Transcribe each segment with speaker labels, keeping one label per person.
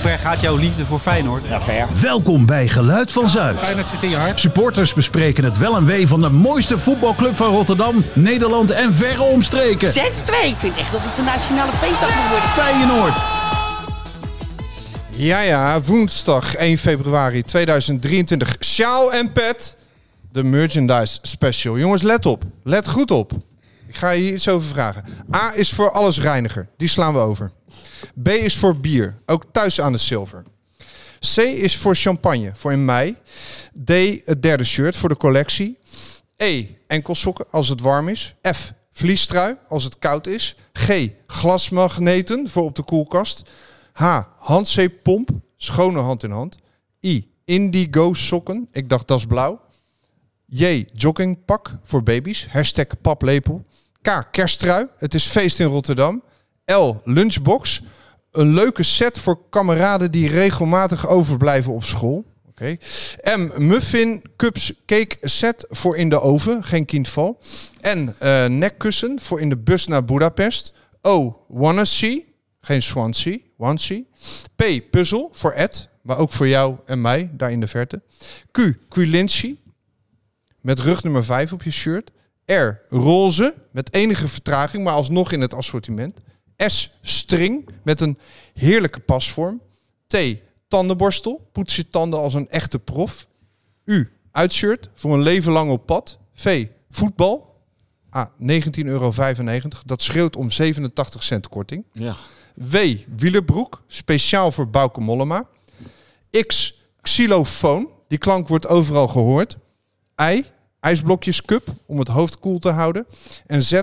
Speaker 1: ver gaat jouw liefde voor Feyenoord?
Speaker 2: Ja, ver.
Speaker 3: Welkom bij Geluid van Zuid.
Speaker 1: Feyenoord zit in je hart.
Speaker 3: Supporters bespreken het wel en wee van de mooiste voetbalclub van Rotterdam, Nederland en verre omstreken.
Speaker 4: 6-2. Ik vind echt dat het een nationale feestdag moet worden.
Speaker 3: Feyenoord.
Speaker 5: Ja, ja, woensdag 1 februari 2023. Sjaal en Pet, de merchandise special. Jongens, let op. Let goed op. Ik ga je hier iets over vragen. A is voor alles reiniger. Die slaan we over. B is voor bier. Ook thuis aan het zilver. C is voor champagne. Voor in mei. D, het derde shirt voor de collectie. E, enkelsokken als het warm is. F, vliestrui als het koud is. G, glasmagneten voor op de koelkast. H, handzeeppomp, schone hand in hand. I, indigo sokken, ik dacht dat is blauw. J, joggingpak voor baby's, hashtag paplepel. K, kersttrui, het is feest in Rotterdam. L, lunchbox, een leuke set voor kameraden die regelmatig overblijven op school. Oké. M, muffin, cups, cake set voor in de oven, geen kindval. N, eh, nekkussen voor in de bus naar Budapest. O, wanna see, geen Swansea, Wansea. P, puzzel voor Ed, maar ook voor jou en mij, daar in de verte. Q, quilincy, met rug nummer 5 op je shirt. R, roze, met enige vertraging, maar alsnog in het assortiment. S, string, met een heerlijke pasvorm. T, tandenborstel, poets je tanden als een echte prof. U, uitshirt, voor een leven lang op pad. V, voetbal. A, 19,95 euro. Dat schreeuwt om 87 cent korting.
Speaker 2: Ja.
Speaker 5: W. Wielerbroek, speciaal voor Bouke Mollema. X. Xylofoon, die klank wordt overal gehoord. I. IJsblokjescup, om het hoofd koel te houden. En Z.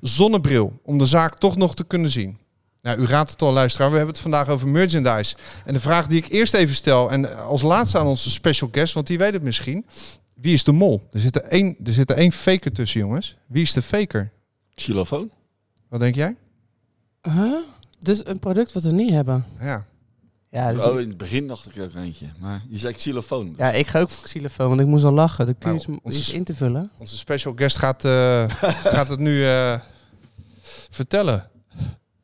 Speaker 5: Zonnebril, om de zaak toch nog te kunnen zien. Nou, u raadt het al, luisteraar. We hebben het vandaag over merchandise. En de vraag die ik eerst even stel, en als laatste aan onze special guest, want die weet het misschien. Wie is de mol? Er zit er één, er zit er één faker tussen, jongens. Wie is de faker?
Speaker 2: Xylofoon?
Speaker 5: Wat denk jij?
Speaker 6: Huh? Dus een product wat we niet hebben.
Speaker 5: Ja.
Speaker 6: Ja, dus-
Speaker 2: Oh, in het begin dacht ik ook eentje. Maar je zei xylofoon.
Speaker 6: ja ik ga ook voor xylofoon, want ik moest al lachen. Dan kun je
Speaker 5: Nou,
Speaker 6: iets-
Speaker 5: onze
Speaker 6: iets
Speaker 5: s-
Speaker 6: in te vullen.
Speaker 5: Onze special guest gaat, eh, gaat het nu eh, vertellen.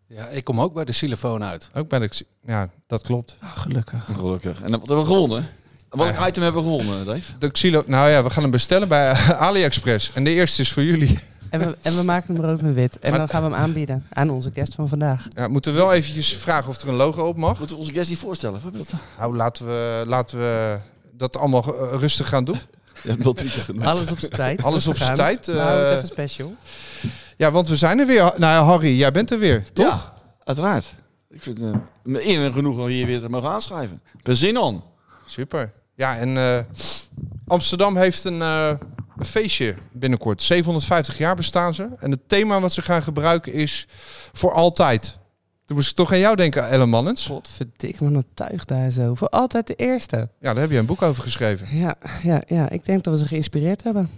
Speaker 7: Ja, ik kom ook bij de telefoon uit.
Speaker 5: Ook bij de... Xi- Ja, dat klopt.
Speaker 6: Ah, gelukkig.
Speaker 2: Gelukkig. En wat hebben we gewonnen? Wat een item hebben we gewonnen, Dave?
Speaker 5: De Xilo... Nou ja, we gaan hem bestellen bij eh, AliExpress. En de eerste is voor jullie.
Speaker 6: En we, en we maken hem rood met wit. En dan gaan we hem aanbieden aan onze guest van vandaag.
Speaker 5: Ja, we moeten wel eventjes vragen of er een logo op mag.
Speaker 2: Moeten we onze guest niet voorstellen? We hebben dat,
Speaker 5: Nou, laten we, laten we dat allemaal eh, rustig gaan doen.
Speaker 2: we hebben dat drie keer genoemd.
Speaker 6: Alles op zijn tijd.
Speaker 5: Alles op
Speaker 6: rustig
Speaker 5: zijn
Speaker 6: aan.
Speaker 5: tijd,
Speaker 6: We houden
Speaker 5: eh.
Speaker 6: het even special.
Speaker 5: Ja, want we zijn er weer. Ha- Nou, Harry, jij bent er weer, toch?
Speaker 2: Ja, uiteraard. Ik vind het eh, me eer en genoeg om hier weer te mogen aanschrijven. Ik ben zin aan.
Speaker 5: Super. Ja, en eh, Amsterdam heeft een, eh, een feestje binnenkort. 750 jaar bestaan ze. En het thema wat ze gaan gebruiken is voor altijd. Toen moest ik toch aan jou denken, Ellen Mannens.
Speaker 6: Godverdik, man, dat tuig daar zo. Voor altijd de eerste.
Speaker 5: Ja, daar heb je een boek over geschreven.
Speaker 6: Ja, ja, ja. Ik denk dat we ze geïnspireerd hebben.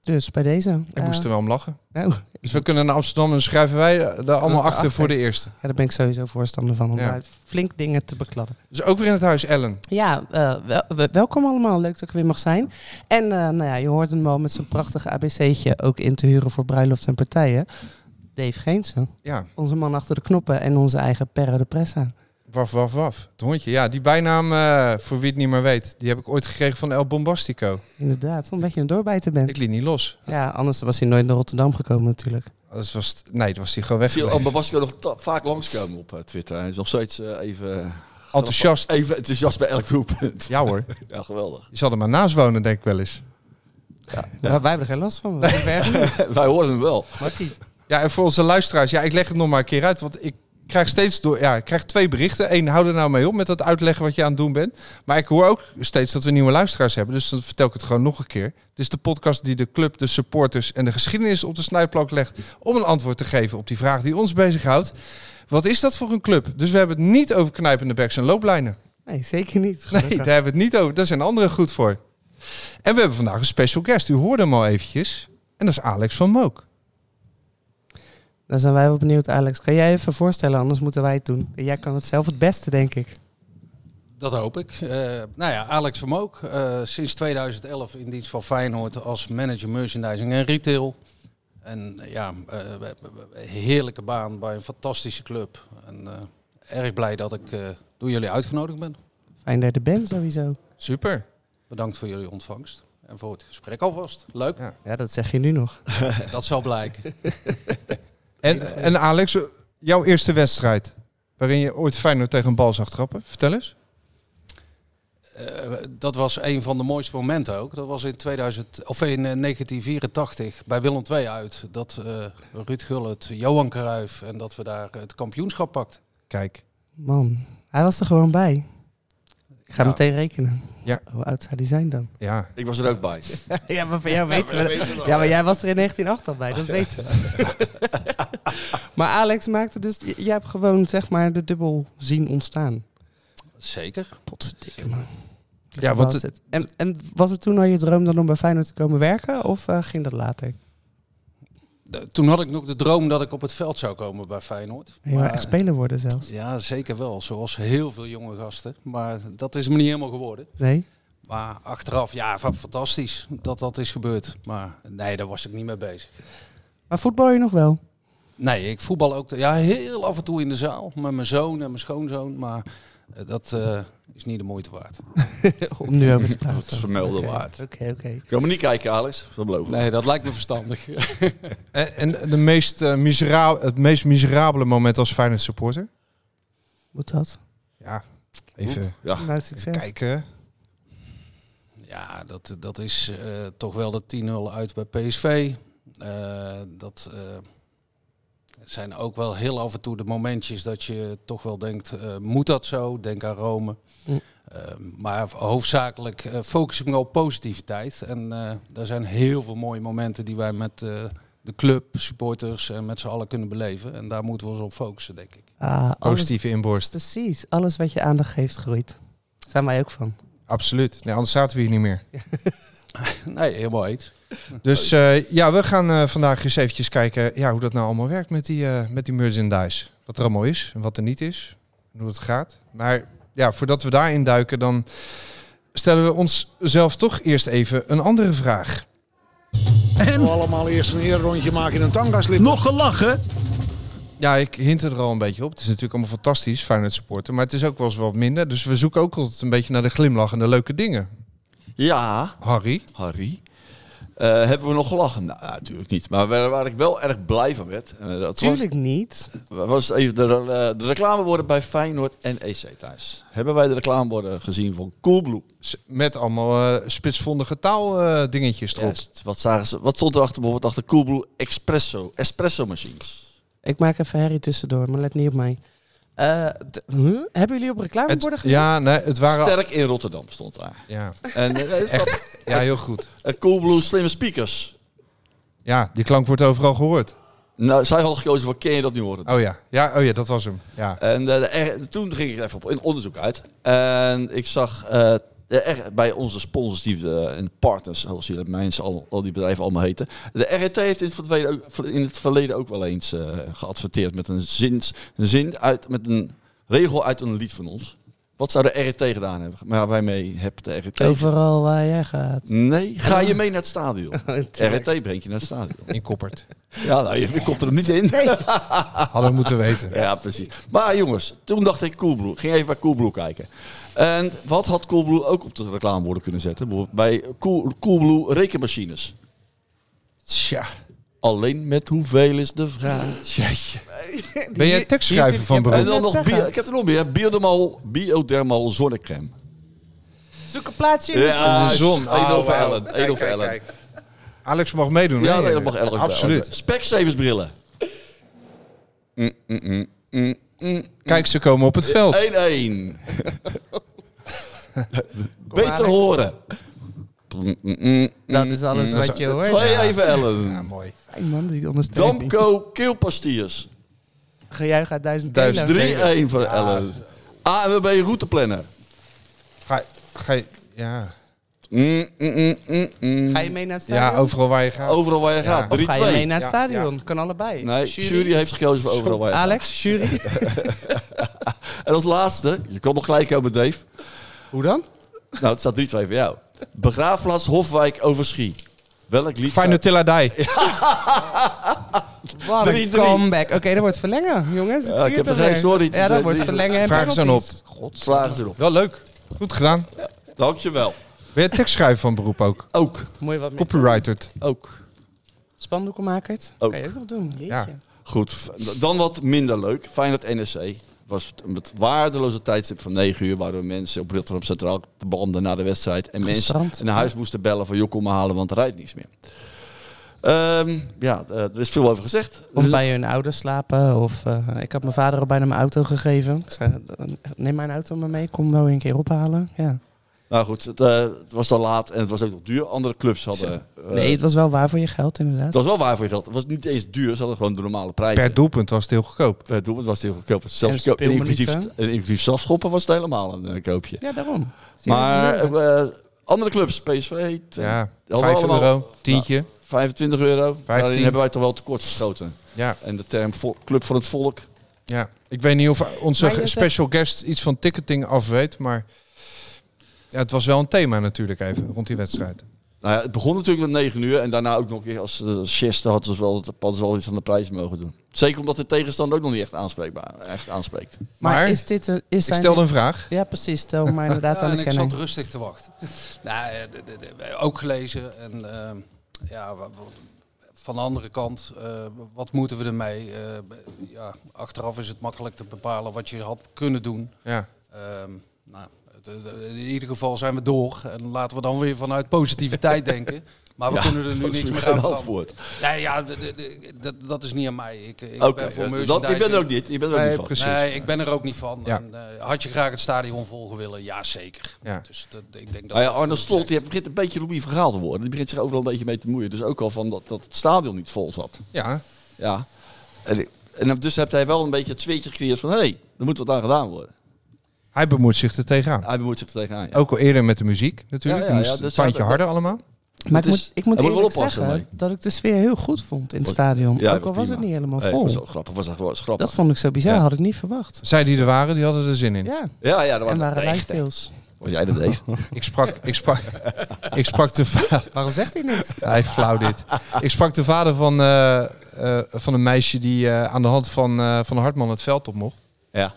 Speaker 6: Dus bij deze.
Speaker 5: Ik moest er wel om lachen.
Speaker 6: nou,
Speaker 5: Dus we kunnen naar Amsterdam en dan schrijven wij daar allemaal
Speaker 6: Achter.
Speaker 5: achter voor de eerste.
Speaker 6: ja, daar ben ik sowieso voorstander van. Om
Speaker 5: Ja.
Speaker 6: daar flink dingen te bekladden.
Speaker 5: Dus ook weer in het huis, Ellen.
Speaker 6: Ja, eh, wel- wel- welkom allemaal. Leuk dat ik er weer mag zijn. En eh, nou ja, je hoort hem wel met zijn prachtige ABC'tje ook in te huren voor bruiloft en partijen. Dave Geensen,
Speaker 5: Ja,
Speaker 6: onze man achter de knoppen en onze eigen Perro de Pressa.
Speaker 5: waf, waf, waf. Het hondje. Ja, die bijnaam, eh, voor wie het niet meer weet, die heb ik ooit gekregen van El Bombastico.
Speaker 6: Inderdaad, omdat je een doorbijter bent.
Speaker 5: Ik liet niet los.
Speaker 6: Ja, anders was hij nooit naar Rotterdam gekomen natuurlijk.
Speaker 5: Dat was, nee, dat was die gewoon weg.
Speaker 2: Ik zie
Speaker 5: geweest.
Speaker 2: Alba Basco nog ta- vaak langskomen op eh, Twitter. Hij is nog steeds eh, even,
Speaker 5: Enthousiast.
Speaker 2: even enthousiast bij elk doelpunt.
Speaker 5: Ja hoor.
Speaker 2: Ja, geweldig.
Speaker 5: Je zal er maar naast wonen, denk ik wel eens.
Speaker 6: Maar wij hebben er geen last van. Wij werken niet.
Speaker 2: Wij horen hem wel.
Speaker 6: Makkie.
Speaker 5: Ja, en voor onze luisteraars, ja, ik leg het nog maar een keer uit. Want ik krijg steeds door, ja, ik krijg twee berichten. Eén, hou er nou mee op met dat uitleggen wat je aan het doen bent. Maar ik hoor ook steeds dat we nieuwe luisteraars hebben. Dus dan vertel ik het gewoon nog een keer. Het is de podcast die de club, de supporters en de geschiedenis op de snijplank legt. om een antwoord te geven op die vraag die ons bezighoudt. Wat is dat voor een club? Dus we hebben het niet over knijpende backs en looplijnen.
Speaker 6: Nee, zeker niet.
Speaker 5: Nee,
Speaker 6: gelukkig.
Speaker 5: daar hebben we het niet over. Daar zijn anderen goed voor. En we hebben vandaag een special guest. U hoorde hem al eventjes. En dat is Alex van Mook.
Speaker 6: Dan zijn wij wel benieuwd, Alex. Kan jij even voorstellen, anders moeten wij het doen. Jij kan het zelf het beste, denk ik.
Speaker 7: Dat hoop ik. Eh, nou ja, Alex Vermook, eh sinds 2011 in dienst van Feyenoord als manager merchandising en retail. En eh, ja, eh, we hebben een heerlijke baan bij een fantastische club. En eh, erg blij dat ik eh, door jullie uitgenodigd ben.
Speaker 6: Fijn dat je er bent sowieso.
Speaker 5: Super.
Speaker 7: Bedankt voor jullie ontvangst en voor het gesprek alvast. Leuk,
Speaker 5: Ja.
Speaker 6: Ja, dat zeg je nu nog.
Speaker 7: dat zal blijken.
Speaker 5: En, en Alex, jouw eerste wedstrijd waarin je ooit Feyenoord tegen een bal zag trappen. Vertel eens.
Speaker 7: Eh, dat was een van de mooiste momenten ook. Dat was in, 2000, of in eh, 1984 bij Willem II uit. Dat eh, Ruud Gullit, Johan Cruijff en dat we daar het kampioenschap pakten.
Speaker 5: Kijk.
Speaker 6: Man, hij was er gewoon bij. Ik ga
Speaker 7: Ja.
Speaker 6: meteen rekenen.
Speaker 5: Ja.
Speaker 6: Hoe oud zou die zijn dan?
Speaker 5: Ja.
Speaker 2: Ik was er ook bij.
Speaker 6: ja, maar van jou weten we Ja, maar jij was er in 1908 al bij, dat weten we. maar Alex maakte dus... j- Jij hebt gewoon, zeg maar, de dubbel zien ontstaan.
Speaker 7: Zeker.
Speaker 6: Potverdikke man.
Speaker 5: Ja, want
Speaker 6: was het. En, en was het toen al je droom dan om bij Feyenoord te komen werken? Of eh, ging dat later?
Speaker 7: De- toen had ik nog de droom dat ik op het veld zou komen bij Feyenoord.
Speaker 6: Je wou echt speler worden zelfs.
Speaker 7: ja, zeker wel. Zoals heel veel jonge gasten. Maar dat is me niet helemaal geworden.
Speaker 6: Nee?
Speaker 7: Maar achteraf, ja, fa- fantastisch dat dat is gebeurd. Maar nee, daar was ik niet mee bezig.
Speaker 6: Maar voetbal je nog wel?
Speaker 7: Nee, ik voetbal ook ja, heel af en toe in de zaal. Met mijn zoon en mijn schoonzoon. Maar eh, dat eh, is niet de moeite waard.
Speaker 6: Om nu over te praten.
Speaker 2: Dat is vermelden
Speaker 6: Oké,
Speaker 2: waard.
Speaker 6: Oké, oké.
Speaker 2: Kan me niet kijken, Alex. Dat beloven.
Speaker 7: Nee, dat lijkt me verstandig.
Speaker 5: En, en de meest, eh, misera- het meest miserabele moment als Feyenoord supporter?
Speaker 6: Moet dat?
Speaker 5: Ja, even
Speaker 2: Ja.
Speaker 6: Nou, succes.
Speaker 5: kijken.
Speaker 7: Ja, dat, dat is eh, toch wel de 10-0 uit bij PSV. Eh, dat eh, zijn ook wel heel af en toe de momentjes dat je toch wel denkt, eh, moet dat zo? Denk aan Rome.
Speaker 6: Mm.
Speaker 7: Eh, maar hoofdzakelijk eh, focus ik me op positiviteit. En eh daar zijn heel veel mooie momenten die wij met eh, de club, supporters en met z'n allen kunnen beleven. En daar moeten we ons op focussen, denk ik.
Speaker 6: Ah, alles,
Speaker 5: Positieve inborst.
Speaker 6: precies. Alles wat je aandacht geeft groeit. Zijn wij ook van.
Speaker 5: Absoluut. Nee, anders zaten we hier niet meer.
Speaker 7: Nee, helemaal eens.
Speaker 5: Dus eh, ja, we gaan eh, vandaag eens eventjes kijken ja, hoe dat nou allemaal werkt met die, eh met die merchandise. Wat er allemaal is en wat er niet is. En hoe het gaat. Maar ja, voordat we daarin duiken, dan stellen we onszelf toch eerst even een andere vraag.
Speaker 3: En
Speaker 8: allemaal eerst een rondje maken in een tangaslip.
Speaker 3: nog gelachen?
Speaker 5: Ja, ik hint het er al een beetje op. Het is natuurlijk allemaal fantastisch, Feyenoord supporter. Maar het is ook wel eens wat minder. Dus we zoeken ook altijd een beetje naar de glimlach en de leuke dingen.
Speaker 2: Ja,
Speaker 5: Harry.
Speaker 2: Harry. Eh, hebben we nog gelachen? Nou, natuurlijk niet. Maar waar, waar ik wel erg blij van werd, eh, dat was,
Speaker 6: Tuurlijk niet.
Speaker 2: was even de, eh, de reclameborden bij Feyenoord en EC thuis. Hebben wij de reclameborden gezien van Coolblue?
Speaker 5: S- Met allemaal eh, spitsvondige taal eh, dingetjes erop.
Speaker 2: Yes. Wat, zagen ze, wat stond er achter bijvoorbeeld achter Coolblue Espresso, espresso machines?
Speaker 6: Ik maak even herrie tussendoor, maar let niet op mij. Eh, d- huh? Hebben jullie op reclameborden
Speaker 5: Het,
Speaker 6: gegeven?
Speaker 5: ja, nee, het waren...
Speaker 2: Sterk in Rotterdam stond daar.
Speaker 5: Ja.
Speaker 2: En eh,
Speaker 5: ja, heel goed.
Speaker 2: eh, Coolblue slimme speakers.
Speaker 5: Ja, die klank wordt overal gehoord.
Speaker 2: Nou, zij hadden gekozen voor ken je dat nu horen.
Speaker 5: Oh ja, ja, oh ja dat was hem. Ja.
Speaker 2: En eh, de R- toen ging ik even op in onderzoek uit. En ik zag eh, de R- bij onze sponsors die, we- en partners, zoals jullie mensen, al, al die bedrijven allemaal heten. De RET heeft in het verleden ook, in het verleden ook wel eens eh, geadverteerd met een, zins, een zin uit, met een regel uit een lied van ons. Wat zou de RET gedaan hebben? Maar wij mee hebt de RET.
Speaker 6: Overal waar jij gaat.
Speaker 2: Nee, ga je mee naar het stadion.
Speaker 6: Tuurlijk.
Speaker 2: RET brengt je naar het stadion.
Speaker 5: In Koppert.
Speaker 2: Ja, nou, je komt er nog niet in.
Speaker 5: Hadden we moeten weten.
Speaker 2: Ja, precies. Maar jongens, toen dacht ik Coolblue. Ging even bij Coolblue kijken. En wat had Coolblue ook op de reclameborden kunnen zetten? Bijvoorbeeld bij Cool, Coolblue rekenmachines.
Speaker 5: Tja.
Speaker 2: Alleen met hoeveel is de vraag?
Speaker 5: Ben jij tekstschrijver van
Speaker 2: En
Speaker 5: beroep?
Speaker 2: dan nog,
Speaker 6: zeggen.
Speaker 2: bio, ik heb er nog meer, biodermal, biodermal zonnecrème.
Speaker 6: Zoek een plaatsje in de zon.
Speaker 2: Ja,
Speaker 5: de zon.
Speaker 2: Eén over
Speaker 5: Oh, wauw.
Speaker 2: Ellen. één over Ellen.
Speaker 5: Alex mag meedoen.
Speaker 2: Ja,
Speaker 5: hè?
Speaker 2: nee, dat mag Ellen ook
Speaker 5: Absoluut.
Speaker 2: wel. Specsaversbrillen. Mm, mm, mm, mm, mm.
Speaker 5: Kijk, ze komen op het veld.
Speaker 2: 1-1. Beter horen. Mm, mm, mm,
Speaker 6: Dat
Speaker 2: mm.
Speaker 6: is alles wat je hoort.
Speaker 2: Twee even
Speaker 5: Ja,
Speaker 2: Ellen.
Speaker 5: mooi.
Speaker 6: Fijn man, die ondersteuning.
Speaker 2: Damco keelpastiers.
Speaker 6: Gejuich uit duizend,
Speaker 5: Duizend
Speaker 6: kilo.
Speaker 2: 3-1 voor Ellen. ANWB routeplanner.
Speaker 5: Ga, ga je... Ja.
Speaker 2: Mm, mm, mm, mm, mm.
Speaker 6: Ga je mee naar het stadion?
Speaker 5: ja, overal waar je gaat.
Speaker 2: Overal waar je
Speaker 5: Ja.
Speaker 2: gaat.
Speaker 6: Of ga je mee
Speaker 2: 3-2.
Speaker 6: naar het
Speaker 5: Ja,
Speaker 6: stadion? Kan allebei.
Speaker 2: Nee, jury heeft gekozen voor overal waar je gaat.
Speaker 6: Alex, jury.
Speaker 2: En als laatste, je kon nog gelijk hebben Dave.
Speaker 6: Hoe dan?
Speaker 2: Nou, het staat 3-2 voor jou. Begraafplaats Hofwijk Overschie. Welk lied zou-
Speaker 5: Fijn Nutella Dai.
Speaker 6: Wat een
Speaker 2: 3-3.
Speaker 6: comeback. Oké, dat wordt verlengen, jongens. Ik,
Speaker 2: Ja,
Speaker 6: zie
Speaker 2: ik
Speaker 6: het
Speaker 2: heb er
Speaker 6: alweer.
Speaker 2: geen sorry te
Speaker 6: Ja, dat
Speaker 2: zeggen.
Speaker 6: wordt verlengen en
Speaker 5: Vraag eens aan op.
Speaker 6: penalties.
Speaker 2: Vraag erop.
Speaker 5: Wel leuk. Goed gedaan.
Speaker 2: Dankjewel.
Speaker 5: Ben je tekstschrijver van beroep ook?
Speaker 2: Ook.
Speaker 6: Moet je wat meer
Speaker 5: Copyrighted.
Speaker 2: Ook.
Speaker 6: spandoekenmakers?
Speaker 2: Ook.
Speaker 6: Kan je ook nog doen. Jeetje.
Speaker 5: Ja.
Speaker 2: Goed. v- Dan wat minder leuk. Feyenoord NSC. Was het het waardeloze tijdstip van 9 uur. Waardoor mensen op Rotterdam Centraal belanden na de wedstrijd. En
Speaker 6: Gestrand.
Speaker 2: mensen naar huis moesten bellen van joh kom me halen want er rijdt niets meer. Ehm, ja, eh, er is veel over gezegd.
Speaker 6: Of bij hun ouders slapen. Of, eh, ik had mijn vader al bijna mijn auto gegeven. Ik zei, neem mijn auto maar mee. Kom wel een keer ophalen. Ja.
Speaker 2: Nou goed, het, eh, het was dan laat en het was ook nog duur. Andere clubs hadden... eh,
Speaker 6: Nee, het was wel waar voor je geld inderdaad.
Speaker 2: het was wel waar voor je geld. Het was niet eens duur. Ze hadden gewoon de normale prijs.
Speaker 5: Per doelpunt was het heel goedkoop.
Speaker 2: Per doelpunt was het heel goedkoop. Zelfs
Speaker 6: En speelminuten.
Speaker 2: inclusief, en inclusief strafschoppen was het helemaal een eh, koopje.
Speaker 6: Ja, daarom. Zie je
Speaker 2: Maar
Speaker 6: wat ik zeg?
Speaker 2: eh, andere clubs, PSV, twee-
Speaker 5: Ja,
Speaker 2: Hadden
Speaker 5: 5
Speaker 2: allemaal-
Speaker 5: euro, tientje.
Speaker 2: 25 euro. Daarin
Speaker 5: 15.
Speaker 2: hebben wij toch wel tekort geschoten.
Speaker 5: Ja,
Speaker 2: En de term vo- club van het volk.
Speaker 5: ja. Ik weet niet of onze
Speaker 6: Maar je zegt-
Speaker 5: special guest iets van ticketing af weet, maar ja, het was wel een thema natuurlijk even rond die wedstrijd.
Speaker 2: Nou ja, het begon natuurlijk met 9 uur en daarna ook nog een keer als eh, zesde hadden ze wel, hadden ze wel iets aan de prijs mogen doen. Zeker omdat de tegenstander ook nog niet echt, aanspreekbaar, echt aanspreekt.
Speaker 6: maar,
Speaker 5: maar-
Speaker 6: is dit... een- Is
Speaker 5: Ik
Speaker 6: zijn
Speaker 5: stelde een vraag.
Speaker 6: Ja, precies. Stel maar inderdaad
Speaker 7: Ja,
Speaker 6: aan
Speaker 7: en
Speaker 6: de
Speaker 7: ik zat
Speaker 6: kenning.
Speaker 7: rustig te wachten. nou, eh, de- de- de- ook gelezen. En ehm, ja, wa- wa- van de andere kant, eh, wat moeten we ermee? Eh, ja, achteraf is het makkelijk te bepalen wat je had kunnen doen.
Speaker 5: Ja.
Speaker 7: Ehm, nou, de- de- in ieder geval zijn we door. En laten we dan weer vanuit positiviteit denken. Maar we kunnen er nu
Speaker 2: dat is
Speaker 7: niks
Speaker 2: geen
Speaker 7: meer aan veranderen.
Speaker 2: antwoord.
Speaker 7: Nee, ja, de- de- de- dat- dat is niet aan mij. Ik, ik
Speaker 2: Oké,
Speaker 7: ben voor
Speaker 2: eh, dat-
Speaker 7: merchandising.
Speaker 2: ik ben er ook niet. Ik ben er ook
Speaker 5: Nee,
Speaker 2: niet van.
Speaker 5: precies.
Speaker 7: Nee, ik ben er ook niet van.
Speaker 5: Ja.
Speaker 7: En, eh, had je graag het stadion vol willen? Ja, zeker.
Speaker 5: Ja.
Speaker 7: Dus dat, ik denk dat
Speaker 2: Nou ja,
Speaker 7: dat
Speaker 2: Arne
Speaker 7: goed
Speaker 2: Slot
Speaker 7: zegt.
Speaker 2: die begint een beetje Louis verhaal te worden. Die begint zich overal een beetje mee te moeien. Dus ook al van dat, dat het stadion niet vol zat.
Speaker 5: Ja,
Speaker 2: Ja. En, en dus hebt hij wel een beetje het zweetje gecreëerd van... hé, hey, er moet wat aan gedaan worden.
Speaker 5: hij bemoeit zich er tegenaan.
Speaker 2: Hij bemoeit zich er tegenaan. Ja.
Speaker 5: Ook al eerder met de muziek natuurlijk.
Speaker 2: Ja,
Speaker 5: Ja,
Speaker 2: ja,
Speaker 5: moest
Speaker 2: ja,
Speaker 5: een
Speaker 2: dus
Speaker 5: tandje
Speaker 2: dat-
Speaker 5: harder allemaal.
Speaker 6: Maar ik
Speaker 2: Het is-
Speaker 6: moet, ik moet
Speaker 2: daar moet je wel
Speaker 6: eerlijk
Speaker 2: oppassen
Speaker 6: zeggen dat ik de sfeer heel goed vond in het stadion.
Speaker 2: Ja,
Speaker 6: ook al was het
Speaker 2: prima.
Speaker 6: niet helemaal
Speaker 2: Nee,
Speaker 6: vol.
Speaker 2: was wel grappig. Was, was grappig.
Speaker 6: dat vond ik zo bizar,
Speaker 2: Ja.
Speaker 6: had ik niet verwacht.
Speaker 5: Zij die er waren, die hadden er zin in.
Speaker 6: Ja,
Speaker 2: Ja, ja, dat waren
Speaker 6: en waren
Speaker 2: nee, nee.
Speaker 6: lijfdeels.
Speaker 2: Was jij dat, Dave?
Speaker 5: Ik sprak, ik sprak, ik sprak de va-
Speaker 6: Waarom zegt hij niks?
Speaker 5: Hij flauw dit. Ik sprak de vader van, eh, eh, van een meisje die eh, aan de hand van, eh, van Hartman het veld op mocht.
Speaker 2: ja.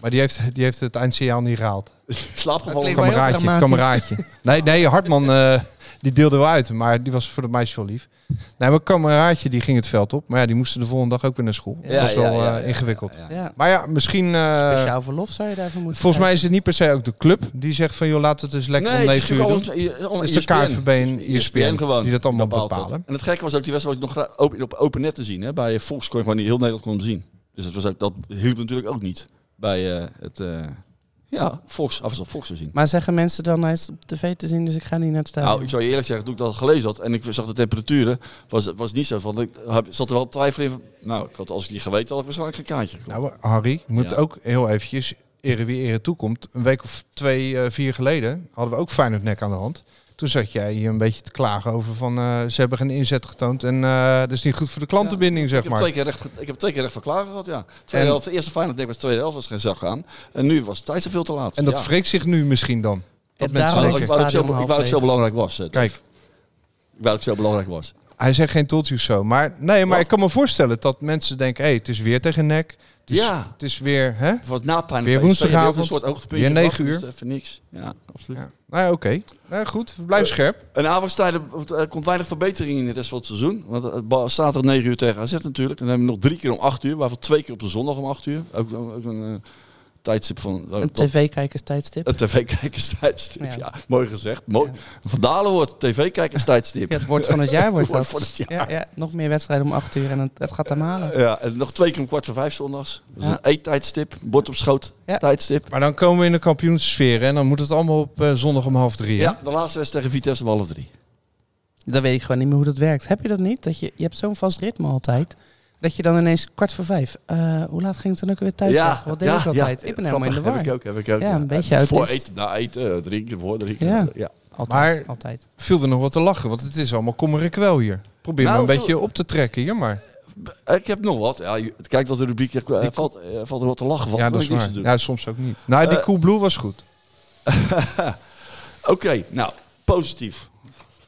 Speaker 5: Maar die heeft, die heeft het eindsignaal niet gehaald.
Speaker 2: Slaapgevallen.
Speaker 6: Klinkt wel heel
Speaker 5: Kameraadje,
Speaker 6: dramatisch.
Speaker 5: kameraadje. Nee, nee Hartman eh, die deelde wel uit, maar die was voor de meisje wel lief. Nee, mijn kameraadje die ging het veld op. Maar ja, die moesten de volgende dag ook weer naar school.
Speaker 6: Ja,
Speaker 5: dat was wel
Speaker 2: ja, ja,
Speaker 5: eh,
Speaker 2: ja,
Speaker 5: ingewikkeld.
Speaker 2: ja, ja.
Speaker 6: Ja,
Speaker 5: Maar ja, misschien... eh,
Speaker 6: speciaal verlof zou je daarvoor moeten
Speaker 5: volgens mij
Speaker 6: krijgen.
Speaker 5: is het niet per se ook de club die zegt van... joh, laten we het eens lekker om 9 uur doen.
Speaker 2: Het E
Speaker 5: Het is de KNVB en ESPN,
Speaker 2: gewoon.
Speaker 5: die dat allemaal
Speaker 2: bepaalt
Speaker 5: bepalen.
Speaker 2: En het gekke was ook, die wedstrijd was nog gra- open, op open net te zien. Hè? Bij Fox kon je gewoon niet heel Nederland kon hem zien. Dus dat, was ook, dat hielp natuurlijk ook niet bij eh, het... eh, ja, Fox, af en toe op Fox te zien.
Speaker 6: Maar zeggen mensen dan, hij is op tv te zien, dus ik ga niet naar het stadion.
Speaker 2: Nou, ik zou je eerlijk zeggen, toen ik dat gelezen had en ik zag de temperaturen, was het was niet zo van, ik heb- zat er wel twijfel in van, nou, ik had, als ik die geweten had, had ik waarschijnlijk een kaartje gekocht.
Speaker 5: Nou, maar Harry, je moet
Speaker 2: Ja.
Speaker 5: ook heel eventjes ere wie ere toekomt. Een week of twee, eh, vier geleden hadden we ook Feyenoord nek aan de hand. Toen zat jij hier een beetje te klagen over van eh, ze hebben geen inzet getoond en eh, dat is niet goed voor de klantenbinding,
Speaker 2: Ik
Speaker 5: zeg
Speaker 2: heb,
Speaker 5: maar.
Speaker 2: twee keer recht, ge- ik heb twee keer recht van klagen gehad, ja. Tweede
Speaker 5: En-
Speaker 2: helft, de eerste Feyenoord, denk ik, was de tweede helft, was geen zak aan. En nu was het tijd veel te laat.
Speaker 5: En dat
Speaker 2: ja.
Speaker 5: wreekt zich nu misschien dan. Dat mensen
Speaker 6: daarom
Speaker 2: Ik
Speaker 5: denken,
Speaker 6: is
Speaker 2: wou dat ik zo-
Speaker 6: Stadion
Speaker 2: ik wou dat ik zo
Speaker 6: halfleeg.
Speaker 2: belangrijk was. eh, Dave.
Speaker 5: Kijk,
Speaker 2: Ik wou dat ik zo belangrijk was.
Speaker 5: hij zegt geen toltjes zo. Maar nee, maar
Speaker 2: Wat?
Speaker 5: ik kan me voorstellen dat mensen denken, hé, het is weer tegen nek. Het is,
Speaker 2: Ja.
Speaker 5: het is weer, hè?
Speaker 2: Het was na pijn.
Speaker 5: Weer
Speaker 2: PSV,
Speaker 5: woensdagavond,
Speaker 2: weer Een soort hoogtepuntje.
Speaker 5: weer negen
Speaker 2: gehad,
Speaker 5: uur.
Speaker 2: dus Even niks. Ja, absoluut.
Speaker 5: Ja. Nou ja, oké. Nou goed, blijf
Speaker 2: Eh.
Speaker 5: scherp.
Speaker 2: En Averstijden eh, komt weinig verbetering in de rest van het seizoen. Want het ba- staat er 9 uur tegen AZ natuurlijk. En dan hebben we nog drie keer om 8 uur. Waarvan twee keer op de zondag om 8 uur. Ook, ook een eh, tijdstip van...
Speaker 6: Een tv-kijkerstijdstip.
Speaker 2: Een tv-kijkerstijdstip, ja.
Speaker 6: Ja.
Speaker 2: Mooi gezegd. Mooi. Van Dalen wordt tv-kijkerstijdstip.
Speaker 6: Ja, het woord van het jaar wordt
Speaker 2: Woord
Speaker 6: dat.
Speaker 2: van het jaar.
Speaker 6: Ja, ja, nog meer wedstrijden om acht uur en het, het gaat hem halen.
Speaker 2: Ja, en nog twee keer om kwart voor vijf zondags. Dat is
Speaker 6: Ja.
Speaker 2: een eettijdstip, bord op schoot
Speaker 6: Ja.
Speaker 2: tijdstip.
Speaker 5: Maar dan komen we in de kampioenssfeer hè, en dan moet het allemaal op eh, zondag om half drie. hè?
Speaker 2: Ja, de laatste wedstrijd tegen Vitesse om half drie.
Speaker 6: Dan weet ik gewoon niet meer hoe dat werkt. Heb je dat niet? Dat je, je hebt zo'n vast ritme altijd. Dat je dan ineens kwart voor vijf. eh, hoe laat ging het dan ook weer thuis? weg? Wat deed ik altijd? ik ben helemaal in de war.
Speaker 2: Heb ik ook, heb ik ook.
Speaker 6: Ja, een beetje uit
Speaker 2: Voor
Speaker 6: is-
Speaker 2: eten, na eten, eh, drinken, voor drinken.
Speaker 6: Ja.
Speaker 2: ja.
Speaker 6: Altijd,
Speaker 5: Maar-
Speaker 6: altijd.
Speaker 5: viel er nog wat te lachen, want het is allemaal kommerik wel hier. Probeer
Speaker 2: Nou,
Speaker 5: me een
Speaker 2: veel-
Speaker 5: beetje op te trekken hier, maar
Speaker 2: Ik heb nog wat. Ja, je- kijk dat de rubriek, eh, valt, eh, valt er wat te lachen van.
Speaker 5: ja,
Speaker 2: maar
Speaker 5: dat is
Speaker 2: niks
Speaker 5: waar.
Speaker 2: te doen.
Speaker 5: Ja, soms ook niet. Nou, die
Speaker 2: Eh,
Speaker 5: Coolblue was goed.
Speaker 2: Oké, nou, positief.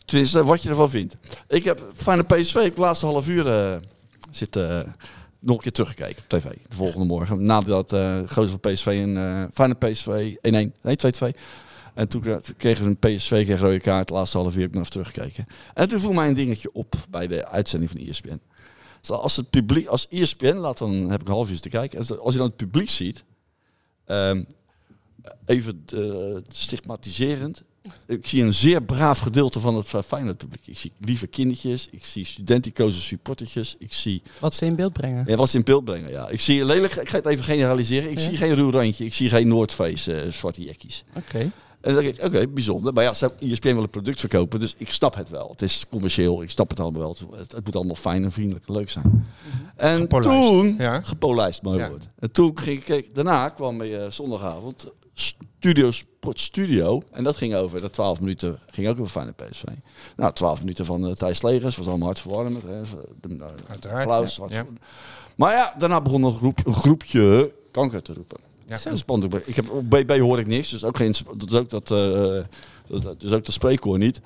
Speaker 2: Tenminste, wat je ervan vindt. Ik heb fijne PSV ik heb de laatste half uur eh, zitten eh, nog een keer teruggekeken op tv. De volgende morgen. Nadat eh gozer van PSV en eh fijne PSV 1-1, nee 2-2. En toen kra- kregen ze een PSV kreeg een rode kaart. De laatste half uur heb ik nog even teruggekeken. En toen viel mij een dingetje op bij de uitzending van E ESPN. Dus als het publiek, als E ESPN laat, dan heb ik een half uur te kijken. En Als je dan het publiek ziet, ehm, even eh, stigmatiserend. Ik zie een zeer braaf gedeelte van het eh, Feyenoord publiek. Ik zie lieve kindertjes, ik zie studenticozen supportertjes, ik zie...
Speaker 6: Wat ze in beeld brengen.
Speaker 2: Ja, wat ze in beeld brengen, ja. Ik zie lelijk, ik ga het even generaliseren, ik
Speaker 6: Ja.
Speaker 2: zie geen roerandje, ik zie geen Noordfeest, eh zwarte jekkies.
Speaker 6: Oké.
Speaker 2: En dan denk ik, oké, bijzonder. Maar ja, ze hebben E ESPN wil een product verkopen, dus ik snap het wel. Het is commercieel, ik snap het allemaal wel. Het, het moet allemaal fijn en vriendelijk en leuk zijn. En
Speaker 5: Gepolijst,
Speaker 2: toen,
Speaker 5: ja.
Speaker 2: gepolijst, mooi
Speaker 5: Ja.
Speaker 2: woord. En toen ging ik, kijk, daarna kwam je zondagavond Studio Sport Studio. En dat ging over, dat 12 minuten ging ook over fijne PSV. Nou, 12 minuten van eh, Thijs Legers, was allemaal hartverwarmend. Hè. De- de-
Speaker 5: Uiteraard,
Speaker 2: Applaus,
Speaker 5: ja.
Speaker 2: hart- Maar ja, daarna begon nog een, groep, een groepje kanker te roepen.
Speaker 5: Ja.
Speaker 2: Ja. Spannend. Ik heb, op BB hoor ik niks, dus ook, geen, dus ook dat, eh, dat- dus ook dat spreekkoor niet.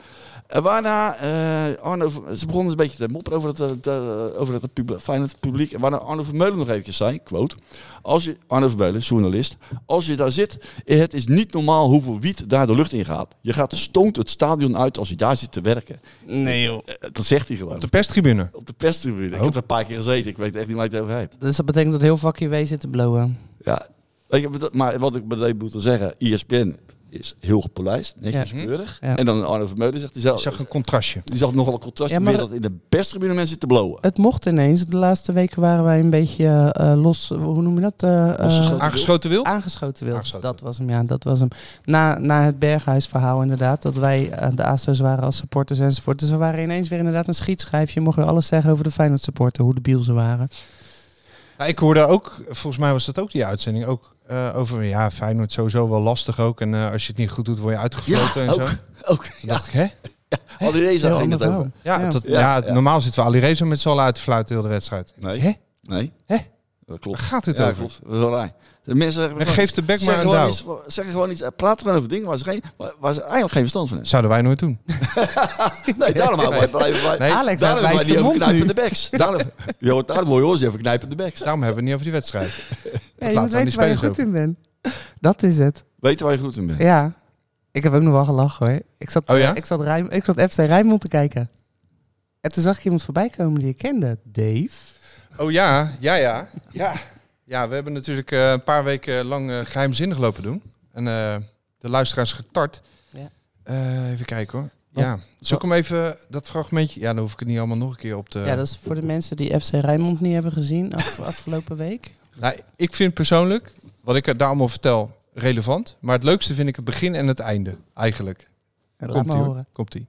Speaker 2: En waarna eh, Arno, van- ze begonnen een beetje te mopperen over het, eh, de- over het publiek, Feyenoord publiek. En waarna Arno Vermeulen nog eventjes zei, quote, als je, Arno Vermeulen, journalist, als je daar zit, het is niet normaal hoeveel wiet daar de lucht in gaat. Je gaat stoont het stadion uit als je daar zit te werken.
Speaker 6: Nee joh.
Speaker 2: Eh, Dat zegt hij gewoon.
Speaker 5: Op de Oh. perstribune.
Speaker 2: Op de perstribune. Ik heb er een paar keer gezeten. Ik weet echt niet waar ik het over heb.
Speaker 6: Dus dat betekent dat heel vak hier zit te blowen.
Speaker 2: Ja, weet je, dat- maar wat ik meteen moet zeggen, E ESPN is heel gepolijst, netjes
Speaker 6: Ja.
Speaker 2: keurig.
Speaker 6: Ja.
Speaker 2: En dan Arno Vermeulen zegt, die
Speaker 5: Ik
Speaker 2: zag,
Speaker 5: zag een contrastje.
Speaker 2: die zag nogal een contrast
Speaker 6: Ja, maar
Speaker 2: weer dat in de beste gebieden mensen zitten blowen.
Speaker 6: Het mocht ineens. De laatste weken waren wij een beetje eh, los, hoe noem je dat? Eh,
Speaker 2: Losgeschoten.
Speaker 6: eh,
Speaker 5: Aangeschoten wil?
Speaker 6: aangeschoten wild.
Speaker 5: Aangeschoten
Speaker 6: dat was hem, ja, dat was hem. Na, na het Berghuisverhaal inderdaad, dat wij eh, de ASO's waren als supporters enzovoort. Dus we waren ineens weer inderdaad een schietschijfje. Je mocht weer alles zeggen over de Feyenoord supporter, hoe debiel ze waren.
Speaker 5: Ja, ik hoorde ook, volgens mij was dat ook die uitzending, ook eh, over ja, Feyenoord sowieso wel lastig ook. En eh, als je het niet goed doet, word je uitgefloten en zo.
Speaker 2: ook. ook.
Speaker 5: Dan dacht ik, hè?
Speaker 2: Al die
Speaker 6: Heel
Speaker 2: ging
Speaker 6: ander
Speaker 2: dat over.
Speaker 6: verhaal.
Speaker 5: Ja,
Speaker 6: Ja.
Speaker 5: dat- ja,
Speaker 2: Ja, ja.
Speaker 5: normaal zitten we Ali Reza met z'n allen uit te fluiten heel de wedstrijd.
Speaker 2: Nee.
Speaker 5: Hè?
Speaker 2: Nee.
Speaker 5: Hè?
Speaker 2: Dat
Speaker 5: Waar
Speaker 2: klopt.
Speaker 5: gaat dit
Speaker 2: Ja,
Speaker 5: over?
Speaker 2: klopt. Dat is wel raar. De mensen zeggen,
Speaker 5: En geef de bek
Speaker 2: zeggen
Speaker 5: maar een
Speaker 2: gewoon
Speaker 5: douw.
Speaker 2: iets- zeggen gewoon iets, eh, praten gewoon over dingen waar ze, geen, waar, waar ze eigenlijk geen verstand van hebben.
Speaker 5: Zouden wij nooit doen.
Speaker 2: Nee, daarom houden wij blijven wij.
Speaker 5: Nee,
Speaker 6: Alex, hij
Speaker 2: Daarom hebben wij
Speaker 6: wijst
Speaker 2: die
Speaker 6: de
Speaker 2: over
Speaker 6: mond nu.
Speaker 2: knijpende backs. Daarom, jo, daarom hoor je ons even knijpende backs.
Speaker 5: Daarom hebben we het niet over die wedstrijd.
Speaker 6: Ja,
Speaker 5: laten we
Speaker 6: je
Speaker 5: aan
Speaker 6: moet
Speaker 5: die
Speaker 6: weten waar je
Speaker 5: spelers
Speaker 6: goed in bent. Dat is het.
Speaker 2: Weten waar je goed in bent.
Speaker 6: Ja. Ik heb ook nog wel gelachen hoor. Ik zat,
Speaker 5: Oh ja?
Speaker 6: ik zat, Rijm- ik zat FC Rijnmond te kijken. En toen zag ik iemand voorbij komen die ik kende. Dave.
Speaker 5: Oh ja, ja, ja. Ja, ja we hebben natuurlijk eh, een paar weken lang eh, geheimzinnig lopen doen. En eh, de luisteraars getart.
Speaker 6: Ja.
Speaker 5: Eh, even kijken hoor. Ja, zoek hem even, dat fragmentje. Ja, dan hoef ik het niet allemaal nog een keer op te...
Speaker 6: Ja, dat is voor de mensen die FC Rijnmond niet hebben gezien af- afgelopen week.
Speaker 5: Nou, ik vind persoonlijk, wat ik daar allemaal vertel, relevant. Maar het leukste vind ik het begin en het einde, eigenlijk.
Speaker 6: Laat
Speaker 5: Komt
Speaker 6: maar
Speaker 5: ie
Speaker 6: horen.
Speaker 5: hoor. Komt ie.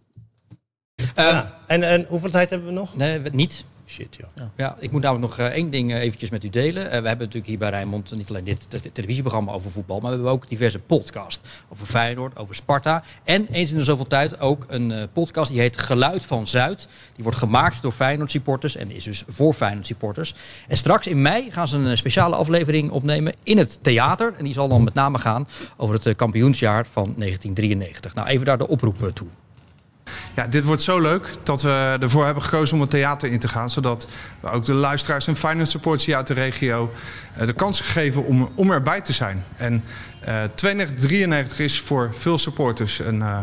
Speaker 9: En, en hoeveel tijd hebben we nog?
Speaker 10: Ehm, Nee, we- niet.
Speaker 9: Shit, joh.
Speaker 10: Ja. ik moet namelijk nog eh, één ding eh, eventjes met u delen. Eh, we hebben natuurlijk hier bij Rijnmond niet alleen dit te- televisieprogramma over voetbal, maar we hebben ook diverse podcasts over Feyenoord, over Sparta. En eens in de zoveel tijd ook een eh, podcast die heet Geluid van Zuid. Die wordt gemaakt door Feyenoord supporters en is dus voor Feyenoord supporters. En straks in mei gaan ze een eh, speciale aflevering opnemen in het theater. En die zal dan met name gaan over het eh, kampioensjaar van 1993. Nou, even daar de oproep eh, toe.
Speaker 11: Ja, dit wordt zo leuk dat we ervoor hebben gekozen om het theater in te gaan. Zodat we ook de luisteraars en finance supporters hier uit de regio eh, de kans geven om, om erbij te zijn. En eh 92-93 is voor veel supporters een eh,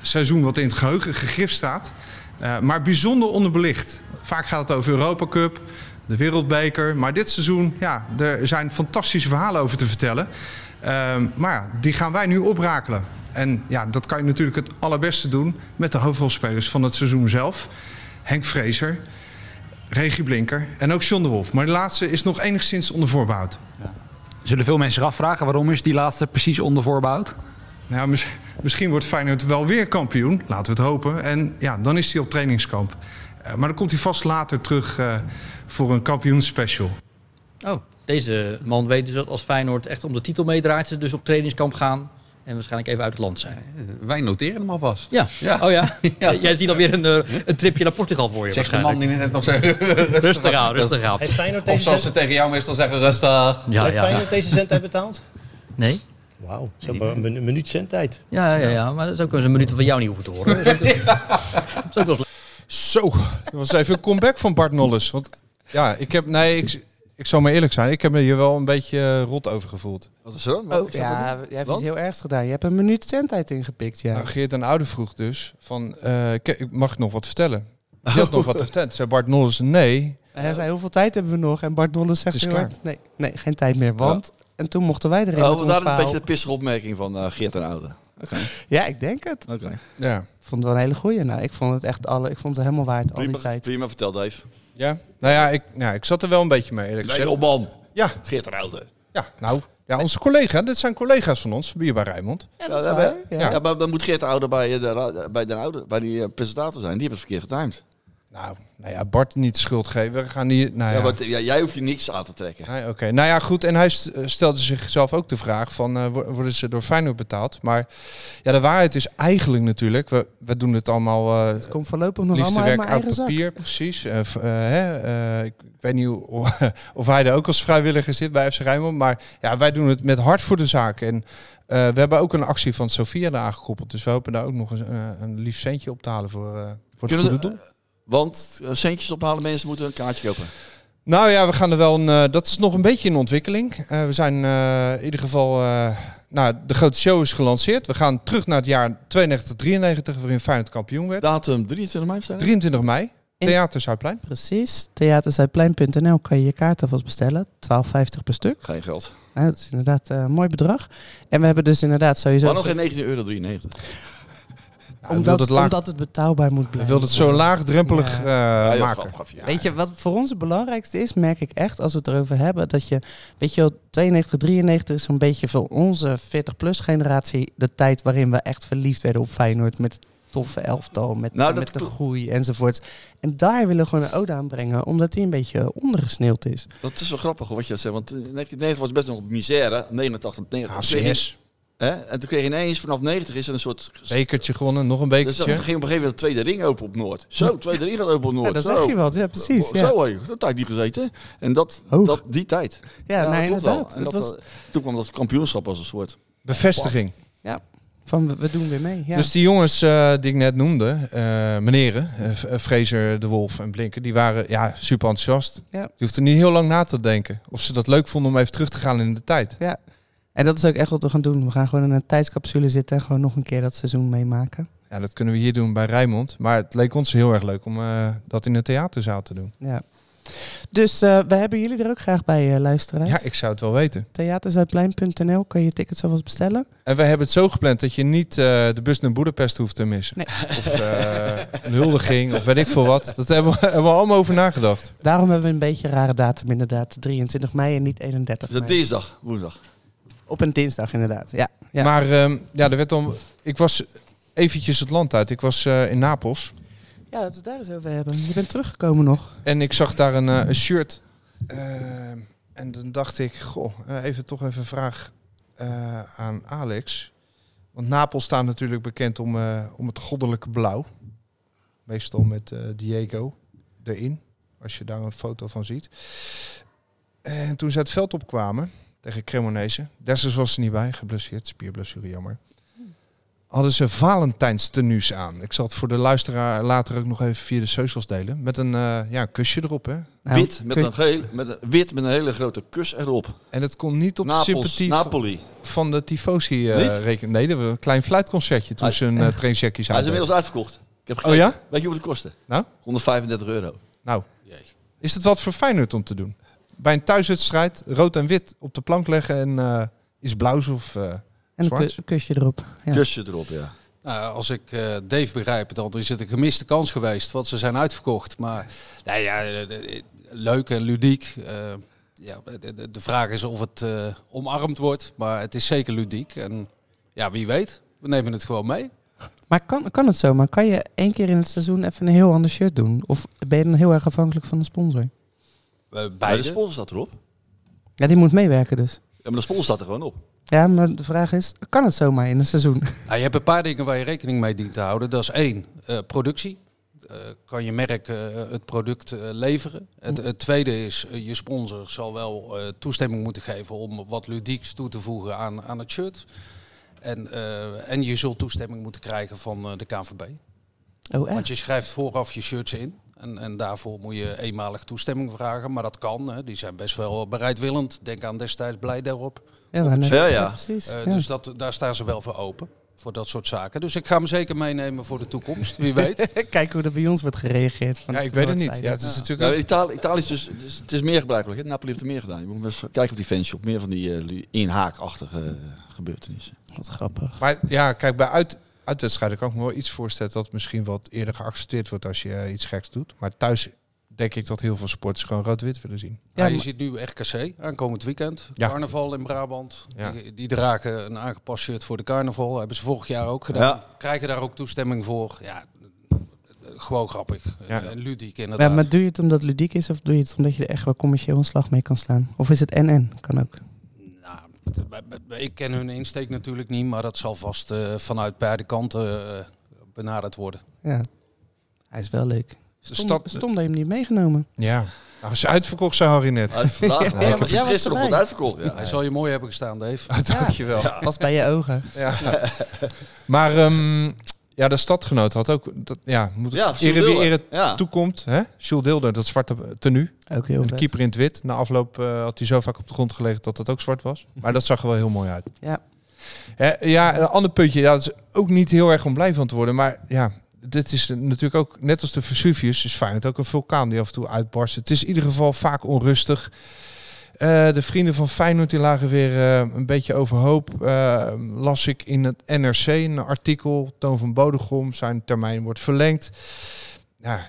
Speaker 11: seizoen wat in het geheugen gegrift staat. eh, maar bijzonder onderbelicht. Vaak gaat het over Europa Cup, de Wereldbeker. Maar dit seizoen, ja, er zijn fantastische verhalen over te vertellen. Ehm, maar ja, die gaan wij nu oprakelen. En ja, dat kan je natuurlijk het allerbeste doen met de hoofdrolspelers van het seizoen zelf. Henk Vrezer, Regie Blinker en ook John de Wolf. Maar de laatste is nog enigszins onder voorbehoud.
Speaker 12: Zullen veel mensen zich afvragen waarom is die laatste precies onder voorbehoud?
Speaker 11: Nou, mis- misschien wordt Feyenoord wel weer kampioen, laten we het hopen. En ja, dan is hij op trainingskamp. Eh, maar dan komt hij vast later terug eh, voor een kampioensspecial.
Speaker 10: Oh, deze man weet dus dat als Feyenoord echt om de titel meedraait, ze dus op trainingskamp gaan en waarschijnlijk even uit het land zijn.
Speaker 12: Wij noteren hem alvast.
Speaker 10: Ja,
Speaker 12: Ja.
Speaker 10: oh ja. Jij ziet alweer een, eh, een tripje naar Portugal voor je
Speaker 12: Zegt de man
Speaker 10: waarschijnlijk.
Speaker 12: die net nog zei, rustig,
Speaker 10: Rustig aan, rustig aan.
Speaker 9: Heeft Feyenoord
Speaker 12: Of
Speaker 9: deze,
Speaker 12: zoals ze
Speaker 9: zend-
Speaker 12: tegen jou meestal zeggen, rustig.
Speaker 10: Ja,
Speaker 9: heeft
Speaker 10: ja.
Speaker 9: Feyenoord deze zendtijd betaald?
Speaker 10: Nee?
Speaker 9: Wauw, ze hebben een minu- minuut zendtijd.
Speaker 10: Ja, ja, ja, maar dat is ook wel eens een minuut van jou niet hoeven te horen. Dat is ook- dat is ook wel eens
Speaker 5: Zo, dat was even een comeback van Bart Nolles. Want ja, ik heb, nee, ik, ik zal maar eerlijk zijn, ik heb me hier wel een beetje eh, rot over gevoeld.
Speaker 2: Wat is er dan?
Speaker 6: Oh, ja, jij hebt
Speaker 5: Want?
Speaker 6: iets heel ergs gedaan. Je hebt een minuut zendtijd ingepikt, ja.
Speaker 5: Nou, Geert en Oude vroeg dus van, eh, ik- ik mag nog wat vertellen. Je had
Speaker 2: Oh.
Speaker 5: nog wat te vertellen. Toen zei Bart Nolles, nee.
Speaker 6: Hij zei, hoeveel tijd hebben we nog? En Bart Nolles zegt
Speaker 5: Het is
Speaker 6: heel
Speaker 5: klaar.
Speaker 6: hard, nee, nee, geen tijd meer. Want, en toen mochten wij erin met
Speaker 2: Oh,
Speaker 6: ons
Speaker 2: daar een
Speaker 6: verhaal.
Speaker 2: beetje de pissige opmerking van eh, Geert en Oude. Oké.
Speaker 6: Ja, ik denk het.
Speaker 2: Oké.
Speaker 5: Ja.
Speaker 6: Ik vond het wel een hele goeie. Nou, ik vond het echt alle, ik vond het helemaal waard, al die
Speaker 2: Prima,
Speaker 6: tijd.
Speaker 2: prima verteld, Dave.
Speaker 5: Ja, nou ja, ik, nou, ik zat er wel een beetje mee eerlijk
Speaker 2: Nee,
Speaker 5: gezegd.
Speaker 2: joh, man.
Speaker 5: Ja.
Speaker 2: Geert en Oude.
Speaker 5: Ja, nou, ja, onze collega, dit zijn collega's van ons, Bierbaar Rijmond.
Speaker 6: Ja,
Speaker 2: Ja,
Speaker 6: dat is
Speaker 2: ja,
Speaker 6: waar.
Speaker 2: maar-
Speaker 6: ja.
Speaker 2: ja, maar dan moet Geert de Oude bij, eh, de, ra- bij, de oude, bij die eh, presentator zijn. Die hebben het verkeerd
Speaker 6: Ah,
Speaker 2: getimed.
Speaker 5: Nou, nou ja, Bart niet de schuld geven. We gaan hier, nou
Speaker 2: Ja,
Speaker 5: ja.
Speaker 2: want, eh, ja, jij hoeft je niks aan te trekken.
Speaker 5: Nee, Oké, nou ja, goed. En hij st- stelde zichzelf ook de vraag van, eh, wo- worden ze door Feyenoord betaald? Maar ja, de waarheid is eigenlijk natuurlijk, we, we doen het allemaal... eh
Speaker 6: Het komt voorlopig nog
Speaker 5: liefste
Speaker 6: allemaal uit
Speaker 5: werk uit
Speaker 6: mijn eigen zak.
Speaker 5: papier, precies. Eh, v- eh, hè, eh, ik, ik weet niet hoe- of hij er ook als vrijwilliger zit bij FC Rijnmond. Maar ja, wij doen het met hart voor de zaak. En eh, we hebben ook een actie van Sofia eraan gekoppeld. Dus we hopen daar ook nog eens, eh, een lief centje op te halen voor, eh, voor het
Speaker 2: Kunnen
Speaker 5: goede
Speaker 2: we-
Speaker 5: doel.
Speaker 2: Want eh, centjes ophalen, mensen moeten een kaartje kopen.
Speaker 5: Nou ja, we gaan er wel een. eh, dat is nog een beetje in ontwikkeling. Eh, we zijn eh, in ieder geval. eh, nou, de grote show is gelanceerd. We gaan terug naar het jaar 92-93, waarin Feyenoord kampioen werd.
Speaker 2: Datum 23 mei, zijn
Speaker 5: 23 mei,
Speaker 6: In-
Speaker 5: Theater Zuidplein.
Speaker 6: Precies. Theaterzijplein.nl kan je je kaart alvast bestellen. 12,50 per stuk.
Speaker 2: Geen geld.
Speaker 6: Nou, dat is inderdaad eh, een mooi bedrag. En we hebben dus inderdaad sowieso...
Speaker 2: Maar nog geen 19,93 euro. 93.
Speaker 5: Nou, we
Speaker 6: omdat,
Speaker 5: wilden het, laag,
Speaker 6: omdat het betaalbaar moet
Speaker 5: we
Speaker 6: blijven.
Speaker 5: wilden het zo laagdrempelig eh
Speaker 2: Ja, joh,
Speaker 5: maken.
Speaker 2: grap, grapje. Ja.
Speaker 6: Weet je, wat voor ons het belangrijkste is, merk ik echt, als we het erover hebben, dat je, weet je wel, 92, 93 is een beetje voor onze 40-plus generatie de tijd waarin we echt verliefd werden op Feyenoord met het toffe elftal, met,
Speaker 2: Nou, dat
Speaker 6: met de
Speaker 2: kl-
Speaker 6: groei enzovoorts. En daar willen we gewoon een ode aan brengen, omdat die een beetje ondergesneeuwd is.
Speaker 2: Dat is wel grappig hoor, wat je dat zegt. Want eh, 1990 was best nog misère. 89,
Speaker 6: Ah,
Speaker 2: 89.
Speaker 5: Ja,
Speaker 2: Kreeg je- hè? En toen kreeg je ineens vanaf 90 is er een soort...
Speaker 5: Bekertje gewonnen, nog een
Speaker 2: Dus dan ging
Speaker 5: bekertje.
Speaker 2: op een gegeven moment de tweede ring open op Noord. Zo, tweede ring gaat open op Noord.
Speaker 6: Ja, dat
Speaker 2: Zo.
Speaker 6: zeg je wat, ja precies.
Speaker 2: Zo,
Speaker 6: Ja,
Speaker 2: Zo hé, dat tijd niet gezeten. En dat,
Speaker 6: Hoog.
Speaker 2: dat die tijd.
Speaker 6: ja,
Speaker 2: dat
Speaker 6: nou,
Speaker 2: klopt wel.
Speaker 6: inderdaad.
Speaker 2: En
Speaker 6: Dat
Speaker 2: dat,
Speaker 6: was
Speaker 2: eh, toen kwam dat kampioenschap als een soort.
Speaker 5: Bevestiging.
Speaker 6: van, we- we doen weer mee. Ja.
Speaker 5: Dus die jongens eh, die ik net noemde, eh meneren, eh, F- eh, Fraser, De Wolf en Blinken, die waren ja, super enthousiast.
Speaker 6: Ja.
Speaker 5: Je hoeft er niet heel lang na te denken of ze dat leuk vonden om even terug te gaan in de tijd.
Speaker 6: En dat is ook echt wat we gaan doen. We gaan gewoon in een tijdscapsule zitten en gewoon nog een keer dat seizoen meemaken.
Speaker 5: Ja, dat kunnen we hier doen bij Rijmond. Maar het leek ons heel erg leuk om eh, dat in een theaterzaal te doen.
Speaker 6: Ja. Dus eh, we hebben jullie er ook graag bij, eh, luisteraars.
Speaker 5: Ja, ik zou het wel weten.
Speaker 6: Theaterzuidplein.nl kan je tickets alvast bestellen.
Speaker 5: En we hebben het zo gepland dat je niet eh, de bus naar Boedapest hoeft te missen.
Speaker 6: Nee.
Speaker 5: Of eh, een huldiging of weet ik veel wat. Dat hebben we, hebben we allemaal over nagedacht.
Speaker 6: Daarom hebben we een beetje een rare datum inderdaad. 23 mei en niet 31
Speaker 2: Dus dat
Speaker 6: mei.
Speaker 2: dinsdag, woensdag.
Speaker 6: Op een dinsdag inderdaad, ja. ja.
Speaker 5: Maar ehm, ja, er werd dan. Ik was eventjes het land uit. Ik was eh, in Napels.
Speaker 6: ja, dat we het daar eens over hebben. Je bent teruggekomen nog.
Speaker 5: En ik zag daar een, eh, een shirt. Ehm, en dan dacht ik, goh, eh, even toch even een vraag eh, aan Alex. Want Napels staat natuurlijk bekend om, eh, om het goddelijke blauw. Meestal met eh, Diego erin, als je daar een foto van ziet. En toen ze het veld opkwamen tegen Cremonese, Dessers was er niet bij, geblesseerd, spierblessure, jammer. Hadden ze Valentijnstenues aan. Ik zal het voor de luisteraar later ook nog even via de socials delen. Met een, eh, ja, een kusje erop, hè.
Speaker 6: Nou,
Speaker 2: wit, met
Speaker 6: kun-
Speaker 2: een heel, met een, wit met een hele grote kus erop.
Speaker 5: En het kon niet op de
Speaker 2: Napels,
Speaker 5: sympathie
Speaker 2: Napoli.
Speaker 5: van de Tifosi eh
Speaker 2: Niet?
Speaker 5: rekenen. Nee, dat was een klein fluitconcertje toen
Speaker 2: Hij-
Speaker 5: ze een uh, traincheckje
Speaker 2: Hij is
Speaker 5: zouden
Speaker 2: inmiddels uitverkocht. Ik heb
Speaker 5: Oh
Speaker 2: gekeken.
Speaker 5: ja?
Speaker 2: Weet je wat het kostte?
Speaker 5: Nou?
Speaker 2: 135 euro.
Speaker 5: Nou,
Speaker 7: Jee.
Speaker 5: is het wat voor Feyenoord om te doen? Bij een thuiswedstrijd rood en wit op de plank leggen en eh, is blauws of... eh,
Speaker 6: En een
Speaker 5: zwart.
Speaker 6: ku- kusje erop. Ja.
Speaker 2: Kusje erop, ja.
Speaker 7: Nou, als ik eh, Dave begrijp, dan is het een gemiste kans geweest, want ze zijn uitverkocht. Maar nou ja, eh, eh, leuk en ludiek. Eh, ja, de- de, de vraag is of het eh, omarmd wordt, maar het is zeker ludiek. En ja, wie weet, we nemen het gewoon mee.
Speaker 6: Maar kan, kan het zomaar? Kan je één keer in het seizoen even een heel ander shirt doen? Of ben je dan heel erg afhankelijk van de sponsor?
Speaker 7: Eh,
Speaker 2: Maar de
Speaker 7: beide.
Speaker 2: sponsor staat erop.
Speaker 6: Ja, die moet meewerken dus.
Speaker 2: Ja, maar de sponsor staat er gewoon op.
Speaker 6: Ja, maar de vraag is, kan het zomaar in een seizoen?
Speaker 7: Ah, Nou, je hebt een paar dingen waar je rekening mee dient te houden. Dat is één, eh, productie. eh, kan je merk eh, het product eh, leveren. Het, het tweede is, eh, je sponsor zal wel eh, toestemming moeten geven om wat ludieks toe te voegen aan, aan het shirt. En, eh, en je zult toestemming moeten krijgen van eh, de KNVB.
Speaker 6: Oh, echt?
Speaker 7: Want je schrijft vooraf je shirts in. En, en daarvoor moet je eenmalig toestemming vragen. Maar dat kan. Hè. Die zijn best wel bereidwillend. Denk aan destijds blij daarop.
Speaker 6: Ja,
Speaker 7: Op
Speaker 6: maar
Speaker 7: het
Speaker 6: net-
Speaker 7: shirt.
Speaker 6: ja, ja. precies,
Speaker 7: Eh,
Speaker 6: ja.
Speaker 7: Dus dat, daar staan ze wel voor open. Voor dat soort zaken. Dus ik ga hem zeker meenemen voor de toekomst. Wie weet.
Speaker 6: Kijken hoe er bij ons wordt gereageerd. Van noordzijde.
Speaker 2: Nou, Italië, Italië is dus, dus- het is meer gebruikelijk. Hè? Napoli heeft er meer gedaan. Je moet maar eens kijken op die fanshop. Meer van die eh, inhaakachtige eh, gebeurtenissen.
Speaker 6: Wat grappig.
Speaker 5: Maar ja, kijk, bij uit, uitwedstrijden kan ik me wel iets voorstellen dat misschien wat eerder geaccepteerd wordt als je eh, iets geks doet. Maar thuis denk ik dat heel veel sporters gewoon rood-wit willen zien.
Speaker 7: Ja, je ziet nu RKC aankomend weekend.
Speaker 5: Ja.
Speaker 7: Carnaval in Brabant.
Speaker 5: Ja.
Speaker 7: Die, die dragen een aangepast shirt voor de carnaval. Hebben ze vorig jaar ook gedaan.
Speaker 6: Ja.
Speaker 7: Krijgen daar ook toestemming voor. Ja, eh, gewoon grappig. En ludiek inderdaad.
Speaker 6: Ja, maar doe je het omdat het ludiek is of doe je het omdat je er echt wel commercieel een slag mee kan slaan? Of is het NN? Kan ook.
Speaker 7: Nou, Ik ken hun insteek natuurlijk niet, maar dat zal vast eh, vanuit beide kanten eh, benaderd worden.
Speaker 6: Ja. Hij is wel leuk. Stom,
Speaker 7: stad-
Speaker 6: stom dat je hem niet meegenomen.
Speaker 5: Ja. Nou, ze uitverkocht, zei Harry
Speaker 2: Ah,
Speaker 5: net.
Speaker 6: Uitverkocht. Ja, want jij was
Speaker 2: Gisteren nog wat
Speaker 6: erbij.
Speaker 2: uitverkocht. Ja.
Speaker 7: Hij zal je mooi hebben gestaan, Dave.
Speaker 6: Nou,
Speaker 5: Dankjewel. Ja.
Speaker 6: Pas bij je ogen.
Speaker 5: Ja. Maar ehm, ja, de stadgenoot had ook... Dat, ja, moet
Speaker 2: Ja,
Speaker 5: ja,
Speaker 2: Jules
Speaker 5: ere wie
Speaker 2: Deelder.
Speaker 5: ere
Speaker 2: Ja.
Speaker 5: toekomt. Hè? Jules Deelder, dat zwarte tenue.
Speaker 6: Ook heel
Speaker 5: en de
Speaker 6: vet.
Speaker 5: keeper in het wit. Na afloop eh, had hij zo vaak op de grond gelegen dat dat ook zwart was. Maar dat zag er wel heel mooi uit.
Speaker 6: Ja.
Speaker 5: Hè, ja, en een ander puntje. Ja, dat is ook niet heel erg om blij van te worden. Maar ja, dit is natuurlijk ook... Net als de Vesuvius is Feyenoord ook een vulkaan die af en toe uitbarst. Het is in ieder geval vaak onrustig. Eh, de vrienden van Feyenoord die lagen weer eh, een beetje overhoop. Eh, las ik in het NRC een artikel. Toon van Bodegom, zijn termijn wordt verlengd. Ja,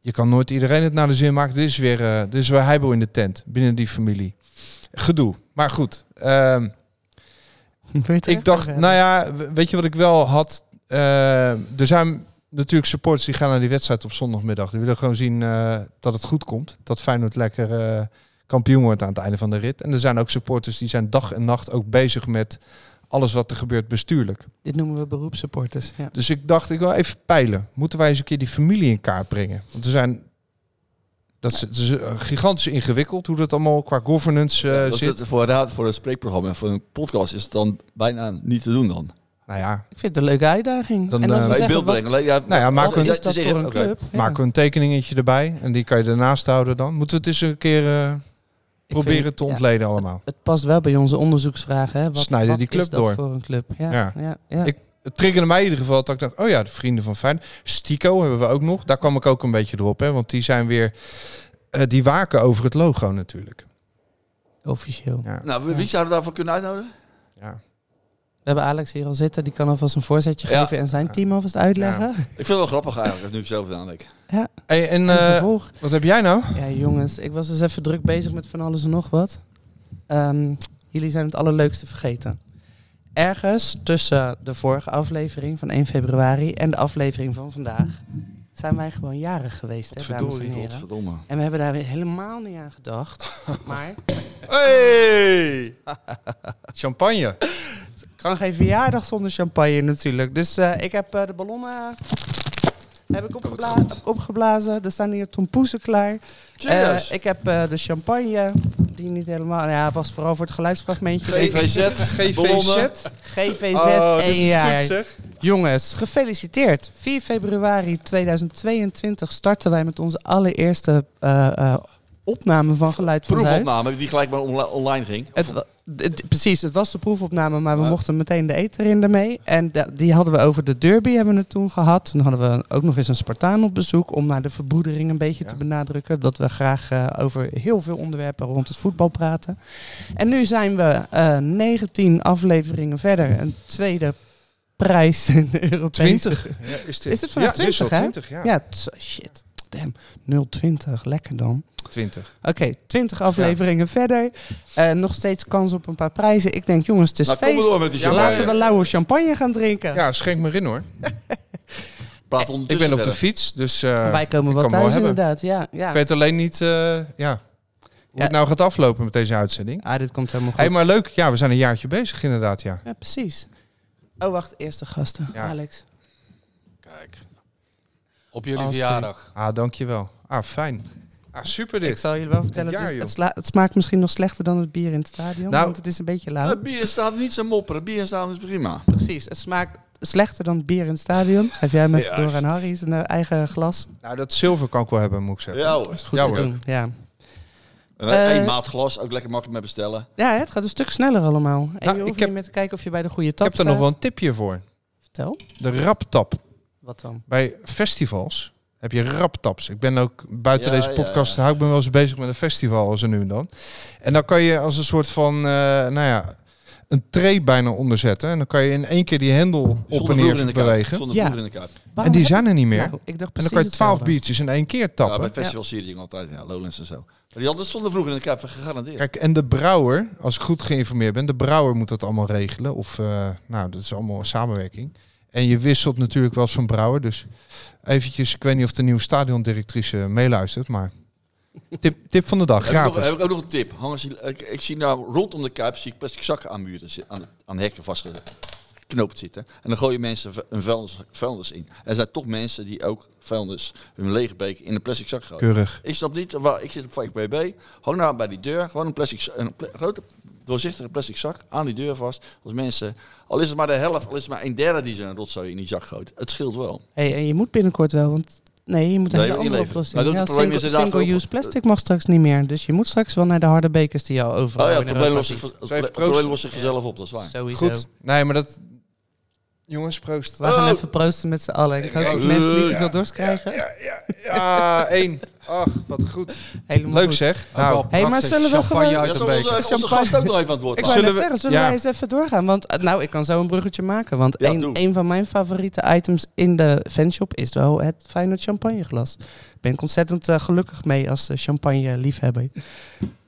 Speaker 5: je kan nooit iedereen het naar de zin maken. Dit is weer, eh dit is weer heibel in de tent binnen die familie. Gedoe. Maar goed. ehm, ik dacht, nou ja, we- weet je wat ik wel had? Eh, er zijn natuurlijk supporters die gaan naar die wedstrijd op zondagmiddag. Die willen gewoon zien eh, dat het goed komt. Dat Feyenoord lekker eh, kampioen wordt aan het einde van de rit. En er zijn ook supporters die zijn dag en nacht ook bezig met alles wat er gebeurt bestuurlijk.
Speaker 6: Dit noemen we beroepssupporters. Ja.
Speaker 5: Dus ik dacht, ik wil even peilen. Moeten wij eens een keer die familie in kaart brengen? Want er zijn... Dat is, het is eh, gigantisch ingewikkeld hoe dat allemaal qua governance eh,
Speaker 2: Ja, dat is
Speaker 5: zit.
Speaker 2: het voor, raad- voor een spreekprogramma en voor een podcast is het dan bijna niet te doen dan.
Speaker 5: Nou ja,
Speaker 6: Ik vind het een leuke uitdaging.
Speaker 5: Dan,
Speaker 6: en als
Speaker 5: eh,
Speaker 6: we
Speaker 5: Bij
Speaker 6: zeggen,
Speaker 2: beeld
Speaker 6: wat-
Speaker 2: brengen. Le- ja,
Speaker 5: Nou ja, maak
Speaker 2: wat
Speaker 5: een,
Speaker 2: is dat
Speaker 5: te
Speaker 2: voor een club?
Speaker 6: Ja.
Speaker 5: Maak een tekeningetje erbij en die kan je ernaast houden dan. Moeten we het eens een keer eh, proberen
Speaker 6: vind-
Speaker 5: te
Speaker 6: ja.
Speaker 5: ontleden allemaal.
Speaker 6: Het past wel bij onze onderzoeksvragen. Hè? Wat,
Speaker 5: Snijden
Speaker 6: wat
Speaker 5: die club
Speaker 6: is dat
Speaker 5: door.
Speaker 6: voor een club? Ja, ja.
Speaker 5: Ja.
Speaker 6: ja,
Speaker 5: Ik, het triggerde mij in ieder geval dat ik dacht, oh ja, de vrienden van Fijn. Stico hebben we ook nog. Daar kwam ik ook een beetje door op, hè, want die zijn weer, eh, die waken over het logo natuurlijk.
Speaker 6: Officieel.
Speaker 5: Ja.
Speaker 2: Nou, wie wie zouden we daarvoor kunnen uitnodigen?
Speaker 6: We hebben Alex hier al zitten. Die kan alvast een voorzetje
Speaker 2: Ja.
Speaker 6: geven en zijn team alvast uitleggen.
Speaker 2: Ik vind het wel grappig eigenlijk, nu ik zo over nadenk.
Speaker 5: Hey, en
Speaker 6: En
Speaker 5: eh,
Speaker 6: vervolg.
Speaker 5: wat heb jij nou?
Speaker 6: Ja, jongens, ik was dus even druk bezig met van alles en nog wat. Ehm, jullie zijn het allerleukste vergeten. Ergens tussen de vorige aflevering van 1 februari en de aflevering van vandaag zijn wij gewoon jarig geweest, hè, dames en
Speaker 2: Godverdorie,
Speaker 6: heren.
Speaker 2: godverdomme.
Speaker 6: En we hebben daar weer helemaal niet aan gedacht. maar
Speaker 5: Hey! Champagne.
Speaker 6: kan geen verjaardag zonder champagne natuurlijk. Dus eh, ik heb eh, de ballonnen heb ik opgebla- heb ik opgeblazen. Er staan hier tompoezen klaar.
Speaker 2: Cheers.
Speaker 6: Eh, ik heb eh, de champagne, die niet helemaal... nou Ja, was vooral voor het geluidsfragmentje.
Speaker 2: GVZ, ballonnen.
Speaker 6: GVZ,
Speaker 2: Oh, dit is
Speaker 6: één
Speaker 2: goed,
Speaker 6: jaar.
Speaker 2: zeg.
Speaker 6: Jongens, gefeliciteerd. 4 februari 2022 starten wij met onze allereerste eh, eh, opname van Geluid van Zuid.
Speaker 2: Proefopname die gelijk maar onla- online ging.
Speaker 6: Het, wa- het- precies, het was de proefopname, maar we mochten meteen de eter in ermee. En da- die hadden we over de derby hebben we het toen gehad. Toen hadden we ook nog eens een Spartaan op bezoek om naar de verbroedering een beetje te benadrukken. Dat we graag eh, over heel veel onderwerpen rond het voetbal praten. En nu zijn we eh 19 afleveringen verder. Een tweede prijs in de Europese...
Speaker 5: 20. Ja, is dit-
Speaker 6: Is het vanaf
Speaker 5: Ja, dit is
Speaker 6: 20,
Speaker 5: al
Speaker 6: hè?
Speaker 5: 20, ja.
Speaker 6: t- shit. Damn. 020, lekker dan.
Speaker 5: 20.
Speaker 6: Oké, 20 afleveringen verder. Eh, nog steeds kans op een paar prijzen. Ik denk, jongens, het is
Speaker 2: Nou, kom
Speaker 6: feest.
Speaker 2: maar door met die
Speaker 6: Ja,
Speaker 2: champagne.
Speaker 6: Laten we lauwe champagne gaan drinken.
Speaker 5: Ja, schenk me in hoor.
Speaker 2: Praat
Speaker 5: Ik
Speaker 2: ondertussen
Speaker 5: ben op de
Speaker 2: verder.
Speaker 5: fiets, dus eh,
Speaker 6: Wij komen
Speaker 5: ik
Speaker 6: wel
Speaker 5: kan me
Speaker 6: thuis
Speaker 5: hebben.
Speaker 6: inderdaad, ja, ja.
Speaker 5: Ik weet alleen niet eh, ja, hoe
Speaker 6: Ja.
Speaker 5: het nou gaat aflopen met deze uitzending.
Speaker 6: Ah, dit komt helemaal goed.
Speaker 5: Hey, maar leuk. Ja, we zijn een jaartje bezig inderdaad, ja.
Speaker 6: Ja, precies. Oh, wacht. Eerste gasten. Alex.
Speaker 7: Kijk. Op jullie verjaardag.
Speaker 5: Ah, dankjewel. Ah, fijn. Ah, super dit.
Speaker 6: Ik zal jullie wel vertellen,
Speaker 5: Ja,
Speaker 6: het, is-
Speaker 5: joh.
Speaker 6: het, sla- het smaakt misschien nog slechter dan het bier in het stadion,
Speaker 5: Nou,
Speaker 6: want het is een beetje lauw.
Speaker 2: Het bier staat niet zo mopperen. Het bier staat is prima.
Speaker 6: Precies, het smaakt slechter dan het bier in het stadion. Geef jij hem even
Speaker 2: Juist.
Speaker 6: door aan Harry, zijn eh, eigen glas.
Speaker 5: Nou, dat zilver kan ik wel hebben, moet ik zeggen.
Speaker 2: Ja hoor.
Speaker 6: is goed
Speaker 5: Ja,
Speaker 6: te
Speaker 5: hoor.
Speaker 6: doen, ja.
Speaker 2: Eén
Speaker 6: Eh,
Speaker 2: maat glas, ook lekker makkelijk mee bestellen.
Speaker 6: Ja, hè, het gaat een stuk sneller allemaal. En
Speaker 5: Nou,
Speaker 6: je
Speaker 5: ik
Speaker 6: hoeft
Speaker 5: heb-
Speaker 6: niet meer te kijken of je bij de goede
Speaker 5: Ik
Speaker 6: tap
Speaker 5: heb er nog wel een tipje voor.
Speaker 6: Vertel,
Speaker 5: De raptap.
Speaker 6: wat dan?
Speaker 5: Bij festivals heb je raptaps. Ik ben ook buiten
Speaker 2: Ja,
Speaker 5: deze
Speaker 2: ja,
Speaker 5: podcast,
Speaker 2: ja.
Speaker 5: hou ik me wel eens bezig met een festival, zo nu en dan. En dan kan je als een soort van, eh, nou ja, een tray bijna onderzetten. En dan kan je in één keer die hendel op
Speaker 2: Zonder
Speaker 5: en
Speaker 2: vloer in de
Speaker 5: neer
Speaker 2: kaart.
Speaker 5: bewegen.
Speaker 2: Zonder
Speaker 6: Ja.
Speaker 2: vloer in de kaart.
Speaker 5: En
Speaker 6: Waarom
Speaker 5: die
Speaker 6: heb
Speaker 5: zijn er niet
Speaker 6: ik-
Speaker 5: meer.
Speaker 6: Nou, ik dacht
Speaker 5: en dan
Speaker 6: precies
Speaker 5: kan je twaalf
Speaker 6: hetzelfde.
Speaker 5: biertjes in één keer
Speaker 2: Ja,
Speaker 5: tappen.
Speaker 2: bij festival zie je die altijd. Ja, Lowlands en zo. Maar die hadden stonden vroeger in de kaart, gegarandeerd.
Speaker 5: Kijk, en de brouwer, als ik goed geïnformeerd ben, de brouwer moet dat allemaal regelen. Of, eh, nou, dat is allemaal samenwerking. En je wisselt natuurlijk wel eens van brouwer. Dus eventjes, ik weet niet of de nieuwe stadiondirectrice meeluistert, maar tip, tip van de dag,
Speaker 2: Heb ik, nog,
Speaker 5: gratis.
Speaker 2: heb ik ook nog een tip. Hang ze- ik, ik zie nou rondom de kuip zie ik plastic zakken aan muren, zi- aan, aan hekken vastgeknoopt zitten. En dan gooien mensen vu- een vuilnis, vuilnis in. Er zijn toch mensen die ook vuilnis, hun lege beek in een plastic zak gooien.
Speaker 5: Keurig.
Speaker 2: Ik snap niet, waar, ik zit op VKBB, hang nou bij die deur, gewoon een, plastic, z- een pla- grote doorzichtige plastic zak aan die deur vast. Als mensen, al is het maar de helft, al is het maar een derde die zijn rotzooi in die zak gooit. Het scheelt wel.
Speaker 6: Hey, en je moet binnenkort wel, want nee, je moet een
Speaker 2: Nee,
Speaker 6: hele andere
Speaker 2: inleveren.
Speaker 6: oplossing.
Speaker 2: Maar dat
Speaker 6: Ja,
Speaker 2: het probleem is
Speaker 6: single-
Speaker 2: inderdaad
Speaker 6: Single-use
Speaker 2: ook-
Speaker 6: plastic mag straks niet meer, dus je moet straks wel naar de harde bekers die al overal
Speaker 2: Oh ja,
Speaker 6: in
Speaker 2: het probleem
Speaker 6: Europa
Speaker 2: lost zich,
Speaker 6: zitten.
Speaker 2: van-
Speaker 5: Even
Speaker 2: het probleem- het
Speaker 5: proosten.
Speaker 2: probleem lost zich vanzelf op, dat is waar.
Speaker 6: Sowieso.
Speaker 5: Goed. Nee, maar dat... Jongens, proost.
Speaker 6: We gaan
Speaker 2: Oh.
Speaker 6: even proosten met z'n allen. Ik hoop dat
Speaker 2: Ja.
Speaker 6: mensen niet te
Speaker 2: Ja.
Speaker 6: veel dorst krijgen.
Speaker 5: Ja, Ah, één. Ach, wat goed.
Speaker 6: Helemaal
Speaker 5: Leuk
Speaker 6: goed.
Speaker 5: zeg.
Speaker 7: Ook wel
Speaker 5: Nou,
Speaker 6: Hey, maar
Speaker 7: prachtig.
Speaker 6: zullen we gewoon-
Speaker 7: Champagne uit
Speaker 2: Ja,
Speaker 7: een
Speaker 2: zal onze,
Speaker 7: beker.
Speaker 2: onze gast ook nog even aan het woord
Speaker 6: Ik
Speaker 2: komen?
Speaker 5: Zullen
Speaker 6: wou net
Speaker 5: we-
Speaker 6: zeggen, zullen
Speaker 5: ja.
Speaker 6: wij eens even doorgaan? Want eh, nou, ik kan zo een bruggetje maken. Want
Speaker 2: Ja,
Speaker 6: een,
Speaker 2: doe.
Speaker 6: een van mijn favoriete items in de fanshop is wel het Feyenoord champagneglas. Daar ben ik ontzettend eh, gelukkig mee als eh, champagne-liefhebber.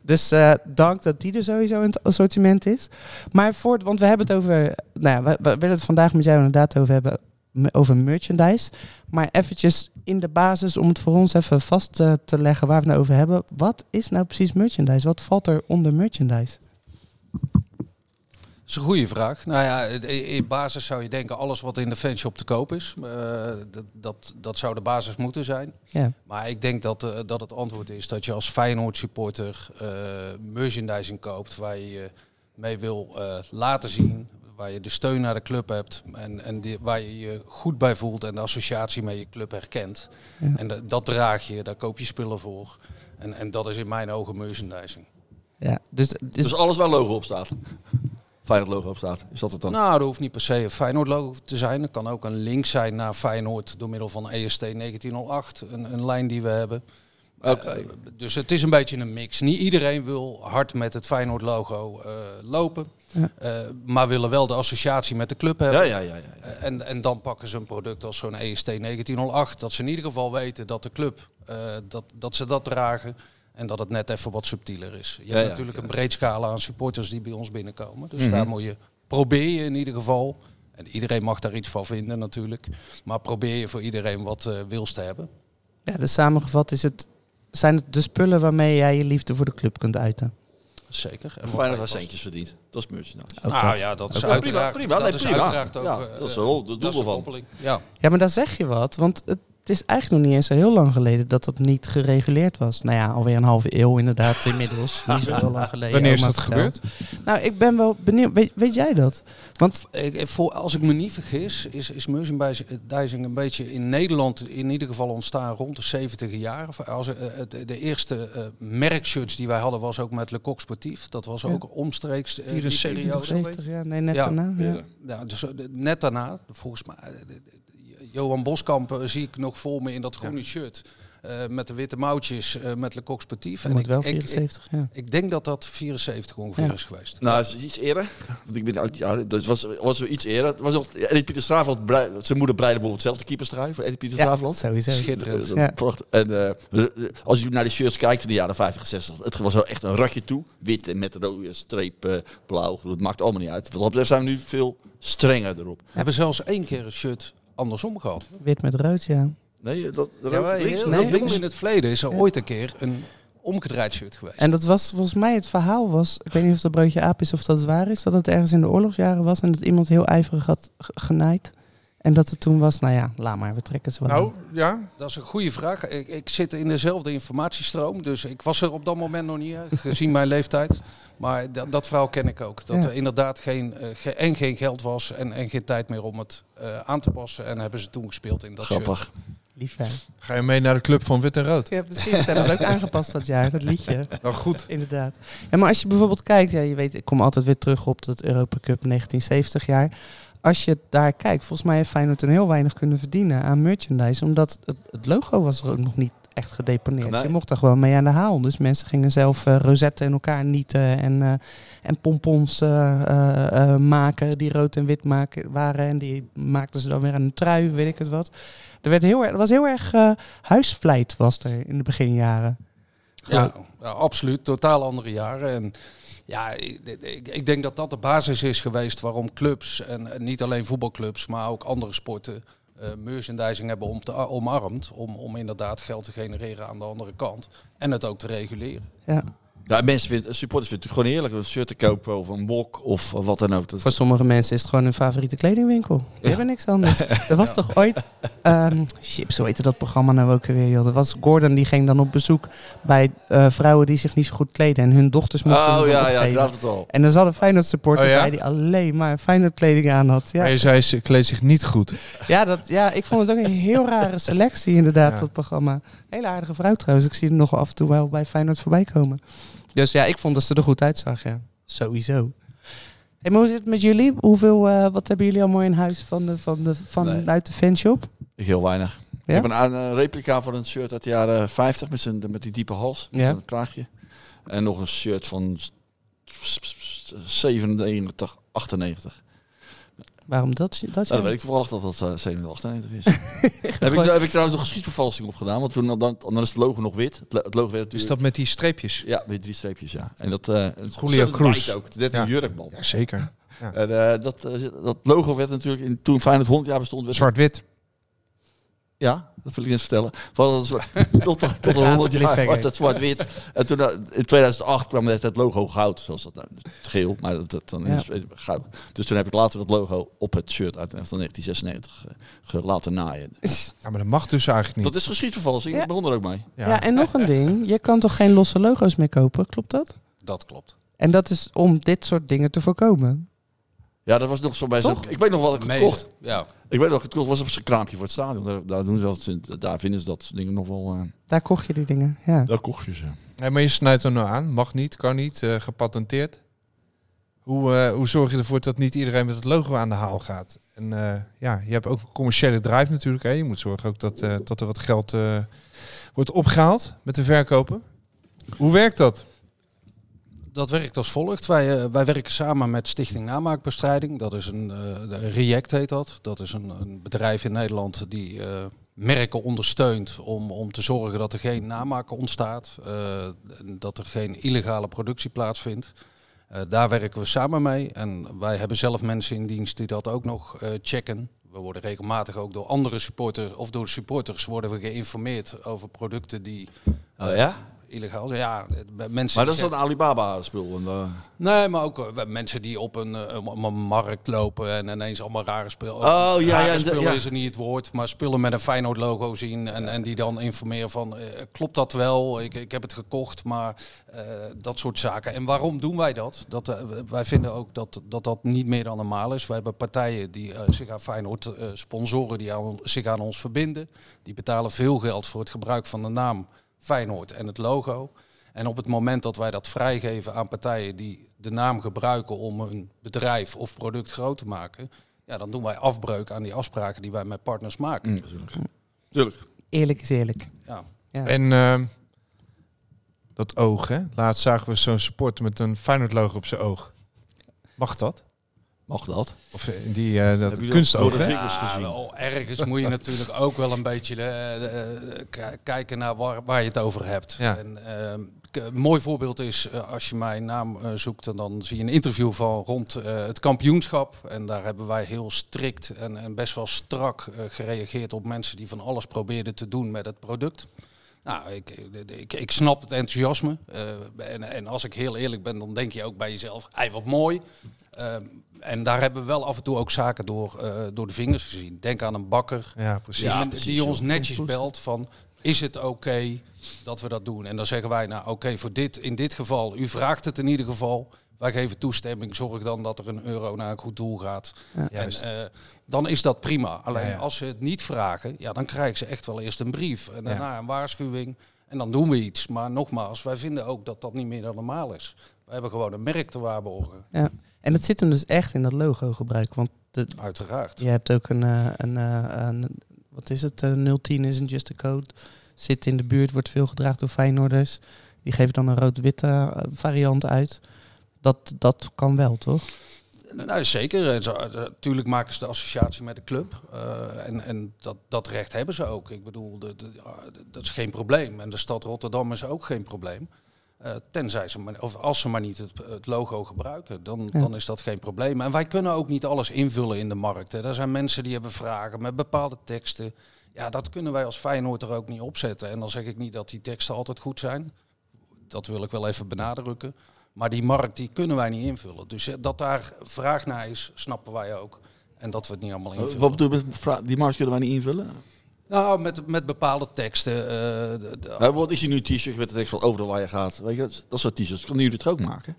Speaker 6: Dus eh, dank dat die er sowieso in het assortiment is. Maar voort, want we hebben het over... Nou ja, we, we willen het vandaag met jou inderdaad over hebben me- over merchandise. Maar eventjes in de basis om het voor ons even vast eh, te leggen waar we het nou over hebben. Wat is nou precies merchandise? Wat valt er onder merchandise?
Speaker 7: Dat is een goede vraag. Nou ja, eh, in basis zou je denken alles wat in de fanshop te koop is. eh, dat, dat, dat zou de basis moeten zijn.
Speaker 6: Ja.
Speaker 7: Maar ik denk dat, eh, dat het antwoord is dat je als Feyenoord supporter eh, merchandising koopt waar je je mee wil eh, laten zien. Waar je de steun naar de club hebt en, en die, waar je je goed bij voelt en de associatie met je club herkent.
Speaker 6: Ja.
Speaker 7: En da- dat draag je, daar koop je spullen voor. En, en dat is in mijn ogen merchandising.
Speaker 6: Ja, dus, dus,
Speaker 2: Dus alles waar logo op staat. Feyenoord logo op staat. Is dat het dan?
Speaker 7: Nou, dat hoeft niet per se een Feyenoord-logo te zijn. Het kan ook een link zijn naar Feyenoord door middel van E EST 1908, een, een lijn die we hebben.
Speaker 2: Oké.
Speaker 7: Eh, dus het is een beetje een mix. Niet iedereen wil hard met het Feyenoord-logo eh, lopen,
Speaker 6: Ja.
Speaker 7: Eh, maar willen wel de associatie met de club hebben.
Speaker 2: ja, ja, ja, ja.
Speaker 7: Eh, En, en dan pakken ze een product als zo'n E EST 1908, dat ze in ieder geval weten dat de club, eh, dat, dat ze dat dragen. En dat het net even wat subtieler is. Je hebt
Speaker 2: ja,
Speaker 7: natuurlijk
Speaker 2: ja.
Speaker 7: een breed scala aan supporters die bij ons binnenkomen. Dus
Speaker 2: Mhm.
Speaker 7: daar moet je, probeer je in ieder geval, en iedereen mag daar iets van vinden natuurlijk, maar probeer je voor iedereen wat eh, wils te hebben.
Speaker 6: ja, dus samengevat is het, zijn het de spullen waarmee jij je liefde voor de club kunt uiten.
Speaker 7: Zeker.
Speaker 2: En
Speaker 7: En wat
Speaker 2: Feyenoord had
Speaker 7: mij past.
Speaker 2: centjes verdiend. Dat is merchandise.
Speaker 6: Ook
Speaker 7: Nou
Speaker 6: dat.
Speaker 7: ja, dat is
Speaker 2: prima,
Speaker 7: uiteraard.
Speaker 2: prima,
Speaker 7: dat
Speaker 2: nee,
Speaker 7: is
Speaker 2: prima.
Speaker 7: uiteraard ook.
Speaker 2: Ja,
Speaker 7: eh,
Speaker 2: dat is de rol- de
Speaker 7: dat
Speaker 2: doel
Speaker 7: is
Speaker 2: ervan.
Speaker 7: koppeling. Ja.
Speaker 6: Ja, maar dan zeg je wat, want het, het is eigenlijk nog niet eens zo heel lang geleden dat dat niet gereguleerd was. Nou ja, alweer een halve eeuw inderdaad inmiddels. niet zo heel lang geleden.
Speaker 5: Wanneer is
Speaker 6: oma
Speaker 5: dat
Speaker 6: vertelt.
Speaker 5: gebeurd?
Speaker 6: Nou, ik ben wel benieuwd. Weet, weet jij dat? Want
Speaker 7: Ik, ik- voor, als ik me niet vergis, is, is merchandising een beetje in Nederland in ieder geval ontstaan rond de 70 jaar. Of Als, eh, het- de, eerste eh merkshirts die wij hadden was ook met Le Coq Sportief. Dat was ook omstreeks eh, die
Speaker 5: 74
Speaker 7: periode.
Speaker 6: 70 jaar, nee, net
Speaker 7: Ja.
Speaker 6: daarna. Ja.
Speaker 2: Ja.
Speaker 7: Ja, dus eh, de- net daarna, volgens mij, eh, de- de- Johan Boskamp eh, zie ik nog voor me in dat groene shirt. eh, met de witte mouwtjes, eh, met Le Coq Sportief.
Speaker 6: Dan moet
Speaker 7: ik,
Speaker 6: wel
Speaker 7: ik, ik,
Speaker 6: 74, ja.
Speaker 7: ik denk dat dat 74 ongeveer
Speaker 6: Ja.
Speaker 7: is geweest.
Speaker 2: Nou, het is iets eerder. Want ik ben ook, ja, dat was, was wel iets eerder. Het was nog, Edith Pieter Straaf had brei- zijn moeder breide bijvoorbeeld zelf de keeperstrui voor Edith Pieter
Speaker 6: Ja,
Speaker 2: Straaf.
Speaker 6: sowieso.
Speaker 7: Schitterend.
Speaker 2: Dat-
Speaker 6: Ja.
Speaker 2: prachtig. En eh, als je naar de shirts kijkt in de jaren 50, 60, het was wel echt een ratje toe. Wit en met een rode streep, eh, blauw. Dat maakt allemaal niet uit. Wat dat betreft zijn we nu veel strenger erop.
Speaker 7: We hebben zelfs één keer een shirt andersom gehad.
Speaker 6: Wit met rood, ja.
Speaker 2: Nee, dat, dat
Speaker 7: Ja, maar
Speaker 2: links,
Speaker 7: heel,
Speaker 2: dat
Speaker 7: heel
Speaker 2: links.
Speaker 7: in het verleden is er ooit een keer een omgedraaid shirt geweest.
Speaker 6: En dat was volgens mij het verhaal was, ik weet niet of dat broodje aap is of dat waar is, dat het ergens in de oorlogsjaren was en dat iemand heel ijverig had g- genaaid. En dat het toen was, nou ja, laat maar, we trekken ze wel aan.
Speaker 5: Nou, ja?
Speaker 7: Dat is een goede vraag. Ik, ik zit in dezelfde informatiestroom, dus ik was er op dat moment nog niet, hè, gezien mijn leeftijd. Maar dat, dat verhaal ken ik ook. Dat
Speaker 6: Ja.
Speaker 7: er inderdaad geen, eh, ge- en geen geld was en, en geen tijd meer om het eh, aan te passen. En hebben ze toen gespeeld in dat
Speaker 5: Grappig.
Speaker 7: shirt.
Speaker 6: Lief zijn.
Speaker 5: Ga je mee naar de club van Wit en Rood?
Speaker 6: Ja, precies. Dat hebben ze ook aangepast dat jaar, dat liedje.
Speaker 5: Nou goed.
Speaker 6: Inderdaad. Ja, maar als je bijvoorbeeld kijkt, ja, je weet, ik kom altijd weer terug op dat Europa Cup 1970 jaar. Als je daar kijkt, volgens mij heeft Feyenoord toen heel weinig kunnen verdienen aan merchandise. Omdat het, het logo was er ook nog niet echt gedeponeerd.
Speaker 2: Nee.
Speaker 6: Je mocht daar gewoon mee aan de haal. Dus mensen gingen zelf eh, rozetten in elkaar nieten en, eh, en pompons eh, eh, eh, maken die rood en wit maken, waren. En die maakten ze dan weer aan een trui, weet ik het wat. Er, werd heel erg, er was heel erg eh, huisvleit was er in de beginjaren.
Speaker 7: Ja, ja, absoluut. Totaal andere jaren. En ja, ik, ik- ik denk dat dat de basis is geweest waarom clubs, en, en niet alleen voetbalclubs, maar ook andere sporten, eh, merchandising hebben om te, omarmd. Om, om inderdaad geld te genereren aan de andere kant. En het ook te reguleren.
Speaker 6: Ja.
Speaker 2: Ja, mensen vinden, supporters vinden het gewoon heerlijk om een shirt te kopen of een bok of eh, wat dan ook. Dat
Speaker 6: Voor sommige mensen is het gewoon hun favoriete kledingwinkel. Die hebben niks anders. Er was toch ooit... ehm chips, hoe heette dat programma nou ook weer? Joh? Dat was Gordon, die ging dan op bezoek bij eh, vrouwen die zich niet zo goed kleden. En hun dochters mochten
Speaker 2: Oh,
Speaker 6: hem dan
Speaker 2: ja, ja,
Speaker 6: opgeven.
Speaker 2: ik raad het al.
Speaker 6: En er zat een Feyenoord supporter
Speaker 5: Oh, ja?
Speaker 6: bij die alleen maar Feyenoord kleding aan had. Ja.
Speaker 5: Maar je zei, ze kleedt zich niet goed.
Speaker 6: Ja, dat, ja, ik vond het ook een heel rare selectie inderdaad,
Speaker 5: Ja.
Speaker 6: dat programma. Hele aardige vrouw trouwens. Ik zie hem nog wel af en toe wel bij Feyenoord voorbij komen. Dus ja, ik vond dat ze er goed uitzag, ja. Sowieso. Hey, maar hoe zit het met jullie? Hoeveel, eh, wat hebben jullie allemaal in huis van de, van de, van,
Speaker 2: Nee.
Speaker 6: uit de fanshop?
Speaker 2: Ik heel weinig.
Speaker 6: Ja?
Speaker 2: Ik heb een, a- een replica van een shirt uit de jaren 50 met, zijn, met die diepe hals, met
Speaker 6: Ja.
Speaker 2: een kraagje. En nog een shirt van s- s- s- 97, 98.
Speaker 6: Waarom dat? dat,
Speaker 2: Nou, dan weet ik toevallig dat dat eh, 97, 98 is. heb, ik, heb ik trouwens nog geschiedvervalsing op gedaan, want toen, dan, dan, dan is het logo nog wit. Het, lo- het logo werd
Speaker 5: Is
Speaker 2: natuurlijk...
Speaker 5: dat met die streepjes?
Speaker 2: Ja, met drie streepjes, ja. En dat... eh het
Speaker 5: Julio
Speaker 2: ontzettend
Speaker 5: Cruz.
Speaker 2: wijd ook, net een
Speaker 5: Ja.
Speaker 2: jurkband.
Speaker 5: Ja, zeker. Ja.
Speaker 2: En, eh, dat, eh, dat logo werd natuurlijk, in, toen Feyenoord 100 jaar bestond... werd-
Speaker 5: Zwart-wit.
Speaker 2: Ja, dat wil ik net vertellen. Was het zwa- tot tot de
Speaker 6: gaat
Speaker 2: 100
Speaker 6: het
Speaker 2: jaar
Speaker 6: cliffhanger.
Speaker 2: was dat zwart-wit. En toen, eh, in 2008 kwam net het logo goud, zoals dat nou, dus het geel, maar dat, dat dan
Speaker 6: Ja.
Speaker 2: is het goud. Dus toen heb ik later dat logo op het shirt uit van 1996 eh, ge- laten naaien.
Speaker 5: Ja, maar dat mag dus eigenlijk niet.
Speaker 2: Dat is geschiedvervalsing,
Speaker 6: Ja.
Speaker 2: ik begon er ook mee.
Speaker 6: Ja. en nog een ding. Je kan toch geen losse logo's meer kopen, klopt dat?
Speaker 7: Dat klopt.
Speaker 6: En dat is om dit soort dingen te voorkomen.
Speaker 2: Ja, dat was nog zo bij zo'n...
Speaker 6: Toch?
Speaker 2: Ik weet nog wat ik
Speaker 7: Mede.
Speaker 2: gekocht.
Speaker 7: Ja.
Speaker 2: Ik weet nog, het was op zijn kraampje voor het stadion. Daar, daar, doen ze dat, daar vinden ze dat soort dingen nog wel... eh, Oh,
Speaker 6: Daar kocht je die dingen, ja.
Speaker 2: daar kocht je ze.
Speaker 5: Nee, maar je snijdt er nou aan. Mag niet, kan niet, eh, gepatenteerd. Hoe, eh, hoe zorg je ervoor dat niet iedereen met het logo aan de haal gaat? En eh, ja, je hebt ook een commerciële drive natuurlijk. Hè. Je moet zorgen ook dat, eh, dat er wat geld eh, wordt opgehaald met de verkopen. Hoe werkt dat?
Speaker 7: Dat werkt als volgt. Wij, eh, wij werken samen met Stichting Namaakbestrijding. Dat is een eh, de React heet dat. Dat is een, een bedrijf in Nederland die eh, merken ondersteunt om, om te zorgen dat er geen namaak ontstaat. eh, en dat er geen illegale productie plaatsvindt. Eh, daar werken we samen mee. En wij hebben zelf mensen in dienst die dat ook nog eh, checken. We worden regelmatig ook door andere supporters of door supporters worden we geïnformeerd over producten die
Speaker 2: Oh ja?
Speaker 7: illegaal zijn. Ja, eh,
Speaker 2: Maar
Speaker 7: mensen die
Speaker 2: dat is
Speaker 7: zeggen-
Speaker 2: dat Alibaba-spul. en, eh,
Speaker 7: Nee, maar ook eh, we- mensen die op een, eh, om- om een markt lopen en ineens allemaal rare spullen.
Speaker 2: Oh, ja, ja,
Speaker 7: rare
Speaker 2: de-
Speaker 7: spullen
Speaker 2: ja.
Speaker 7: is er niet het woord, maar spullen met een Feyenoord logo zien en, en die dan informeren van eh, klopt dat wel? Ik, ik heb het gekocht, maar eh, dat soort zaken. En waarom doen wij dat? dat eh, wij vinden ook dat, dat dat niet meer dan normaal is. Wij hebben partijen die eh, zich aan Feyenoord eh, sponsoren, die aan, zich aan ons verbinden. Die betalen veel geld voor het gebruik van de naam Feyenoord en het logo. En op het moment dat wij dat vrijgeven aan partijen die de naam gebruiken om hun bedrijf of product groot te maken, ja, dan doen wij afbreuk aan die afspraken die wij met partners
Speaker 2: Mm.
Speaker 7: maken.
Speaker 2: Tuurlijk.
Speaker 6: Eerlijk is eerlijk.
Speaker 7: Ja.
Speaker 6: Ja.
Speaker 5: En ehm, dat oog, hè? Laatst zagen we zo'n supporter met een Feyenoord logo op zijn oog. Mag dat?
Speaker 2: Mag dat?
Speaker 5: Of eh, die eh, dat
Speaker 2: Heb je dat
Speaker 5: kunstoog,
Speaker 2: door de
Speaker 5: hè?
Speaker 2: vingers gezien?
Speaker 7: wel, ergens moet je natuurlijk ook wel een beetje eh, eh, k- kijken naar waar, waar je het over hebt.
Speaker 5: Ja.
Speaker 7: En, ehm, k- een mooi voorbeeld is, eh, als je mijn naam eh, zoekt, en dan zie je een interview van rond eh, het kampioenschap. En daar hebben wij heel strikt en, en best wel strak eh, gereageerd op mensen die van alles probeerden te doen met het product. Nou, Nou, ik, ik, ik snap het enthousiasme. Eh, en, en als ik heel eerlijk ben, dan denk je ook bij jezelf, hé, wat mooi. Ehm, en daar hebben we wel af en toe ook zaken door, eh, door de vingers gezien. Denk aan een bakker
Speaker 5: Ja, precies.
Speaker 7: die,
Speaker 5: Ja,
Speaker 7: die
Speaker 5: precies,
Speaker 7: ons
Speaker 5: joh.
Speaker 7: netjes belt van, is het oké dat we dat doen? En dan zeggen wij, nou oké, voor dit, in dit geval, u vraagt het in ieder geval. Wij geven toestemming, zorg dan dat er een euro naar een goed doel gaat. En,
Speaker 5: Juist.
Speaker 7: eh, dan is dat prima. Alleen
Speaker 5: Ja, ja.
Speaker 7: als ze het niet vragen, ja, dan krijgen ze echt wel eerst een brief. En daarna een waarschuwing. En dan doen we iets. Maar nogmaals, wij vinden ook dat dat niet meer dan normaal is. We hebben gewoon een merk te waarborgen.
Speaker 6: Ja. En dat zit hem dus echt in dat logo gebruik. Want de,
Speaker 7: Uiteraard.
Speaker 6: je hebt ook een, eh, een, eh, een- wat is het, eh, 010 isn't just a code. Zit in de buurt, wordt veel gedraagd door Feyenoorders. Die geven dan een rood-witte eh, variant uit. Dat, dat kan wel, toch?
Speaker 7: Nou, zeker. En zo, eh, Natuurlijk maken ze de associatie met de club. Eh, en en dat, dat recht hebben ze ook. Ik bedoel, de, de- ah, de- dat is geen probleem. En de stad Rotterdam is ook geen probleem. Eh, tenzij ze maar, of als ze maar niet het, het logo gebruiken, dan,
Speaker 6: Ja.
Speaker 7: dan is dat geen probleem. En wij kunnen ook niet alles invullen in de markt. Hè. Er zijn mensen die hebben vragen met bepaalde teksten. Ja, dat kunnen wij als Feyenoord er ook niet opzetten. En dan zeg ik niet dat die teksten altijd goed zijn. Dat wil ik wel even benadrukken. Maar die markt die kunnen wij niet invullen. Dus eh, dat daar vraag naar is, snappen wij ook. En dat we het niet allemaal
Speaker 2: Eh,
Speaker 7: invullen.
Speaker 2: Wat bedoel je met vra- die markt kunnen wij niet invullen?
Speaker 7: Nou, met, met bepaalde teksten. eh, de- de-
Speaker 2: Nou, bijvoorbeeld, ik zie nu een t-shirt met de tekst van overal waar je gaat. Weet je, dat, dat soort t-shirts. Kunnen jullie het ook maken?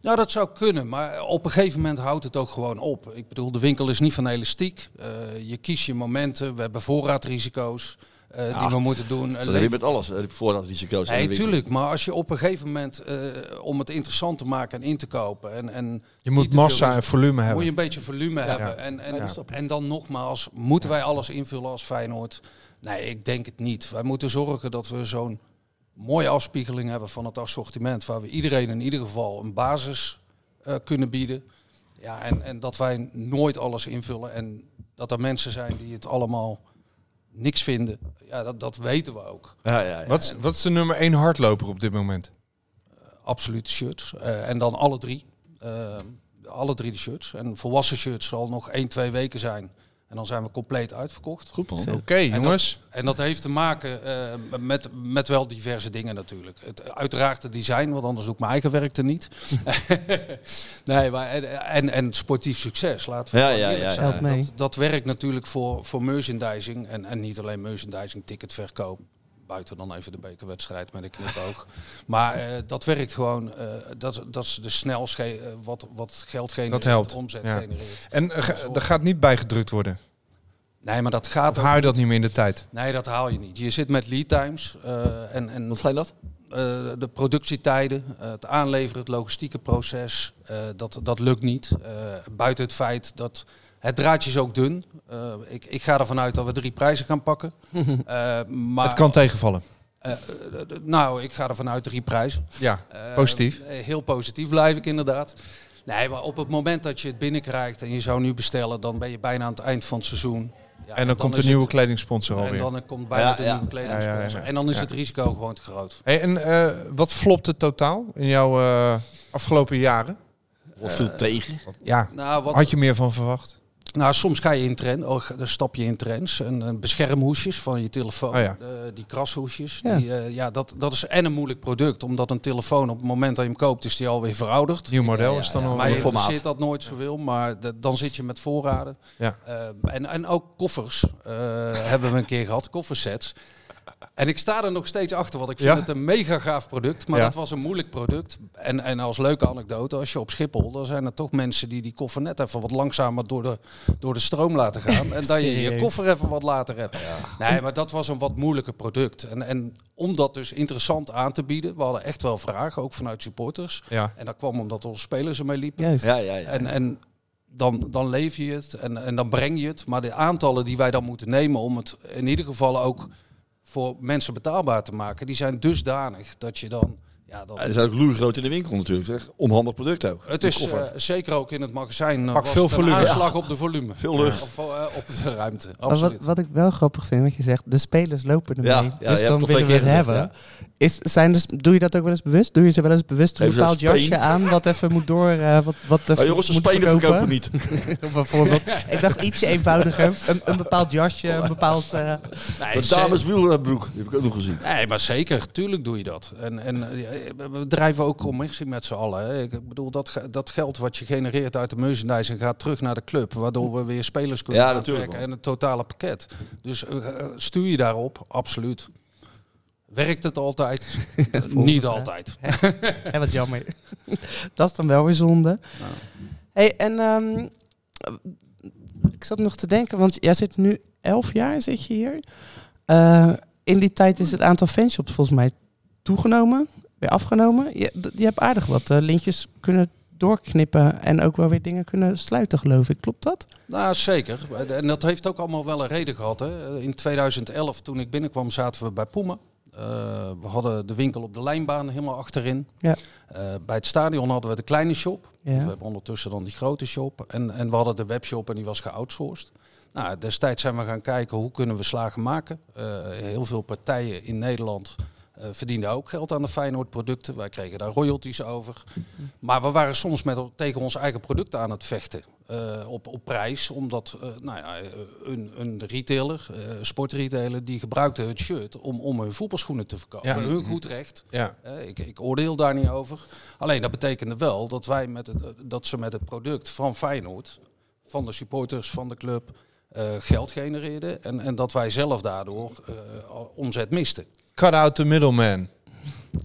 Speaker 7: Nou, dat zou kunnen, maar op een gegeven moment houdt het ook gewoon op. Ik bedoel, de winkel is niet van elastiek. Eh, je kiest je momenten, we hebben voorraadrisico's eh,
Speaker 2: Ja,
Speaker 7: die we moeten doen.
Speaker 2: Dat
Speaker 7: Eh,
Speaker 2: heb je met alles, eh, voordat risico's.
Speaker 7: Nee, tuurlijk, maar als je op een gegeven moment, eh, om het interessant te maken en in te kopen... En, en
Speaker 5: Je moet
Speaker 7: niet te veel
Speaker 5: massa
Speaker 7: risico-
Speaker 5: en volume
Speaker 7: Moet
Speaker 5: hebben.
Speaker 7: je een beetje volume hebben. En, en, en dan nogmaals, moeten wij alles invullen als Feyenoord? Nee, ik denk het niet. Wij moeten zorgen dat we zo'n mooie afspiegeling hebben van het assortiment... waar we iedereen in ieder geval een basis eh, kunnen bieden. Ja, en, en dat wij nooit alles invullen. En dat er mensen zijn die het allemaal niks vinden. Ja, dat, dat weten we ook.
Speaker 2: Ja, ja, ja.
Speaker 5: Wat, is- wat is de nummer één hardloper op dit moment?
Speaker 7: absoluut shirts. Eh, en dan alle drie. Eh, alle drie de shirts. En volwassen shirts zal nog één, twee weken zijn. En dan zijn we compleet uitverkocht. Goed
Speaker 2: man. Zo.
Speaker 5: Oké, jongens.
Speaker 7: En dat, heeft te maken eh, met, met wel diverse dingen natuurlijk. Het, uiteraard het design, want anders doe ik mijn eigen werk er niet. nee, maar en, en, en sportief succes, laten we
Speaker 2: Ja,
Speaker 7: gewoon
Speaker 2: ja,
Speaker 7: eerlijk
Speaker 2: ja,
Speaker 7: zijn.
Speaker 2: ja. Help mee.
Speaker 7: Dat, dat werkt natuurlijk voor, voor merchandising. En, en niet alleen merchandising, ticketverkoop. Buiten dan even de bekerwedstrijd met een knipoog. maar eh, dat werkt gewoon. eh, dat, dat is de snel sche- eh, wat, wat geld genereert,
Speaker 5: Dat helpt.
Speaker 7: omzet
Speaker 5: Ja.
Speaker 7: genereert.
Speaker 5: En eh, ge- er gaat niet bijgedrukt worden.
Speaker 7: Nee, maar dat gaat
Speaker 5: Of haal je dat niet meer in de tijd?
Speaker 7: Nee, dat haal je niet. Je zit met lead times. eh, en, en, Wat
Speaker 2: zijn dat?
Speaker 7: eh, de productietijden, eh, het aanleveren, het logistieke proces. eh, dat, dat lukt niet. Eh, buiten het feit dat het draadje is ook dun. Eh, ik, ik ga ervan uit dat we drie prijzen gaan pakken. Eh, maar,
Speaker 5: Het kan tegenvallen.
Speaker 7: Eh, eh, eh, nou, ik ga ervan uit drie prijzen.
Speaker 5: Ja,
Speaker 7: Eh,
Speaker 5: positief.
Speaker 7: eh, heel positief blijf ik inderdaad. Nee, maar op het moment dat je het binnenkrijgt en je zou nu bestellen, dan ben je bijna aan het eind van het seizoen. Ja,
Speaker 5: en dan, komt
Speaker 7: is
Speaker 5: de nieuwe
Speaker 7: het-
Speaker 5: kledingsponsor alweer.
Speaker 7: en dan komt bijna de nieuwe kledingsponsor.
Speaker 5: Ja, ja, ja.
Speaker 7: En dan is
Speaker 5: Ja.
Speaker 7: het risico gewoon te groot.
Speaker 5: Hey, en eh, wat flopt het totaal in jouw eh, afgelopen jaren?
Speaker 2: Wat viel tegen?
Speaker 5: Ja,
Speaker 7: Nou, wat-
Speaker 5: had je meer van verwacht?
Speaker 7: Nou, soms ga je in trend, oh, ga- dan stap je in trends. En, eh, beschermhoesjes van je telefoon,
Speaker 5: Oh ja.
Speaker 7: eh, die krashoesjes.
Speaker 5: Ja.
Speaker 7: Die, eh, ja, dat, dat is en een moeilijk product, omdat een telefoon op het moment dat je hem koopt, is die alweer verouderd.
Speaker 5: Nieuw model is dan al
Speaker 7: Maar
Speaker 5: een
Speaker 7: je
Speaker 5: formaat.
Speaker 7: zit dat nooit zoveel, maar de- dan zit je met voorraden.
Speaker 5: Ja.
Speaker 7: Eh, en, en ook koffers eh, hebben we een keer gehad, koffersets. En ik sta er nog steeds achter, want ik vind
Speaker 5: Ja?
Speaker 7: het een mega gaaf product. Maar
Speaker 5: Ja.
Speaker 7: dat was een moeilijk product. En, en als leuke anekdote, als je op Schiphol, dan zijn er toch mensen die die koffer net even wat langzamer door de, door de stroom laten gaan. En dat je je
Speaker 6: Serieus?
Speaker 7: koffer even wat later hebt. Nee, maar dat was een wat moeilijker product. En, en om dat dus interessant aan te bieden, we hadden echt wel vragen, ook vanuit supporters.
Speaker 5: Ja.
Speaker 7: En dat kwam omdat onze spelers ermee liepen.
Speaker 6: Juist.
Speaker 2: Ja, ja, ja.
Speaker 7: En, en dan, dan leef je het en, en dan breng je het. Maar de aantallen die wij dan moeten nemen om het in ieder geval ook voor mensen betaalbaar te maken, die zijn dusdanig dat je dan Ja, dat,
Speaker 2: Ja, die zijn ook loergroot in de winkel natuurlijk. Zeg. Onhandig product ook.
Speaker 7: Het
Speaker 2: Die
Speaker 7: is
Speaker 2: koffer.
Speaker 7: eh, zeker ook in het magazijn eh,
Speaker 2: Pak
Speaker 7: was
Speaker 2: veel
Speaker 7: het een
Speaker 2: volume.
Speaker 7: aanslag
Speaker 2: Ja.
Speaker 7: op de volume.
Speaker 2: Veel lucht.
Speaker 7: Of, eh, op de ruimte,
Speaker 6: Maar
Speaker 7: absoluut.
Speaker 6: Wat, wat ik wel grappig vind, wat je zegt, de spelers lopen ermee,
Speaker 2: Ja, ja, je
Speaker 6: dus
Speaker 2: hebt
Speaker 6: dan
Speaker 2: het al
Speaker 6: willen we
Speaker 2: twee
Speaker 6: het
Speaker 2: keer
Speaker 6: hebben.
Speaker 2: gezegd,
Speaker 6: Is, zijn dus, doe je dat ook wel eens bewust? Doe je ze wel eens bewust een
Speaker 2: Geef ze
Speaker 6: bepaald
Speaker 2: een speen.
Speaker 6: jasje aan wat even moet door, eh, wat, wat even
Speaker 2: Maar jongens, de
Speaker 6: moet
Speaker 2: spenen verkopen
Speaker 6: verkopen?
Speaker 2: we niet.
Speaker 6: Bijvoorbeeld, ik dacht ietsje eenvoudiger, een, een bepaald jasje,
Speaker 2: Oh.
Speaker 6: een bepaald... eh,
Speaker 2: De dames wielrennerbroek, die heb ik ook nog gezien.
Speaker 7: Nee, maar zeker, tuurlijk doe je dat. En, en eh, we drijven ook commercie met z'n allen. Hè. Ik bedoel, dat, ge- dat geld wat je genereert uit de merchandising gaat terug naar de club. Waardoor we weer spelers kunnen
Speaker 2: Ja,
Speaker 7: aantrekken
Speaker 2: natuurlijk wel.
Speaker 7: en het totale pakket. Dus eh, eh, stuur je daarop, absoluut. Werkt het altijd? Niet
Speaker 6: vraag.
Speaker 7: altijd.
Speaker 6: Hé, wat jammer. dat is dan wel weer zonde. hey, en ehm, ik zat nog te denken, want jij zit nu elf jaar zit je hier. Eh, in die tijd is het aantal fanshops volgens mij toegenomen, weer afgenomen. Je, d- je hebt aardig wat eh, lintjes kunnen doorknippen en ook wel weer dingen kunnen sluiten, geloof ik. Klopt dat?
Speaker 7: Nou, zeker. En dat heeft ook allemaal wel een reden gehad. Hè. In 2011, toen ik binnenkwam, zaten we bij Poemen. Eh, we hadden de winkel op de lijnbaan helemaal achterin.
Speaker 6: Ja.
Speaker 7: Eh, bij het stadion hadden we de kleine shop.
Speaker 6: Ja.
Speaker 7: Dus we hebben ondertussen dan die grote shop. En, en we hadden de webshop en die was geoutsourced. Nou, destijds zijn we gaan kijken hoe kunnen we slagen maken. Eh, heel veel partijen in Nederland eh, verdienden ook geld aan de Feyenoord producten. Wij kregen daar royalties over. Maar we waren soms met, tegen ons eigen product aan het vechten. eh, op, op prijs, omdat eh, nou ja, eh, een, een retailer, eh, sportretailer, die gebruikte het shirt om, om hun voetbalschoenen te verkopen.
Speaker 5: Ja.
Speaker 7: Hun goed recht.
Speaker 5: Ja.
Speaker 7: Eh, ik, ik oordeel daar niet over. Alleen dat betekende wel dat, wij met het, eh, dat ze met het product van Feyenoord, van de supporters van de club, eh, geld genereerden. En, en dat wij zelf daardoor eh, al- omzet misten.
Speaker 5: Cut out the middleman.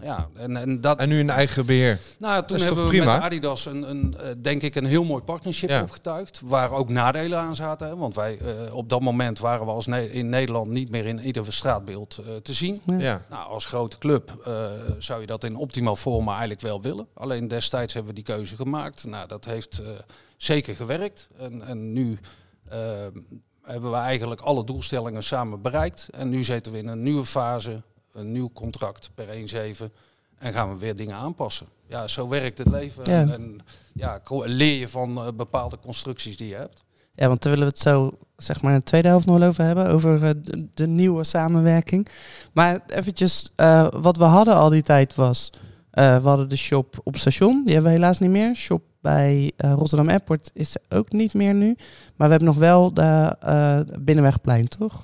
Speaker 7: Ja, en, en dat,
Speaker 5: En nu een eigen beheer.
Speaker 7: nou,
Speaker 5: Dat
Speaker 7: toen
Speaker 5: is
Speaker 7: hebben
Speaker 5: toch
Speaker 7: we
Speaker 5: prima?
Speaker 7: met Adidas een, een, eh, denk ik een heel mooi partnership
Speaker 5: Ja.
Speaker 7: opgetuigd. Waar ook nadelen aan zaten. hè, Want wij, eh, op dat moment waren we als Ne- in Nederland niet meer in ieder straatbeeld eh, te zien.
Speaker 5: Ja.
Speaker 7: Nou, als grote club eh, zou je dat in optimaal forma eigenlijk wel willen. Alleen destijds hebben we die keuze gemaakt. Nou, dat heeft eh, zeker gewerkt. En, en nu eh, hebben we eigenlijk alle doelstellingen samen bereikt. En nu zitten we in een nieuwe fase, een nieuw contract per 1-7. En gaan we weer dingen aanpassen. Ja, zo werkt het leven.
Speaker 6: Ja.
Speaker 7: En, en ja, ko- leer je van eh, bepaalde constructies die je hebt.
Speaker 6: Ja, want daar willen we het zo zeg maar in de tweede helft nog wel over hebben, over eh, de, de nieuwe samenwerking. Maar eventjes, eh, wat we hadden al die tijd was, eh, we hadden de shop op station, die hebben we helaas niet meer. Shop bij eh, Rotterdam Airport is er ook niet meer nu. Maar we hebben nog wel de eh, Binnenwegplein, toch?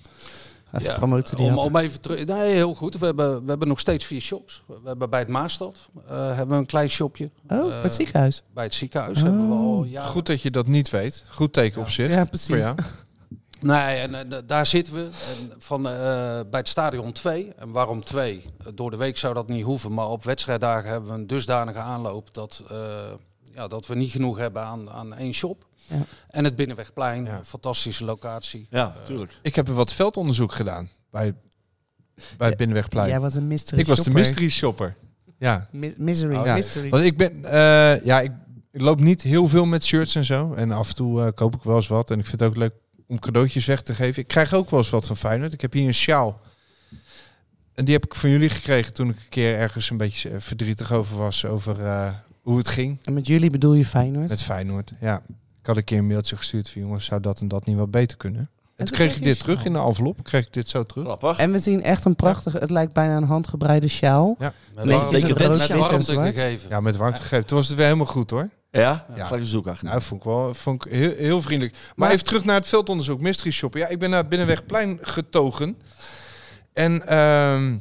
Speaker 6: Even promoten die
Speaker 7: om,
Speaker 6: had.
Speaker 7: om even terug. Nee, heel goed. We hebben, we hebben nog steeds vier shops. We hebben bij het Maastad eh, hebben we een klein shopje.
Speaker 6: Oh,
Speaker 5: eh,
Speaker 6: bij het ziekenhuis?
Speaker 7: Bij het
Speaker 6: Oh.
Speaker 7: ziekenhuis hebben we al jaren.
Speaker 5: Goed dat je dat niet weet. Goed teken op zich.
Speaker 6: Ja, precies.
Speaker 5: Voor jou.
Speaker 7: Nee, en eh, da- daar zitten we. En van, eh, bij het stadion 2. En waarom 2? Door de week zou dat niet hoeven. Maar op wedstrijddagen hebben we een dusdanige aanloop dat, eh, ja, dat we niet genoeg hebben aan, aan één shop.
Speaker 6: Ja.
Speaker 7: En het Binnenwegplein, een fantastische locatie.
Speaker 2: Ja, natuurlijk.
Speaker 5: Ik heb wat veldonderzoek gedaan bij, bij het Binnenwegplein.
Speaker 6: Jij was een mystery
Speaker 5: ik was de
Speaker 6: shopper.
Speaker 5: mystery shopper. Ja.
Speaker 6: Mi- misery,
Speaker 5: ja.
Speaker 6: mystery.
Speaker 5: Want ik ben, eh, ja, ik, ik loop niet heel veel met shirts en zo. En af en toe eh, koop ik wel eens wat. En ik vind het ook leuk om cadeautjes weg te geven. Ik krijg ook wel eens wat van Feyenoord. Ik heb hier een sjaal. En die heb ik van jullie gekregen toen ik een keer ergens een beetje eh, verdrietig over was. Over eh, hoe het ging
Speaker 6: En met jullie bedoel je Feyenoord?
Speaker 5: met Feyenoord. Ja. Ik had een keer een mailtje gestuurd van jongens, zou dat en dat niet wat beter kunnen? En toen
Speaker 6: toen
Speaker 5: kreeg
Speaker 6: kreeg
Speaker 5: ik
Speaker 6: je
Speaker 5: dit
Speaker 6: een
Speaker 5: terug
Speaker 6: sjaal.
Speaker 5: in de envelop. Kreeg ik dit zo terug.
Speaker 2: Grappig.
Speaker 6: En we zien echt een prachtige, het lijkt bijna een handgebreide sjaal.
Speaker 5: Ja.
Speaker 7: Met
Speaker 6: Nee,
Speaker 7: warmte-
Speaker 6: ik heb het
Speaker 7: met
Speaker 6: net
Speaker 7: warmte
Speaker 6: wit en zwart.
Speaker 7: gegeven.
Speaker 5: Ja, met warmte gegeven. Toen was het weer helemaal goed hoor.
Speaker 2: Ja?
Speaker 5: Ja.
Speaker 2: Gelijk een zoek aan.
Speaker 5: Nou, vond ik wel vond ik heel, heel vriendelijk. Maar,
Speaker 6: Maar-
Speaker 5: even terug naar het veldonderzoek, mystery shoppen. Ja, ik ben naar het Binnenwegplein getogen. En ehm,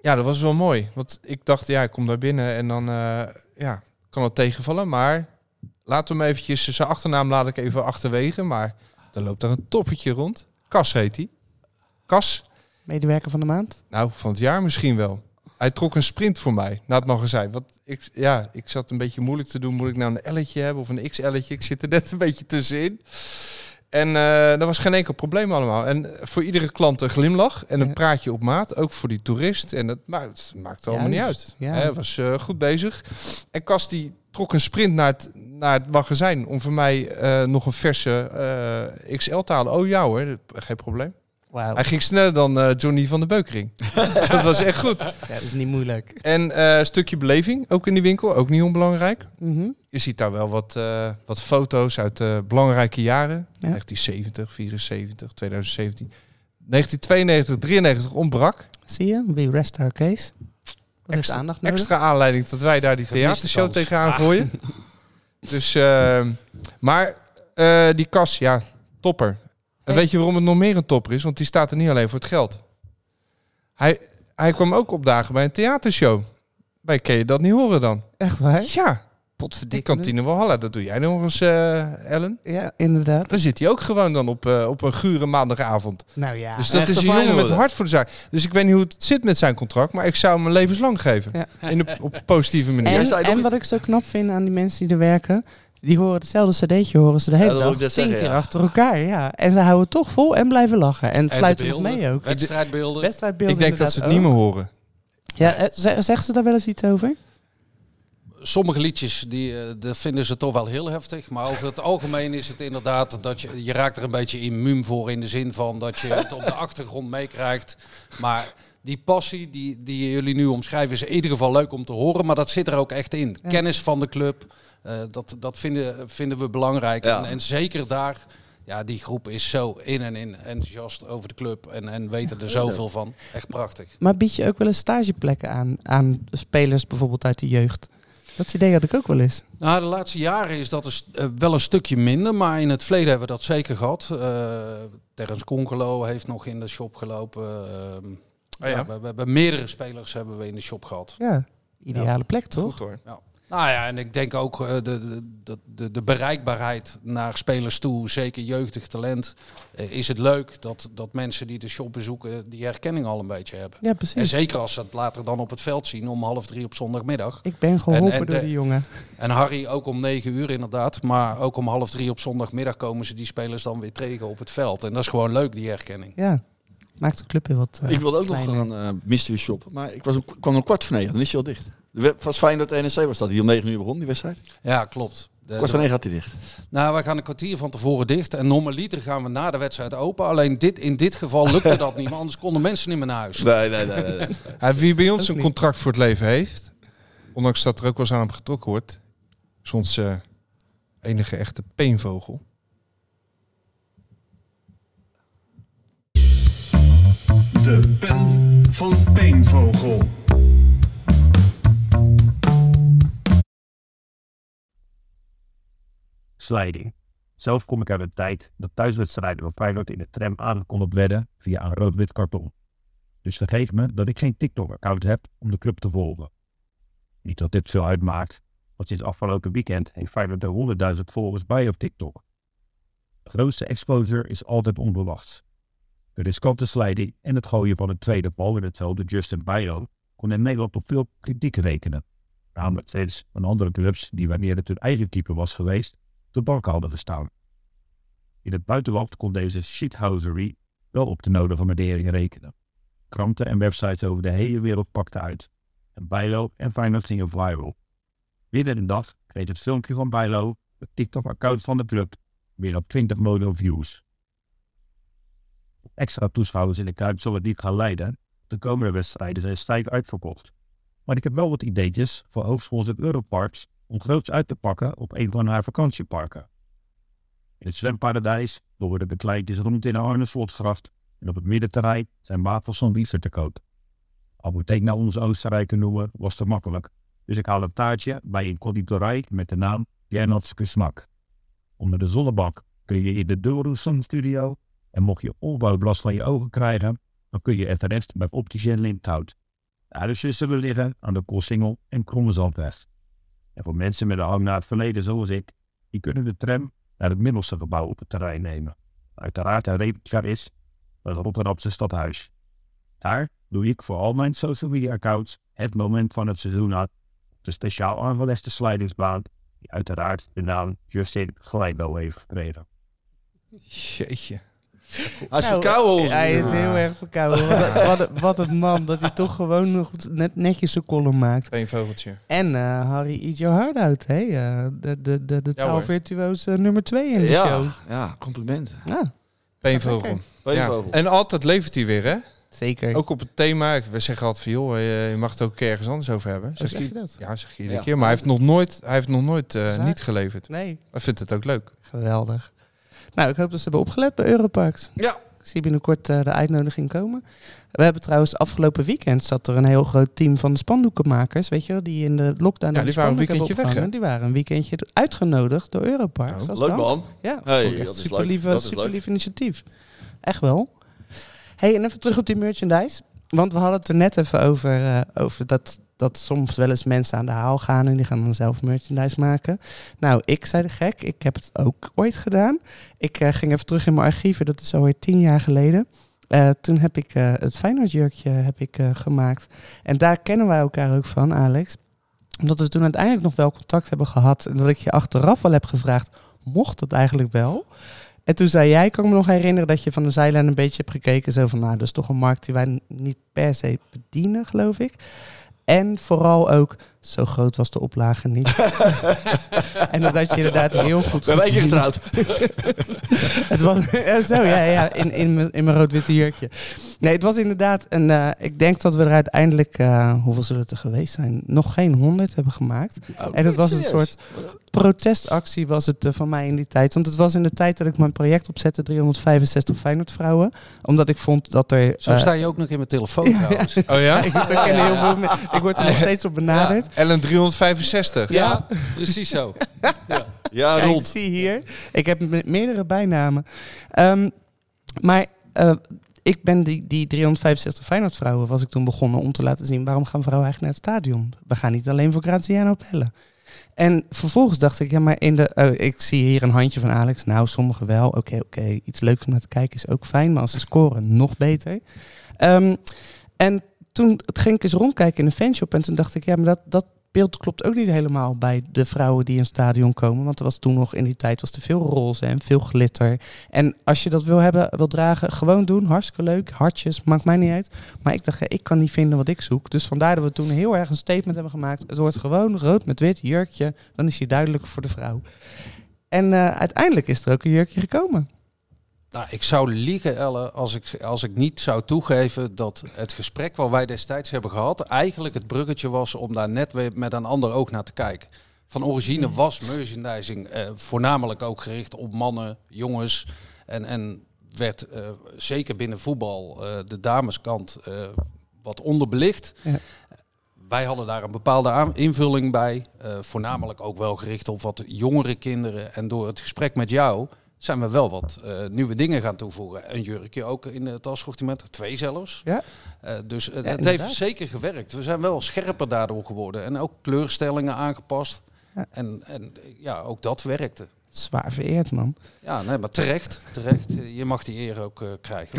Speaker 5: ja, dat was wel mooi. Want ik dacht, ja, ik kom daar binnen en dan eh, ja, kan het tegenvallen. Maar laten we hem eventjes, eh, zijn achternaam laat ik even achterwege. Maar dan loopt daar een toppetje rond. Kas heet hij. Kas,
Speaker 6: Medewerker van de maand.
Speaker 5: nou, van het jaar misschien wel. Hij trok een sprint voor mij naar het magazijn. Want ik, ja, ik zat een beetje moeilijk te doen. Moet ik nou een L'tje hebben of een XL'tje? Ik zit er net een beetje tussenin. En eh dat was geen enkel probleem allemaal. En voor iedere klant een glimlach en een
Speaker 6: Ja.
Speaker 5: praatje op maat. Ook voor die toerist. En dat maakt, maakt allemaal niet
Speaker 6: Juist,
Speaker 5: uit.
Speaker 6: ja.
Speaker 5: Hij was eh, goed bezig. En Kas die trok een sprint naar het, naar het magazijn. Om voor mij eh, nog een verse eh, XL te halen. Oh ja hoor, dat- geen probleem.
Speaker 6: Wauw.
Speaker 5: Hij ging sneller dan eh, Johnny van de Beukering. dat was echt goed.
Speaker 6: Ja, dat is niet moeilijk.
Speaker 5: En eh, een stukje beleving, ook in die winkel, ook niet onbelangrijk.
Speaker 6: Mhm.
Speaker 5: Je ziet daar wel wat, eh, wat foto's uit eh, belangrijke jaren.
Speaker 6: Ja.
Speaker 5: 1970, 74, 2017. 1992, 93 ontbrak.
Speaker 6: Zie je? We rest our case. Dat heeft
Speaker 5: Extra-
Speaker 6: aandacht nodig.
Speaker 5: Extra aanleiding dat wij daar die
Speaker 6: Gemiste
Speaker 5: theatershow
Speaker 6: kans.
Speaker 5: tegenaan
Speaker 6: Ah.
Speaker 5: gooien. Dus, ehm, maar eh, die kas, ja, topper. En weet je waarom het nog meer een topper is? Want die staat er niet alleen voor het geld. Hij, hij kwam ook opdagen bij een theatershow. Wij kun je dat niet horen dan.
Speaker 6: Echt waar?
Speaker 5: Ja. Die
Speaker 6: Potverdikke.
Speaker 5: kantine Walhalla, dat doe jij nog eens, eh, Ellen.
Speaker 6: Ja, inderdaad.
Speaker 5: Dan zit hij ook gewoon dan op, eh, op een gure maandagavond.
Speaker 6: Nou ja.
Speaker 5: Dus dat is een jongen met hart voor de zaak. Dus ik weet niet hoe het zit met zijn contract, maar ik zou hem een levenslang geven. In de, op een positieve manier.
Speaker 6: En, en wat ik zo knap vind aan die mensen die er werken, die horen hetzelfde cd'tje horen ze de
Speaker 5: Ja,
Speaker 6: hele
Speaker 5: dat wil
Speaker 6: dag
Speaker 5: ik net
Speaker 6: tien
Speaker 5: zeggen,
Speaker 6: keer
Speaker 5: ja.
Speaker 6: achter elkaar. Ja. En ze houden toch vol en blijven lachen. En het fluiten nog mee ook.
Speaker 7: Wedstrijdbeelden.
Speaker 6: Wedstrijdbeelden
Speaker 5: ik denk dat ze het
Speaker 6: inderdaad
Speaker 5: niet meer
Speaker 6: ook.
Speaker 5: horen.
Speaker 6: Ja, eh, ze- zegt ze daar wel eens iets over?
Speaker 7: Sommige liedjes die, eh, dat vinden ze toch wel heel heftig. Maar over het algemeen is het inderdaad dat je, je raakt er een beetje immuun voor. In de zin van dat je het op de achtergrond meekrijgt. Maar die passie die, die jullie nu omschrijven is in ieder geval leuk om te horen. Maar dat zit er ook echt in. Kennis van de club, eh, dat, dat vinden, vinden we belangrijk.
Speaker 2: Ja.
Speaker 7: En, en zeker daar, ja, die groep is zo in en in enthousiast over de club. En, en weten er zoveel van. Echt prachtig.
Speaker 6: Maar bied je ook wel eens stageplekken aan, aan spelers bijvoorbeeld uit de jeugd? Dat idee had ik ook wel eens.
Speaker 7: Nou, de laatste jaren is dat dus, eh, wel een stukje minder, maar in het verleden hebben we dat zeker gehad. Eh Terence Conkelo heeft nog in de shop gelopen. Ehm,
Speaker 5: ja.
Speaker 7: ja, we, we hebben meerdere spelers hebben we in de shop gehad.
Speaker 6: Ja, ideale plek toch?
Speaker 7: Nou ja, en ik denk ook eh, de, de, de- de, de bereikbaarheid naar spelers toe, zeker jeugdig talent, eh, is het leuk dat, dat mensen die de shop bezoeken die herkenning al een beetje hebben.
Speaker 6: Ja, precies.
Speaker 7: En zeker als ze het later dan op het veld zien om half drie op zondagmiddag.
Speaker 6: Ik ben geholpen
Speaker 7: En- en
Speaker 6: door
Speaker 7: de-
Speaker 6: die jongen.
Speaker 7: En Harry ook om negen uur inderdaad. Maar ook om half drie op zondagmiddag komen ze die spelers dan weer tegen op het veld. En dat is gewoon leuk, die herkenning.
Speaker 6: Ja, maakt de club weer wat. eh,
Speaker 2: ik wilde ook
Speaker 6: kleiner.
Speaker 2: nog gaan eh mystery shoppen, maar ik was om, kwam om kwart voor negen. Dan is hij al dicht. De web- was fijn dat NEC was dat. Die om negen uur begon, die wedstrijd.
Speaker 7: Ja, klopt. De-
Speaker 2: kwart
Speaker 7: de-
Speaker 2: voor negen had hij dicht.
Speaker 7: Nou, we gaan een kwartier van tevoren dicht. En normaliter gaan we na de wedstrijd open. Alleen dit, in dit geval lukte dat niet. Maar anders konden mensen niet meer naar huis.
Speaker 2: Nee, nee, nee. nee,
Speaker 5: Hij wie bij ons
Speaker 7: Ook
Speaker 5: een
Speaker 7: niet.
Speaker 5: contract voor het leven heeft, ondanks dat er ook wel eens aan hem getrokken wordt, is onze enige echte peenvogel.
Speaker 13: De pen van Peenvogel.
Speaker 14: Slijding. Zelf kom ik uit een tijd dat thuiswedstrijden van Feyenoord in de tram aan konden bledden via een rood-wit karton. Dus vergeet me dat ik geen TikTok-account heb om de club te volgen. Niet dat dit veel uitmaakt, want sinds afgelopen weekend heeft Feyenoord er 100.000 volgers bij op TikTok. De grootste exposure is altijd onverwachts. De riskante slijding en het gooien van een tweede bal in hetzelfde Justin Bijlo kon in Nederland op veel kritiek rekenen. Namelijk steeds van andere clubs die wanneer het hun eigen keeper was geweest, op de bank hadden gestaan. In het buitenland kon deze shithousery wel op de nodige waardering rekenen. Kranten en websites over de hele wereld pakten uit. En Bijlo en Feyenoord gingen viral. Binnen een dag kreeg het filmpje van Bijlo, het TikTok-account van de club, meer dan 20 miljoen views. Extra toeschouwers in de Kuip zullen niet gaan leiden. De komende wedstrijden zijn stijf uitverkocht. Maar ik heb wel wat ideetjes voor hoofdsponsor Europarks om groots uit te pakken op een van haar vakantieparken. In het zwemparadijs worden de kleintjes rond in de Arneslotgracht en op het middenterrein zijn wafels van Wieser te koop. Al moet ik nou onze Oostenrijker noemen, was te makkelijk. Dus ik haal een taartje bij een conditorij met de naam Jernatske Smak. Onder de zonnebank kun je in de Doelroesan studio en mocht je onbouwblast van je ogen krijgen, dan kun je er terecht bij Opticien Lindhout. De huisjes zullen liggen aan de Koolsingel en Krommezandweg. En voor mensen met een hang naar het verleden zoals ik, die kunnen de tram naar het middelste gebouw op het terrein nemen. Uiteraard een replica is van het Rotterdamse stadhuis. Daar doe ik voor al mijn social media accounts het moment van het seizoen aan op de speciaal aangelegde slidingsbaan, die uiteraard de naam Justin Glijbo heeft gekregen.
Speaker 5: Jeetje.
Speaker 2: Hij is
Speaker 6: Nou,
Speaker 2: verkouden. onze
Speaker 6: Hij is
Speaker 2: jongen.
Speaker 6: heel erg verkouden. Wat, een- wat, een- wat een man dat hij toch gewoon nog goed- net, netjes zijn column maakt.
Speaker 5: Eén vogeltje.
Speaker 6: En eh, Harry, eat your heart out. Hè? Eh, de de, de, de
Speaker 5: Ja, hoor.
Speaker 6: taalvirtuoos eh, nummer twee in de
Speaker 2: Ja,
Speaker 6: show.
Speaker 2: ja, complimenten.
Speaker 6: Ja.
Speaker 5: Peenvogel.
Speaker 2: Peenvogel.
Speaker 5: En altijd levert hij weer, hè?
Speaker 6: Zeker.
Speaker 5: Ook op het thema. We zeggen altijd van, joh, eh, je mag het ook een keer ergens anders over hebben.
Speaker 6: Oh, zeg je dat?
Speaker 5: Ja, zeg je iedere
Speaker 6: Ja.
Speaker 5: keer. Maar hij heeft nog nooit, hij heeft nog nooit eh,
Speaker 6: Zaak.
Speaker 5: niet geleverd.
Speaker 6: Nee.
Speaker 5: Hij vindt het ook leuk.
Speaker 6: Geweldig. Nou, ik hoop dat ze hebben opgelet bij Europarks.
Speaker 2: Ja.
Speaker 6: Ik zie binnenkort eh, de uitnodiging komen. We hebben trouwens afgelopen weekend zat er een heel groot team van de spandoekenmakers, weet je wel, die in de lockdown
Speaker 5: Ja,
Speaker 6: al
Speaker 5: die waren een
Speaker 6: spandoeken hebben
Speaker 5: weekendje weg,
Speaker 6: opgehangen.
Speaker 5: hè? Nou,
Speaker 6: Die waren een weekendje uitgenodigd door Europarks. Dat is
Speaker 2: Leuk
Speaker 6: dan-
Speaker 2: man.
Speaker 6: Ja,
Speaker 2: Hey,
Speaker 6: vond ik echt
Speaker 2: dat is
Speaker 6: super
Speaker 2: leuk.
Speaker 6: lief,
Speaker 2: Dat is
Speaker 6: super
Speaker 2: leuk.
Speaker 6: lief initiatief. Echt wel. hey, en even terug op die merchandise. Want we hadden het er net even over, eh, over dat, dat soms wel eens mensen aan de haal gaan en die gaan dan zelf merchandise maken. Nou, ik zei de gek, ik heb het ook ooit gedaan. Ik eh, ging even terug in mijn archieven, dat is alweer tien jaar geleden. Eh, toen heb ik eh, het Feyenoord-jurkje heb ik, eh, gemaakt. En daar kennen wij elkaar ook van, Alex. Omdat we toen uiteindelijk nog wel contact hebben gehad. En dat ik je achteraf wel heb gevraagd, mocht dat eigenlijk wel? En toen zei jij, kan ik me nog herinneren dat je van de zijlijn een beetje hebt gekeken. Zo van, nou, dat is toch een markt die wij n- niet per se bedienen, geloof ik. En vooral ook, zo groot was de oplage niet. en dat had je inderdaad heel goed
Speaker 2: We hebben één keer
Speaker 6: gezien.
Speaker 2: getrouwd.
Speaker 6: het was, ja, zo, ja, ja in, in, mijn- in mijn rood-witte jurkje. Nee, het was inderdaad een... eh, ik denk dat we er uiteindelijk, eh, hoeveel zullen het er geweest zijn? Nog geen honderd hebben gemaakt. en dat was een
Speaker 2: serieus?
Speaker 6: soort protestactie was het eh, van mij in die tijd. Want het was in de tijd dat ik mijn project opzette, 365 Feyenoord vrouwen. Omdat ik vond dat er...
Speaker 7: Zo
Speaker 6: eh,
Speaker 7: sta je ook nog in mijn telefoon trouwens.
Speaker 5: Oh ja?
Speaker 6: ik, ken heel veel me- ik word er nog steeds op benaderd.
Speaker 5: Ellen 365.
Speaker 7: Ja, precies zo.
Speaker 2: Ja,
Speaker 6: Kijk,
Speaker 2: rond.
Speaker 6: zie hier. Ik heb me- meerdere bijnamen. Ehm, maar eh, ik ben die, die 365 Feyenoord-vrouwen was ik toen begonnen om te laten zien... waarom gaan vrouwen eigenlijk naar het stadion? We gaan niet alleen voor Graziano bellen. En vervolgens dacht ik, ja, maar in de, eh, ik zie hier een handje van Alex. Nou, sommigen wel. Oké, oké. Iets leuks om naar te kijken is ook fijn. Maar als ze scoren, nog beter. Ehm, en toen het ging ik eens rondkijken in de fanshop. En toen dacht ik, ja, maar dat, dat beeld klopt ook niet helemaal bij de vrouwen die in het stadion komen. Want er was toen nog in die tijd was er veel roze en veel glitter. En als je dat wil hebben, wil dragen, gewoon doen. Hartstikke leuk. Hartjes, maakt mij niet uit. Maar ik dacht, ja, ik kan niet vinden wat ik zoek. Dus vandaar dat we toen heel erg een statement hebben gemaakt. Het wordt gewoon rood met wit jurkje. Dan is hij duidelijk voor de vrouw. En eh, uiteindelijk is er ook een jurkje gekomen.
Speaker 7: Nou, ik zou liegen, Ellen, als ik, als ik niet zou toegeven dat het gesprek wat wij destijds hebben gehad, eigenlijk het bruggetje was om daar net weer met een ander oog naar te kijken. Van origine was merchandising eh, voornamelijk ook gericht op mannen, jongens. En, en werd eh, zeker binnen voetbal eh, de dameskant eh, wat onderbelicht.
Speaker 6: Ja.
Speaker 7: Wij hadden daar een bepaalde aan- invulling bij. eh, voornamelijk ook wel gericht op wat jongere kinderen. En door het gesprek met jou zijn we wel wat eh, nieuwe dingen gaan toevoegen. Een jurkje ook in het assortiment, twee zelfs.
Speaker 6: Ja.
Speaker 7: Eh, dus eh, het
Speaker 6: inderdaad.
Speaker 7: heeft zeker gewerkt. We zijn wel scherper daardoor geworden. En ook kleurstellingen aangepast. En, en eh, ja, ook dat werkte.
Speaker 6: Zwaar vereerd, man.
Speaker 7: Ja, nee, maar terecht. terecht. Eh, Je mag die eer ook eh, krijgen.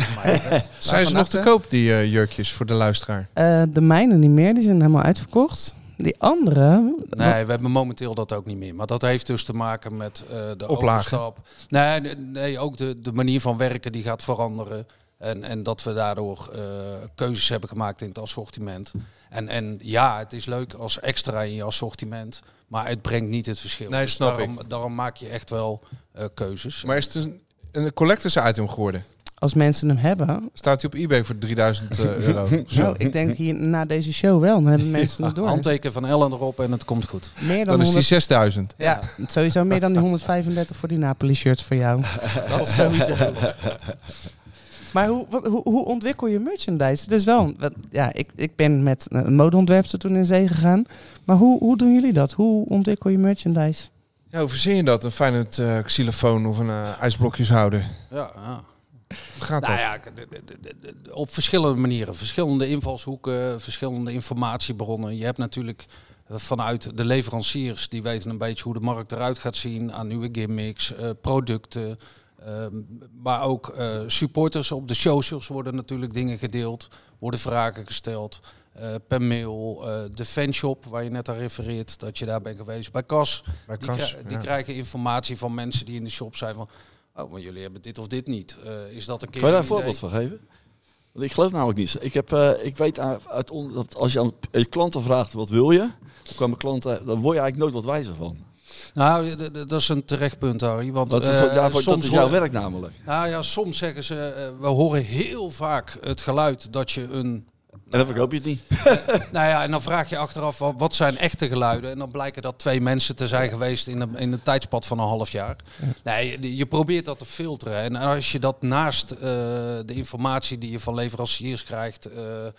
Speaker 7: eh, wat mij betreft.
Speaker 5: Zijn ze nog te
Speaker 7: Vannacht, hè?
Speaker 5: koop, die eh, jurkjes, voor de luisteraar?
Speaker 6: Eh, de mijne niet meer, die zijn helemaal uitverkocht. Die andere,
Speaker 7: Nee, we hebben momenteel dat ook niet meer. Maar dat heeft dus te maken met eh, de
Speaker 5: Oplagen.
Speaker 7: overstap. Nee, nee, nee, ook de, de manier van werken die gaat veranderen. En, en dat we daardoor eh, keuzes hebben gemaakt in het assortiment. En, en ja, het is leuk als extra in je assortiment. Maar het brengt niet het verschil. Dus
Speaker 5: Nee, snap
Speaker 7: daarom, daarom maak je echt wel eh, keuzes.
Speaker 5: Maar is het een, een collectors item geworden?
Speaker 6: als mensen hem hebben,
Speaker 5: Staat hij op eBay voor 3000 eh, euro? Zo.
Speaker 6: Nou, ik denk hier na deze show wel. Dan hebben mensen het door.
Speaker 7: Handteken van Ellen erop en het komt goed.
Speaker 6: Meer dan,
Speaker 5: Dan is die
Speaker 6: 100
Speaker 5: 6000.
Speaker 6: ja, sowieso meer dan die 135 voor die Napoli-shirts voor jou. Dat sowieso. Maar hoe, wat- hoe, hoe ontwikkel je merchandise? Het is wel, een- wat- ja, ik, ik ben met een modeontwerpster toen in zee gegaan. Maar hoe, hoe doen jullie dat? Hoe ontwikkel je merchandise?
Speaker 5: Ja, hoe verzin je dat? Een Feyenoord eh xylofoon of een eh, ijsblokjeshouder?
Speaker 7: Ja, ja.
Speaker 5: Hoe gaat
Speaker 7: nou
Speaker 5: dat?
Speaker 7: ja, k- d- d- d- d- op verschillende manieren. Verschillende invalshoeken, verschillende informatiebronnen. Je hebt natuurlijk eh, vanuit de leveranciers, die weten een beetje hoe de markt eruit gaat zien aan nieuwe gimmicks, eh, producten. ehm, maar ook eh, supporters op de socials worden natuurlijk dingen gedeeld, worden vragen gesteld. eh, per mail, eh, de fanshop waar je net aan refereert, dat je daar bent geweest. Bij Cas,
Speaker 5: Bij
Speaker 7: die,
Speaker 5: Cas,
Speaker 7: krij- die
Speaker 5: ja.
Speaker 7: krijgen informatie van mensen die in de shop zijn van... Oh, maar jullie hebben dit of dit niet. Eh, is dat een keer
Speaker 2: Kan je daar een
Speaker 7: een idee?
Speaker 2: voorbeeld van geven? Want ik geloof namelijk niet. Ik, heb, eh, ik weet aan- uit on- dat als je aan je klanten vraagt wat wil je, dan, komen klanten, dan word je eigenlijk nooit wat wijzer van.
Speaker 7: Nou, d- d- dat is een terecht punt, Harry. Want
Speaker 2: Dat is- ja,
Speaker 7: eh,
Speaker 2: dat is
Speaker 7: soms
Speaker 2: jouw
Speaker 7: hoor-
Speaker 2: werk namelijk.
Speaker 7: Nou ja, soms zeggen ze, eh, we horen heel vaak het geluid dat je een...
Speaker 2: En dan verkoop je het niet.
Speaker 7: nou ja, en dan vraag je achteraf, wa- wat zijn echte geluiden? En dan blijken dat twee mensen te zijn geweest in een, in een tijdspad van een half jaar. Nee, je- je probeert dat te filteren. En als je dat naast eh, de informatie die je van leveranciers krijgt, eh, eh,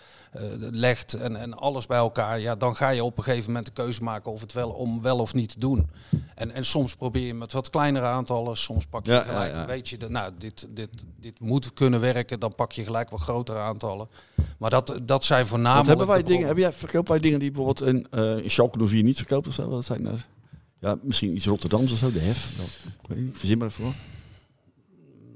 Speaker 7: legt en, en alles bij elkaar... Ja, dan ga je op een gegeven moment de keuze maken of het wel, om wel of niet te doen. En, en soms probeer je met wat kleinere aantallen, soms pak je
Speaker 2: Ja,
Speaker 7: gelijk.
Speaker 2: ja, ja.
Speaker 7: Weet je, dat- nou, dit, dit, dit moet kunnen werken, dan pak je gelijk wat grotere aantallen. Maar dat, Ah, dat zijn
Speaker 2: Want
Speaker 7: voornamelijk...
Speaker 2: hebben wij
Speaker 7: de
Speaker 2: dingen, hebben jij, verkopen wij dingen die bijvoorbeeld in, eh in Schalke 04 niet verkoopt of zo? Wat zijn nou? Ja, misschien iets Rotterdams of zo, de hef. Dat, ik weet niet, verzin maar voor.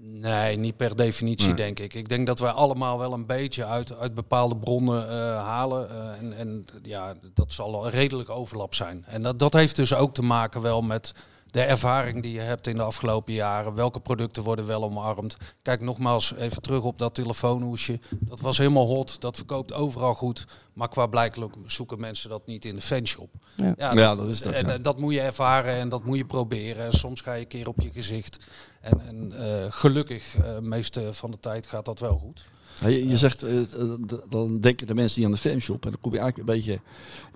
Speaker 7: Nee, niet per definitie,
Speaker 2: Nee.
Speaker 7: denk ik. Ik denk dat wij allemaal wel een beetje uit, uit bepaalde bronnen eh, halen. Eh, en, en ja, dat zal al een redelijk overlap zijn. En dat, dat heeft dus ook te maken wel met de ervaring die je hebt in de afgelopen jaren. Welke producten worden wel omarmd? Kijk nogmaals even terug op dat telefoonhoesje. Dat was helemaal hot, dat verkoopt overal goed. Maar qua blijkbaar zoeken mensen dat niet in de fanshop.
Speaker 2: Ja. Ja, dat is het ook,
Speaker 7: en-
Speaker 2: ja.
Speaker 7: en dat moet je ervaren en dat moet je proberen. En soms ga je een keer op je gezicht. En, en eh, gelukkig, eh, de meeste van de tijd gaat dat wel goed.
Speaker 2: Ja, je, je zegt, eh, eh, d- dan denken de mensen die aan de fanshop, en dan kom je eigenlijk een beetje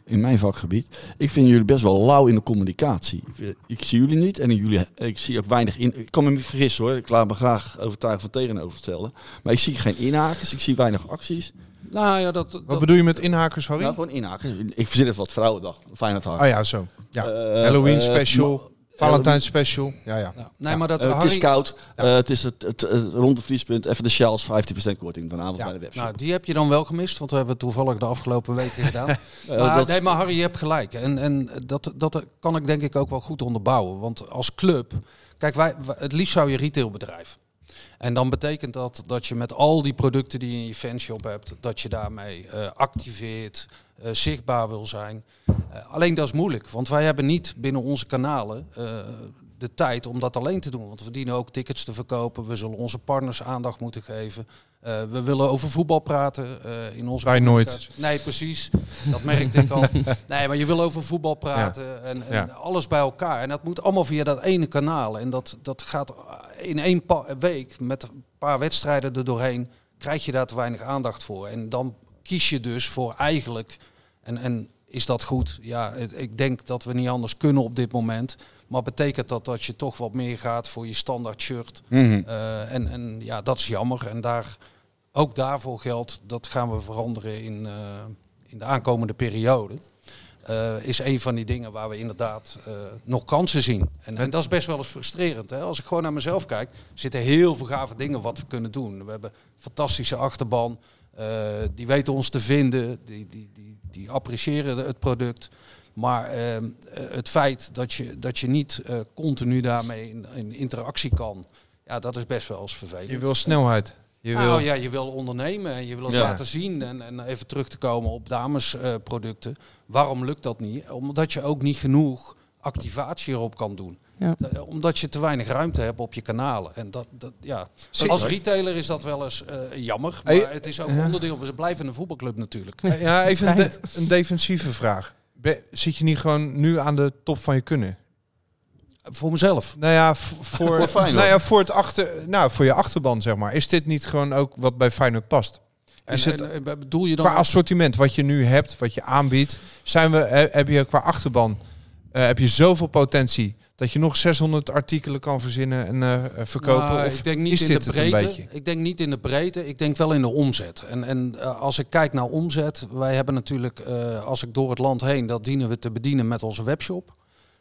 Speaker 2: in mijn vakgebied. Ik vind jullie best wel lauw in de communicatie. Ik, vind- ik zie jullie niet en in jullie, ik zie ook weinig in. Ik kan me niet vergissen hoor, ik laat me graag overtuigen van tegenoverstellen. Maar ik zie geen inhakers, ik zie weinig acties.
Speaker 7: Nou ja, dat,
Speaker 5: Wat bedoel je met inhakers, Harry?
Speaker 2: Nou, gewoon inhakers. Ik verzin even wat Vrouwendag, Feyenoord
Speaker 7: Ah,
Speaker 2: Eh,
Speaker 5: Oh ja, zo. Ja. Halloween special, Valentijn special. Ja, ja.
Speaker 7: nou, Nee, maar dat-
Speaker 2: Eh, het is
Speaker 7: Harry-
Speaker 2: koud, eh, het is het, het, eh, rond de vriespunt. Even de shells, 15% korting vanavond bij de webshop.
Speaker 7: Nou, die heb je dan wel gemist, want we hebben we toevallig de afgelopen weken gedaan. Nou, maar,
Speaker 2: Eh, dat-
Speaker 7: Nee, maar Harry, je hebt gelijk. En, en dat, dat kan ik denk ik ook wel goed onderbouwen. Want als club, kijk, wij, wij- het liefst zou je retailbedrijf. En dan betekent dat dat je met al die producten die je in je fanshop hebt, dat je daarmee eh, activeert, eh, zichtbaar wil zijn. Eh, alleen dat is moeilijk, want wij hebben niet binnen onze kanalen eh, de tijd om dat alleen te doen. Want we dienen ook tickets te verkopen, we zullen onze partners aandacht moeten geven. Eh, we willen over voetbal praten eh, in onze
Speaker 5: Wij nooit.
Speaker 7: communicatie. Nee, precies. Dat merkte ik al. Nee, maar je wil over voetbal praten en, en
Speaker 5: Ja.
Speaker 7: alles bij elkaar. En dat moet allemaal via dat ene kanaal. En dat, dat gaat in één pa- week met een paar wedstrijden er doorheen, krijg je daar te weinig aandacht voor. En dan kies je dus voor eigenlijk, en, en is dat goed? Ja, het- ik denk dat we niet anders kunnen op dit moment. Maar betekent dat dat je toch wat meer gaat voor je standaard shirt?
Speaker 2: Mhm.
Speaker 7: Eh, en, en ja, dat is jammer. En daar, ook daarvoor geldt, dat gaan we veranderen in, eh, in de aankomende periode. Eh, is een van die dingen waar we inderdaad eh, nog kansen zien. En, en dat is best wel eens frustrerend. Hè? Als ik gewoon naar mezelf kijk, zitten heel veel gave dingen wat we kunnen doen. We hebben een fantastische achterban. eh, die weten ons te vinden. Die, die, die, die appreciëren het product. Maar ehm, eh, het feit dat je, dat je niet eh, continu daarmee in, in interactie kan, ja, dat is best wel eens vervelend.
Speaker 5: Je wil snelheid. Je
Speaker 7: Nou
Speaker 5: wil...
Speaker 7: ja, je wil ondernemen en je wil het
Speaker 5: Ja.
Speaker 7: laten zien. En, en even terug te komen op damesproducten. Waarom lukt dat niet? Omdat je ook niet genoeg activatie erop kan doen.
Speaker 6: Ja.
Speaker 7: Eh, Omdat je te weinig ruimte hebt op je kanalen. En dat, dat, ja.
Speaker 5: Zie-
Speaker 7: Als retailer is dat wel eens eh, jammer. Maar
Speaker 5: Hey, eh,
Speaker 7: het is ook
Speaker 5: ja.
Speaker 7: onderdeel. We blijven een voetbalclub natuurlijk.
Speaker 5: Eh, Ja, even een, de- een defensieve vraag. Ben- zit je niet gewoon nu aan de top van je kunnen?
Speaker 7: Voor mezelf.
Speaker 5: Nou ja, v- voor,
Speaker 7: Voor Feyenoord.
Speaker 5: nou ja, voor, het achter, nou, voor je achterban, zeg maar. Is dit niet gewoon ook wat bij Feyenoord past?
Speaker 7: En-
Speaker 5: Is het,
Speaker 7: en, eh, bedoel je dan
Speaker 5: qua assortiment wat je nu hebt, wat je aanbiedt, zijn we, he- heb je qua achterban eh, heb je zoveel potentie dat je nog 600 artikelen kan verzinnen en eh, eh, verkopen?
Speaker 7: Nou,
Speaker 5: of
Speaker 7: ik denk niet
Speaker 5: is
Speaker 7: in
Speaker 5: dit
Speaker 7: de
Speaker 5: het een
Speaker 7: breedte.
Speaker 5: beetje?
Speaker 7: ik denk niet in de breedte. Ik denk wel in de omzet. En, en eh, als ik kijk naar omzet, wij hebben natuurlijk, eh, als ik door het land heen, dat dienen we te bedienen met onze webshop.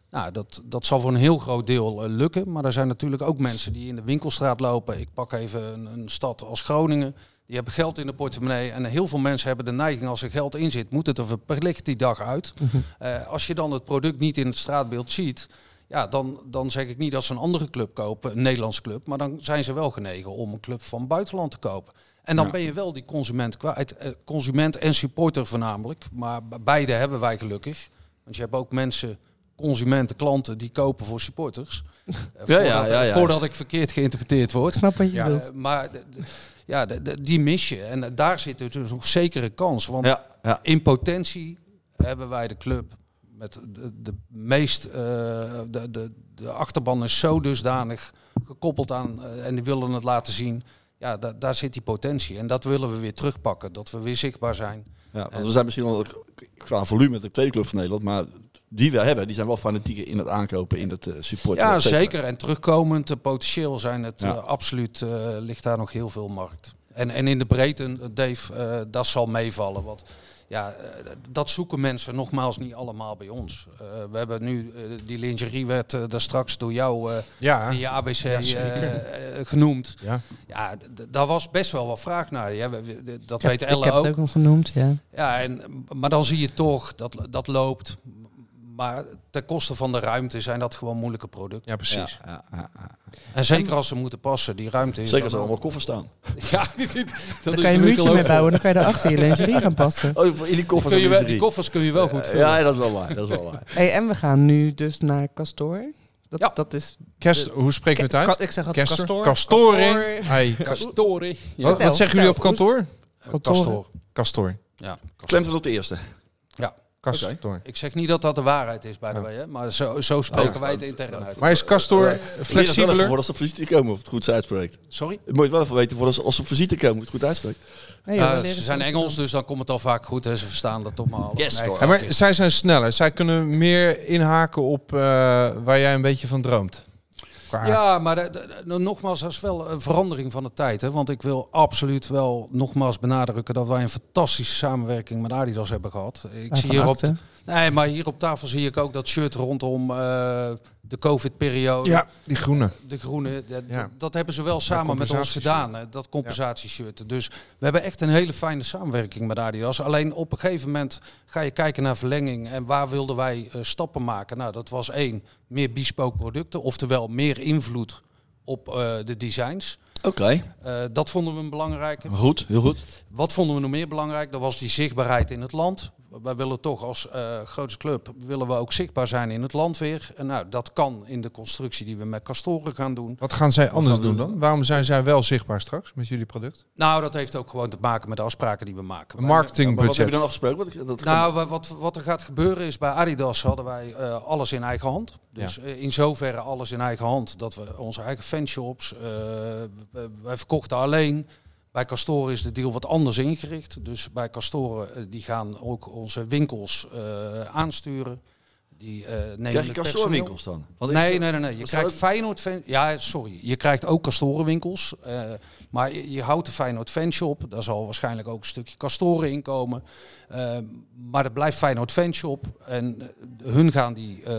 Speaker 7: Nou, dat, dat zal voor een heel groot deel eh, lukken. Maar er zijn natuurlijk ook mensen die in de winkelstraat lopen. Ik pak even een, een stad als Groningen. Die hebben geld in de portemonnee. En heel veel mensen hebben de neiging als er geld in zit, moet het er verplicht die dag uit. Eh, als je dan het product niet in het straatbeeld ziet, ja, dan, dan zeg ik niet dat ze een andere club kopen, een Nederlandse club. Maar dan zijn ze wel genegen om een club van buitenland te kopen. En dan
Speaker 15: Ja.
Speaker 7: ben je wel die consument kwijt. Eh, Consument en supporter voornamelijk. Maar be- beide hebben wij gelukkig. Want je hebt ook mensen, consumenten, klanten, die kopen voor supporters. Eh, voordat,
Speaker 2: ja, ja, ja.
Speaker 7: voordat ik verkeerd geïnterpreteerd word.
Speaker 6: snap wat je
Speaker 7: Ja,
Speaker 6: bedoelt.
Speaker 7: eh, maar d- d- ja, d- d- die mis je. En eh, daar zit dus een zekere kans. Want
Speaker 2: Ja, ja.
Speaker 7: in potentie hebben wij de club met de, de meest, eh, de, de, de achterban is zo dusdanig gekoppeld aan, eh, en die willen het laten zien. Ja, da- daar zit die potentie. En dat willen we weer terugpakken, dat we weer zichtbaar zijn.
Speaker 2: Ja, want we zijn misschien wel qua volume de tweede club van Nederland, maar die we hebben, die zijn wel fanatieken in het aankopen, in het eh, supporten.
Speaker 7: Ja,
Speaker 2: et cetera.
Speaker 7: zeker. En terugkomend, eh, potentieel zijn het
Speaker 2: Ja.
Speaker 7: eh, absoluut, eh, ligt daar nog heel veel markt. En, en in de breedte, eh, Dave, eh, dat zal meevallen. Want ja, eh, dat zoeken mensen nogmaals niet allemaal bij ons. Eh, we hebben nu, eh, die lingerie werd eh, daar straks door jou eh
Speaker 5: Ja.
Speaker 7: in je ABC
Speaker 5: Ah. Ja, zeker.
Speaker 7: eh, eh, genoemd.
Speaker 5: Ja.
Speaker 7: Ja, d- d- daar was best wel wat vraag naar. Ja, we- we- d- dat
Speaker 6: Ik heb-
Speaker 7: weet
Speaker 6: Ik
Speaker 7: Ella
Speaker 6: heb
Speaker 7: ook.
Speaker 6: het ook nog genoemd, ja.
Speaker 7: Ja, en, maar dan zie je toch dat dat loopt. Maar ten koste van de ruimte zijn dat gewoon moeilijke producten.
Speaker 5: Ja,
Speaker 2: precies.
Speaker 7: En zeker als ze moeten passen, die ruimte is.
Speaker 2: Zeker als er
Speaker 7: dan ook-
Speaker 2: allemaal koffers staan.
Speaker 7: Ja, dit- dit- dat
Speaker 6: Dan kan je een muurtje mee bouwen, dan kan je daarachter je lingerie gaan passen.
Speaker 2: Oh, in die koffers.
Speaker 7: Kun
Speaker 2: en
Speaker 7: je wel-
Speaker 2: lingerie.
Speaker 7: die koffers kun je wel goed
Speaker 2: Eh,
Speaker 7: vullen.
Speaker 2: Ja, dat is wel waar. Dat is wel waar.
Speaker 6: Hey, en we gaan nu dus naar Castor. Dat, dat is
Speaker 5: Kerst, hoe spreken we het uit?
Speaker 6: Ka- Ik zeg altijd Castor.
Speaker 5: Kastoring. Hey.
Speaker 7: Kastoring. Ja.
Speaker 5: Wat, wat
Speaker 7: Vertel,
Speaker 5: zeggen jullie op
Speaker 7: vertel.
Speaker 5: kantoor?
Speaker 7: Goed.
Speaker 5: Kastor. Kastor.
Speaker 7: Ja.
Speaker 2: Klemt het op de eerste.
Speaker 7: Ja.
Speaker 5: Kastor.
Speaker 7: Ik zeg niet dat dat de waarheid is, by the way. Hè? Maar zo, zo spreken
Speaker 2: Oh.
Speaker 7: wij het intern uit.
Speaker 5: Maar is Castor
Speaker 2: Eh, Moet je dat wel even voor als ze op visite komen of het goed uitspreekt?
Speaker 7: Sorry?
Speaker 2: Je moet je wel even weten voor als als ze op visite komen of het goed uitspreekt.
Speaker 7: Eh, ze zijn Engels, dus dan komt het al vaak goed. En ze verstaan dat toch maar. al.
Speaker 2: Yes,
Speaker 5: Ja, maar zij zijn sneller. Zij kunnen meer inhaken op eh, waar jij een beetje van droomt. Qua-
Speaker 7: Ja, maar de- de- de- nogmaals, dat is wel een verandering van de tijd. Hè? Want ik wil absoluut wel nogmaals benadrukken dat wij een fantastische samenwerking met Adidas hebben gehad. Ik
Speaker 6: Ah,
Speaker 7: zie
Speaker 6: van
Speaker 7: hier op,
Speaker 6: Akte.
Speaker 7: nee, maar hier op tafel zie ik ook dat shirt rondom eh, de COVID-periode.
Speaker 5: Ja, die groene.
Speaker 7: De groene, de-
Speaker 5: Ja.
Speaker 7: d- dat hebben ze wel samen met ons
Speaker 5: compensatieshirt.
Speaker 7: gedaan, hè, dat compensatieshirt. Dus we hebben echt een hele fijne samenwerking met Adidas. Alleen op een gegeven moment ga je kijken naar verlenging en waar wilden wij eh, stappen maken. Nou, dat was één, meer bespoke producten, oftewel meer invloed op eh, de designs.
Speaker 2: Oké.
Speaker 7: Eh, dat vonden we een belangrijke.
Speaker 2: Goed, heel goed.
Speaker 7: Wat vonden we nog meer belangrijk? Dat was die zichtbaarheid in het land. Wij willen toch als eh, grote club willen we ook zichtbaar zijn in het land weer. En nou, dat kan in de constructie die we met Castoren gaan doen.
Speaker 5: Wat gaan zij
Speaker 7: Wat
Speaker 5: anders
Speaker 7: gaan we
Speaker 5: doen dan? Waarom zijn zij wel zichtbaar straks met jullie product?
Speaker 7: Nou, dat heeft ook gewoon te maken met de afspraken die we maken.
Speaker 5: Een
Speaker 7: Wij-
Speaker 2: Maar wat
Speaker 5: marketingbudget.
Speaker 2: heb je dan afgesproken? Wat ik- dat
Speaker 7: Nou, wa- wat, wat er gaat gebeuren is, bij Adidas hadden wij eh, alles in eigen hand. Dus eh, in zoverre alles in eigen hand dat we onze eigen fanshops, eh, we- wij verkochten alleen. Bij Castoren is de deal wat anders ingericht. Dus bij Castoren eh, die gaan ook onze winkels eh, aansturen. Die, eh nemen
Speaker 2: Krijg je
Speaker 7: het
Speaker 2: Castorenwinkels dan? Want ik-
Speaker 7: Nee, nee, nee, nee. Je
Speaker 2: Wat
Speaker 7: krijgt
Speaker 2: zou-
Speaker 7: Feyenoord fan. Ja, sorry. Je krijgt ook Castorenwinkels. eh, maar je, je houdt de Feyenoord fanshop. Daar zal waarschijnlijk ook een stukje Castoren in komen. Eh, maar dat blijft Feyenoord fanshop. En eh, hun gaan die, eh,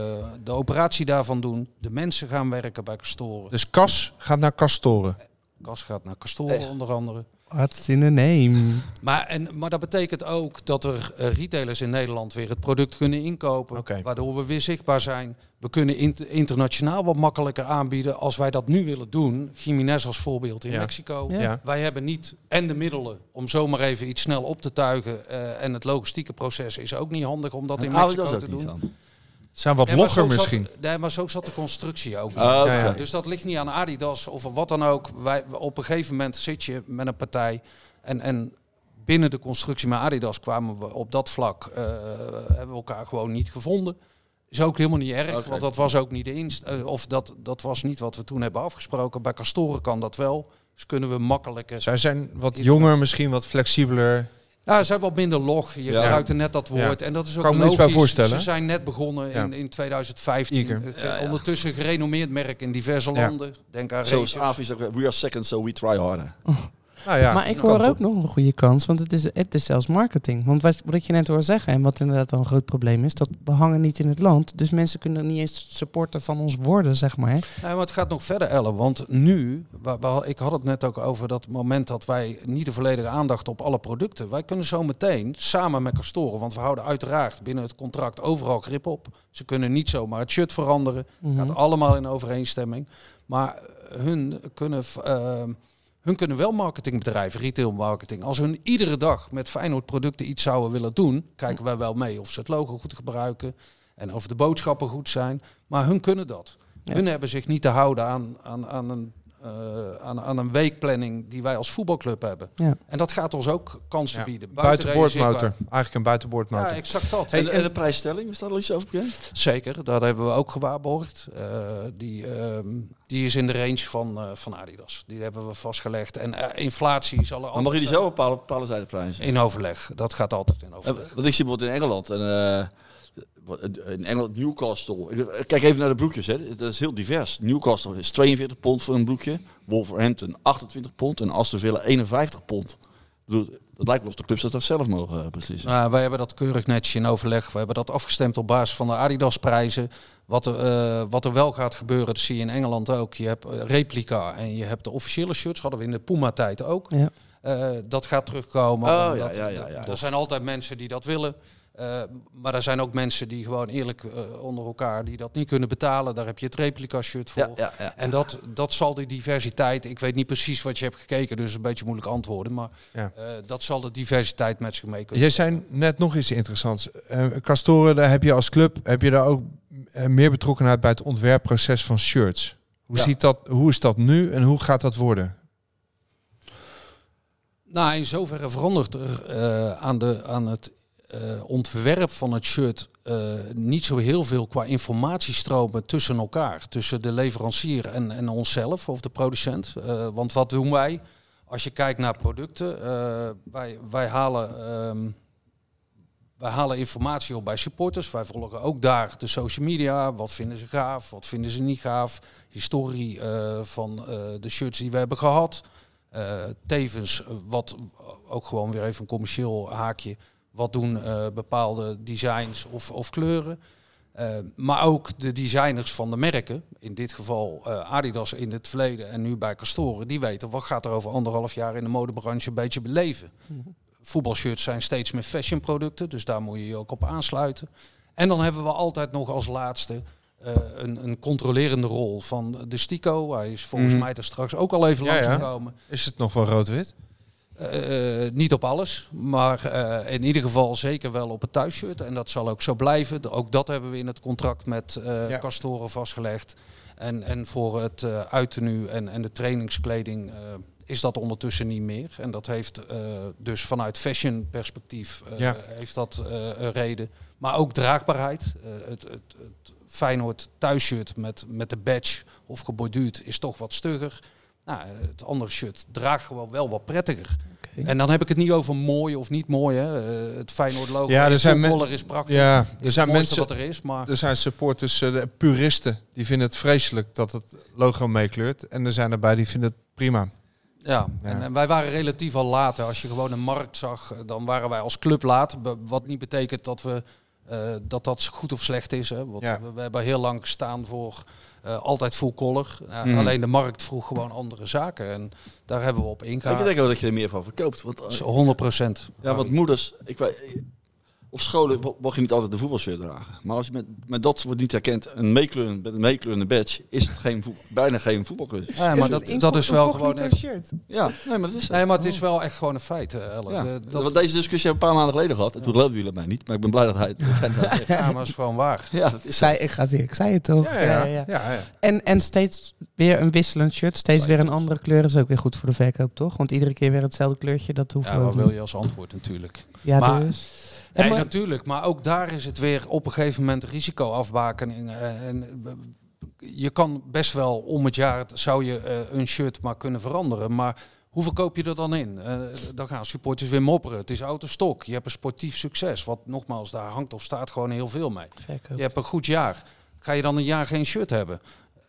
Speaker 7: de operatie daarvan doen. De mensen gaan werken bij Castoren.
Speaker 5: Dus Cas gaat naar Castoren.
Speaker 7: Kas gaat naar Castoren onder andere.
Speaker 6: What's in the name?
Speaker 7: Maar, en, maar dat betekent ook dat er eh, retailers in Nederland weer het product kunnen inkopen. Waardoor we weer zichtbaar zijn. We kunnen int- internationaal wat makkelijker aanbieden. Als wij dat nu willen doen. Jiménez als voorbeeld in
Speaker 5: Ja.
Speaker 7: Mexico.
Speaker 5: Ja. Ja.
Speaker 7: Wij hebben niet en de middelen om zomaar even iets snel op te tuigen. eh, en het logistieke proces is ook niet handig om dat
Speaker 2: En
Speaker 7: in
Speaker 2: Adidas
Speaker 7: Mexico
Speaker 2: ook
Speaker 7: te
Speaker 2: niet
Speaker 7: doen.
Speaker 2: dan?
Speaker 5: Zijn wat
Speaker 7: Nee, maar
Speaker 5: logger
Speaker 7: zo zat-
Speaker 5: misschien.
Speaker 7: nee, maar zo zat de constructie ook.
Speaker 5: Ah, oké.
Speaker 7: Ja, ja. Dus dat ligt niet aan Adidas of wat dan ook. Wij, op een gegeven moment zit je met een partij. En, en binnen de constructie met Adidas kwamen we op dat vlak. eh, hebben we elkaar gewoon niet gevonden. Is ook helemaal niet erg,
Speaker 2: Oké.
Speaker 7: want dat was ook niet de inst. eh, of dat, dat was niet wat we toen hebben afgesproken. Bij Castoren kan dat wel. Dus kunnen we makkelijker.
Speaker 5: Zij zijn wat jonger misschien, wat flexibeler.
Speaker 7: Ja, ze zijn wat minder log. Je
Speaker 5: Ja.
Speaker 7: gebruikt er net dat
Speaker 5: Ja.
Speaker 7: woord. En dat is ook
Speaker 5: Kan ik me iets
Speaker 7: logisch.
Speaker 5: bij voorstellen,
Speaker 7: Ze
Speaker 5: hè?
Speaker 7: zijn net begonnen
Speaker 5: Ja.
Speaker 7: in, in 2015.
Speaker 5: Iker.
Speaker 7: Eh, ge- Ondertussen een gerenommeerd merk in diverse
Speaker 2: Ja.
Speaker 7: landen. Denk aan
Speaker 2: Zoals
Speaker 7: Racers.
Speaker 2: Avi zegt, we are second, so we try harder.
Speaker 5: Nou
Speaker 6: maar ik hoor ook nog een goede kans, want het is, het is zelfs marketing. Want wat, wat ik je net hoor zeggen, en wat inderdaad wel een groot probleem is, dat we hangen niet in het land. Dus mensen kunnen niet eens supporter van ons worden, zeg maar. hè.
Speaker 7: Nee, maar het gaat nog verder, Ellen. Want nu, wa- wa- ik had het net ook over dat moment dat wij niet de volledige aandacht op alle producten. Wij kunnen zo meteen samen met Castoren, want we houden uiteraard binnen het contract overal grip op. Ze kunnen niet zomaar het shirt veranderen.
Speaker 6: Mhm.
Speaker 7: Gaat allemaal in overeenstemming. Maar hun kunnen, v- eh, hun kunnen wel marketingbedrijven, retail marketing. Als hun iedere dag met Feyenoord producten iets zouden willen doen, kijken wij wel mee of ze het logo goed gebruiken en of de boodschappen goed zijn. Maar hun kunnen dat.
Speaker 6: Ja.
Speaker 7: Hun hebben zich niet te houden aan, aan, aan een eh, aan, aan een weekplanning die wij als voetbalclub hebben.
Speaker 6: Ja.
Speaker 7: En dat gaat ons ook kansen bieden.
Speaker 5: Buitenboordmotor.
Speaker 7: realiseren-
Speaker 5: Eigenlijk een buitenboordmotor.
Speaker 7: Ja, exact dat. eh,
Speaker 2: en, en de prijsstelling, is daar al iets over bekend?
Speaker 7: Zeker, daar hebben we ook gewaarborgd. Eh, die, ehm, die is in de range van, eh, van Adidas. Die hebben we vastgelegd. En eh, inflatie zal er
Speaker 2: Maar mag je die
Speaker 7: altijd-
Speaker 2: zelf bepalen, bepalen zij de prijs?
Speaker 7: In overleg. Dat gaat altijd in overleg.
Speaker 2: Eh, Want ik zie bijvoorbeeld in Engeland. En, eh, wat- in Engeland, Newcastle. eh, Kijk even naar de broekjes. Hè. Dat is heel divers. Newcastle is 42 pond voor een broekje. Wolverhampton 28 pond. En Aston Villa 51 pond. Ik bedoel, het lijkt wel of de clubs dat zelf mogen eh, beslissen.
Speaker 7: Nou, wij hebben dat keurig netjes in overleg. We hebben dat afgestemd op basis van de Adidas-prijzen. Wat, er, eh, wat er wel gaat gebeuren, dat zie je in Engeland ook. Je hebt eh, replica en je hebt de officiële shirts. Hadden we in de Puma-tijd ook.
Speaker 6: Ja.
Speaker 7: Eh, dat gaat terugkomen.
Speaker 2: Oh,
Speaker 7: omdat-
Speaker 2: ja, ja, ja, ja.
Speaker 7: Er zijn altijd mensen die dat willen. Eh, maar er zijn ook mensen die gewoon eerlijk eh, onder elkaar die dat niet kunnen betalen. Daar heb je het replica shirt voor. En dat, dat zal die diversiteit. Ik weet niet precies wat je hebt gekeken, dus een beetje moeilijk antwoorden. Maar
Speaker 5: Ja.
Speaker 7: eh, dat zal de diversiteit met zich mee kunnen.
Speaker 5: Jij zei net nog iets interessants. Eh, Castoren, daar heb je als club heb je daar ook eh, meer betrokkenheid bij het ontwerpproces van shirts. Hoe,
Speaker 7: Ja.
Speaker 5: ziet dat, hoe is dat nu en hoe gaat dat worden?
Speaker 7: Nou, in zoverre verandert er eh, aan, de, aan het eh, ontwerp van het shirt eh, niet zo heel veel qua informatiestromen tussen elkaar. Tussen de leverancier en, en onszelf of de producent. Eh, want wat doen wij? Als je kijkt naar producten, eh, wij, wij, halen, ehm, wij halen informatie op bij supporters. Wij volgen ook daar de social media. Wat vinden ze gaaf, wat vinden ze niet gaaf. Historie eh, van eh, de shirts die we hebben gehad. Eh, tevens, eh, wat ook gewoon weer even een commercieel haakje. Wat doen eh, bepaalde designs of, of kleuren? Eh, maar ook de designers van de merken, in dit geval eh, Adidas in het verleden en nu bij Castoren, die weten wat gaat er over anderhalf jaar in de modebranche een beetje beleven.
Speaker 5: Mhm.
Speaker 7: Voetbalshirts zijn steeds meer fashionproducten, dus daar moet je je ook op aansluiten. En dan hebben we altijd nog als laatste eh, een, een controlerende rol van de Stico. Hij is volgens
Speaker 5: Mhm.
Speaker 7: mij er straks ook al even
Speaker 5: Ja,
Speaker 7: langs
Speaker 5: ja.
Speaker 7: gekomen.
Speaker 5: Is het nog wel rood-wit?
Speaker 7: Eh, eh, niet op alles, maar eh, in ieder geval zeker wel op het thuisshirt. En dat zal ook zo blijven. De- Ook dat hebben we in het contract met eh
Speaker 5: Ja.
Speaker 7: Castoren vastgelegd. En, en voor het eh uitenu en, en de trainingskleding eh, is dat ondertussen niet meer. En dat heeft eh, dus vanuit fashion perspectief eh,
Speaker 5: Ja.
Speaker 7: heeft dat eh, een reden. Maar ook draagbaarheid. Eh, het, het, het Feyenoord thuisshirt met, met de badge of geborduurd is toch wat stugger. Nou, het andere shirt draagt gewoon wel wat prettiger. En dan heb ik het niet over mooi of niet mooi. Hè. Eh, het Feyenoord logo
Speaker 5: Ja, er zijn men-
Speaker 7: collar is prachtig.
Speaker 5: Ja,
Speaker 7: Is
Speaker 5: er zijn
Speaker 7: het mooiste
Speaker 5: mensen-
Speaker 7: wat er is, maar
Speaker 5: Er zijn supporters, eh, de puristen, die vinden het vreselijk dat het logo meekleurt. En er zijn erbij die vinden het prima.
Speaker 7: Ja,
Speaker 5: Ja.
Speaker 7: En, en wij waren relatief al laat. hè. Als je gewoon een markt zag, eh, dan waren wij als club laat. Be- Wat niet betekent dat we eh, dat dat goed of slecht is. Hè. Want
Speaker 5: Ja.
Speaker 7: we, we hebben heel lang gestaan voor eh, altijd full collar. Ja,
Speaker 5: Mm.
Speaker 2: Mhm.
Speaker 7: Alleen de markt vroeg gewoon andere zaken. En daar hebben we
Speaker 2: Ik
Speaker 7: op
Speaker 2: denk
Speaker 7: ingehaald.
Speaker 2: wel dat je er meer van verkoopt. Want, eh,
Speaker 7: Dus 100 procent.
Speaker 2: Ja, want moeders, ik, wij- op scholen mo- mocht je niet altijd de voetbalshirt dragen. Maar als je met, met dat wordt niet herkend, een meekleuren, met een meekleurende badge, is het geen voet- bijna geen voetbalclub.
Speaker 7: Ja, maar dat, dat is wel gewoon. echt-
Speaker 2: Ja, nee, maar dat is
Speaker 7: Nee, maar het is wel echt gewoon een feit, eh, Ellen.
Speaker 2: Ja,
Speaker 7: De- dat
Speaker 2: Oh. want deze discussie hebben we een paar maanden geleden gehad. En toen geloofden jullie mij niet, maar ik ben blij dat hij het dat hij het nou zegt.
Speaker 7: ja, maar is gewoon waar.
Speaker 2: Ja, dat is
Speaker 6: Zij, ik, ga het, ik zei het toch?
Speaker 5: Ja, ja, ja, ja.
Speaker 6: En, en steeds weer een wisselend shirt, steeds weer een andere kleur is ook weer goed voor de verkoop, toch? Want iedere keer weer hetzelfde kleurtje, dat hoeven
Speaker 7: Ja,
Speaker 6: we
Speaker 7: wat
Speaker 6: ook
Speaker 7: wil
Speaker 6: niet.
Speaker 7: je als antwoord natuurlijk.
Speaker 6: Ja,
Speaker 7: maar,
Speaker 6: dus.
Speaker 7: Nee,
Speaker 6: En maar-
Speaker 7: natuurlijk. Maar ook daar is het weer op een gegeven moment risicoafbakening. En, en je kan best wel om het jaar, zou je eh, een shirt maar kunnen veranderen. Maar hoe verkoop je er dan in? Eh, dan gaan supporters weer mopperen. Het is out of stock. Je hebt een sportief succes. Wat nogmaals, daar hangt of staat gewoon heel veel mee.
Speaker 6: Verkoop.
Speaker 7: Je hebt een goed jaar. Ga je dan een jaar geen shirt hebben?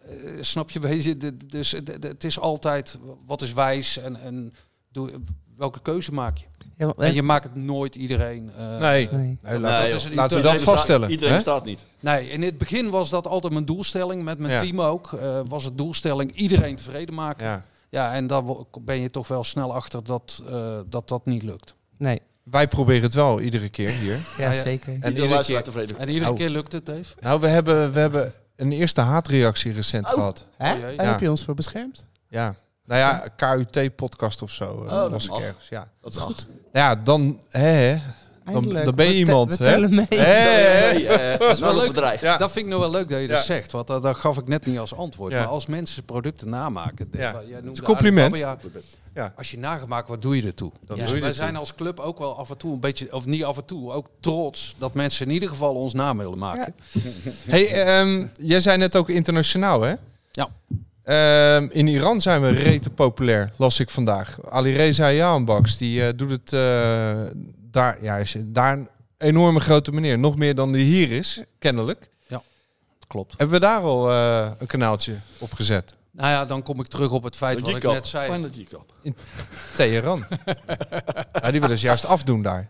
Speaker 7: Eh, snap je? Weet je, d- Dus d- d- het is altijd wat is wijs en, en doe, welke keuze maak je?
Speaker 6: Ja, want-
Speaker 7: en je maakt het nooit iedereen. eh,
Speaker 5: Nee.
Speaker 7: eh,
Speaker 5: Nee. Nee,
Speaker 7: dat
Speaker 5: laten we-
Speaker 7: is een
Speaker 5: laten we
Speaker 7: interne-
Speaker 5: dat vaststellen, Iedereen hè?
Speaker 2: staat niet.
Speaker 7: Nee, in het begin was dat altijd mijn doelstelling. Met mijn
Speaker 5: Ja.
Speaker 7: team ook. eh, was het doelstelling iedereen tevreden maken.
Speaker 5: Ja.
Speaker 7: Ja, en daar wo- ben je toch wel snel achter dat eh, dat, dat niet lukt.
Speaker 6: Nee.
Speaker 5: Wij proberen het wel iedere keer hier.
Speaker 7: Ah, Ja, zeker. Iedere luisteraar tevreden. En iedere keer lukt het, Dave?
Speaker 5: Nou, we hebben, we hebben een eerste haatreactie recent gehad.
Speaker 6: Hè? Daar heb je ons voor beschermd?
Speaker 5: Ja. Nou ja, KUT-podcast of zo. eh,
Speaker 6: Oh, dat
Speaker 5: was ik
Speaker 6: mag.
Speaker 5: ergens. Ja.
Speaker 2: Dat is goed.
Speaker 5: Nou Ja, dan, hè, hè, Dan,
Speaker 7: Eindelijk.
Speaker 5: dan ben je
Speaker 7: We te-
Speaker 5: iemand,
Speaker 7: we
Speaker 5: hè?
Speaker 7: tellen mee.
Speaker 5: Hey, hey.
Speaker 7: Dat is wel leuk.
Speaker 2: bedrijf.
Speaker 5: Ja.
Speaker 7: Dat vind ik nou wel leuk dat je dat
Speaker 5: Ja.
Speaker 7: zegt. Want dat, dat gaf ik net niet als antwoord.
Speaker 5: Ja.
Speaker 7: Maar als mensen producten namaken.
Speaker 5: Ja.
Speaker 7: Jij noemde
Speaker 5: Het is een compliment.
Speaker 7: Alibaba, ja. Als je nagemaakt, wat doe je ertoe?
Speaker 5: Dan
Speaker 7: Dus
Speaker 5: doe je
Speaker 7: wij
Speaker 5: ertoe.
Speaker 7: zijn als club ook wel af en toe een beetje, of niet af en toe, ook trots dat mensen in ieder geval ons naam willen maken.
Speaker 5: Hey, ehm, jij zei net ook internationaal, hè?
Speaker 7: Ja.
Speaker 5: Ehm, in Iran zijn we rete populair, las ik vandaag. Ali Reza Jaanbaks, die eh, doet het eh, daar, ja, is daar een enorme grote meneer. Nog meer dan die hier is, kennelijk.
Speaker 7: Ja, klopt.
Speaker 5: Hebben we daar al eh, een kanaaltje op gezet?
Speaker 7: Nou ja, dan kom ik terug op het feit
Speaker 2: Zo'n
Speaker 7: wat ik
Speaker 2: Jikko.
Speaker 7: net zei.
Speaker 2: Fijn dat Jikko.
Speaker 5: In Teheran. ja, die willen ze juist afdoen daar.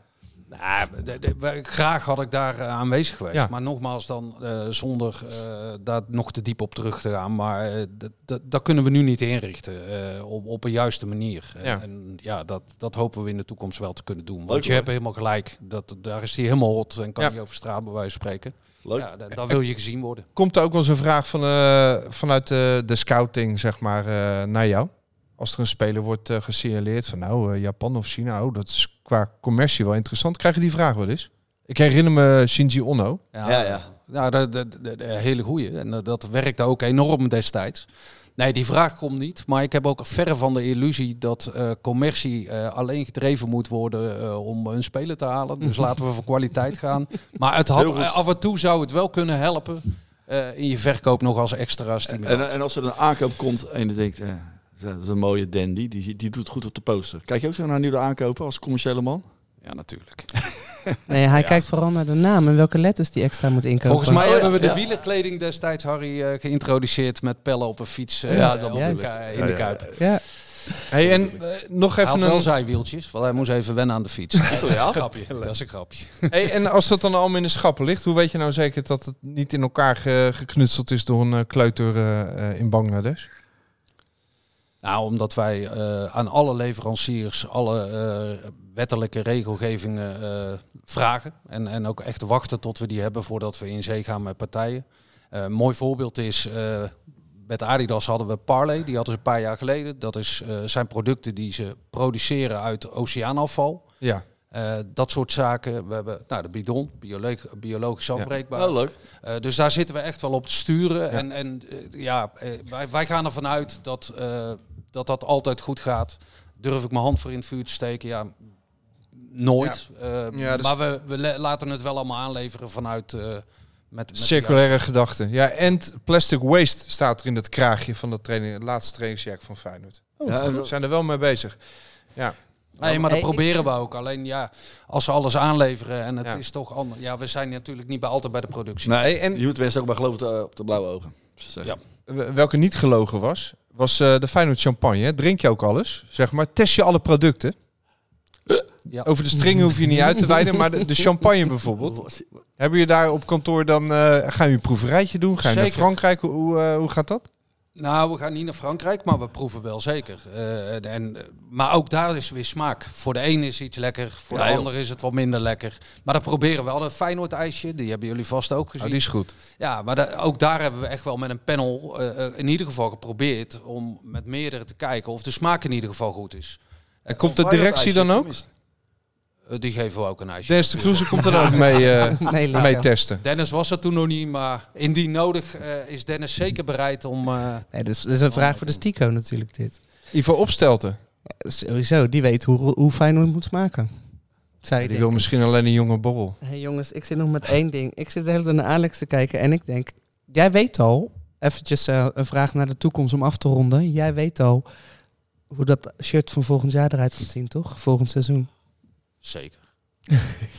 Speaker 7: Nou, de- de- we- graag had ik daar eh, aanwezig geweest.
Speaker 5: Ja.
Speaker 7: Maar nogmaals, dan eh, zonder eh, daar nog te diep op terug te gaan. Maar eh, dat- dat- dat kunnen we nu niet inrichten eh, op, op een juiste manier. En-
Speaker 5: Ja.
Speaker 7: En ja, dat, dat hopen we in de toekomst wel te kunnen doen. Want
Speaker 2: Leuk,
Speaker 7: je
Speaker 2: hoor.
Speaker 7: hebt helemaal gelijk. Dat, daar is hij helemaal hot en kan
Speaker 5: Ja.
Speaker 7: je over straat bij wijze van spreken.
Speaker 2: Leuk.
Speaker 7: Ja, da- daar wil je gezien worden.
Speaker 5: Komt er ook wel eens een vraag van, eh, vanuit eh, de scouting, zeg maar, eh, naar jou? Als er een speler wordt eh, gesignaleerd van, nou, eh, Japan of China, oh, dat is qua commercie wel interessant. Krijg je die vraag wel eens? Ik herinner me Shinji Onno.
Speaker 2: Ja, ja.
Speaker 7: Nou, dat, dat, dat- dat- hele goeie. En eh, dat, dat werkte ook enorm destijds. Nee, die vraag komt niet. Maar ik heb ook verre van de illusie dat eh, commercie eh, alleen gedreven moet worden eh, om een speler te halen. Dus laten we voor kwaliteit gaan. Maar het had,
Speaker 2: Mhm. Heel goed.
Speaker 7: eh, af en toe zou het wel kunnen helpen eh, in je verkoop nog als extra stimulans.
Speaker 2: En, en als er een aankoop komt en je denkt, eh, dat is een mooie dandy, die, zie- die doet goed op de poster. Kijk je ook zo naar nieuwe aankopen als commerciële man?
Speaker 7: Ja, natuurlijk.
Speaker 6: Nee, hij kijkt vooral naar de naam en welke letters die extra moet inkopen.
Speaker 7: Volgens mij hebben we de
Speaker 2: Ja.
Speaker 7: wielerkleding destijds, Harry, eh, geïntroduceerd met pellen op een fiets eh,
Speaker 2: Ja, dat
Speaker 7: op de
Speaker 2: bedoel ik.
Speaker 7: ka- in
Speaker 2: Ja,
Speaker 7: de
Speaker 2: ja,
Speaker 7: Kuip.
Speaker 6: Ja.
Speaker 5: Hey, en eh, nog
Speaker 7: Hij had
Speaker 5: even
Speaker 7: wel
Speaker 5: een...
Speaker 7: zijwieltjes, want hij moest even wennen aan de fiets. Nee, dat is
Speaker 2: Ja?
Speaker 7: een grapje. Dat is een grapje.
Speaker 5: Hey, en als dat dan allemaal in de schappen ligt, hoe weet je nou zeker dat het niet in elkaar ge- geknutseld is door een eh, kleuter eh, eh, in Bangladesh?
Speaker 7: Nou, omdat wij eh, aan alle leveranciers alle eh, wettelijke regelgevingen eh, vragen. En, en ook echt wachten tot we die hebben voordat we in zee gaan met partijen. Eh, een mooi voorbeeld is, eh, met Adidas hadden we Parley. Die hadden ze een paar jaar geleden. Dat is, eh, zijn producten die ze produceren uit oceaanafval.
Speaker 5: Ja.
Speaker 7: Eh, dat soort zaken. We hebben nou, de bidon, biolo- biologisch afbreekbaar.
Speaker 2: Oh, leuk.
Speaker 7: Eh, dus daar zitten we echt wel op te sturen. En, en eh, ja, eh, wij, wij gaan ervan uit dat, eh, dat dat altijd goed gaat. Durf ik mijn hand voor in het vuur te steken? Ja, nooit. Eh,
Speaker 5: Ja, dus-
Speaker 7: Maar we, we le- laten het wel allemaal aanleveren vanuit... eh, met, met de
Speaker 5: Circulaire gedachten. Ja, en t- plastic waste staat er in dat kraagje van dat training, het laatste trainingsjack van Feyenoord.
Speaker 7: Oh,
Speaker 2: Ja,
Speaker 5: We
Speaker 2: dat-
Speaker 5: zijn er wel mee bezig. Ja.
Speaker 7: Nee, maar dat
Speaker 6: Hey, ik-
Speaker 7: proberen we ook. Alleen ja, als ze alles aanleveren en het
Speaker 5: Ja.
Speaker 7: is toch anders. Ja, we zijn natuurlijk niet bij, altijd bij de productie.
Speaker 5: Hey, en
Speaker 2: Je moet mensen ook maar geloven op de- op de blauwe ogen. ze zeggen.
Speaker 5: w- welke niet gelogen was, was eh, de Feyenoord champagne. hè? Drink je ook alles, zeg maar. Test je alle producten.
Speaker 7: Ja.
Speaker 5: Over de string hoef je niet uit te wijden, maar de, de champagne bijvoorbeeld. Hebben je daar op kantoor dan, eh gaan je een proeverijtje doen? Ga je naar
Speaker 7: Zeker.
Speaker 5: Frankrijk? Hoe- Hoe, eh, hoe gaat dat?
Speaker 7: Nou, we gaan niet naar Frankrijk, maar we proeven wel zeker. Eh, en- en, eh, maar ook daar is weer smaak. Voor de een is iets lekker, voor
Speaker 2: Ja,
Speaker 7: de
Speaker 2: joh.
Speaker 7: ander is het wat minder lekker. Maar dat proberen we. al. Een Feyenoord-ijsje, die hebben jullie vast ook gezien.
Speaker 5: Nou, die is goed.
Speaker 7: Ja, maar da- ook daar hebben we echt wel met een panel eh, eh, in ieder geval geprobeerd... om met meerdere te kijken of de smaak in ieder geval goed is.
Speaker 5: En komt de directie dan ook?
Speaker 7: Eh, die geven we ook een ijsje.
Speaker 5: Dennis de Kroeze komt dan ook mee, eh,
Speaker 6: Nee, Leo.
Speaker 5: mee testen.
Speaker 7: Dennis was dat toen nog niet, maar indien nodig eh, is Dennis zeker bereid om... eh,
Speaker 6: Nee, dus, dus een vraag voor de Stico natuurlijk dit.
Speaker 5: Ivo Opstelten.
Speaker 6: Ja, Sowieso, die weet hoe, hoe Feyenoord moet smaken. Zou je
Speaker 5: Die
Speaker 6: denken.
Speaker 5: wil misschien alleen een jonge borrel.
Speaker 6: Hé jongens, ik zit nog met één ding. Ik zit de hele tijd naar Alex te kijken en ik denk, jij weet al, eventjes eh, een vraag naar de toekomst om af te ronden. Jij weet al hoe dat shirt van volgend jaar eruit gaat zien, toch? Volgend seizoen.
Speaker 7: Zeker.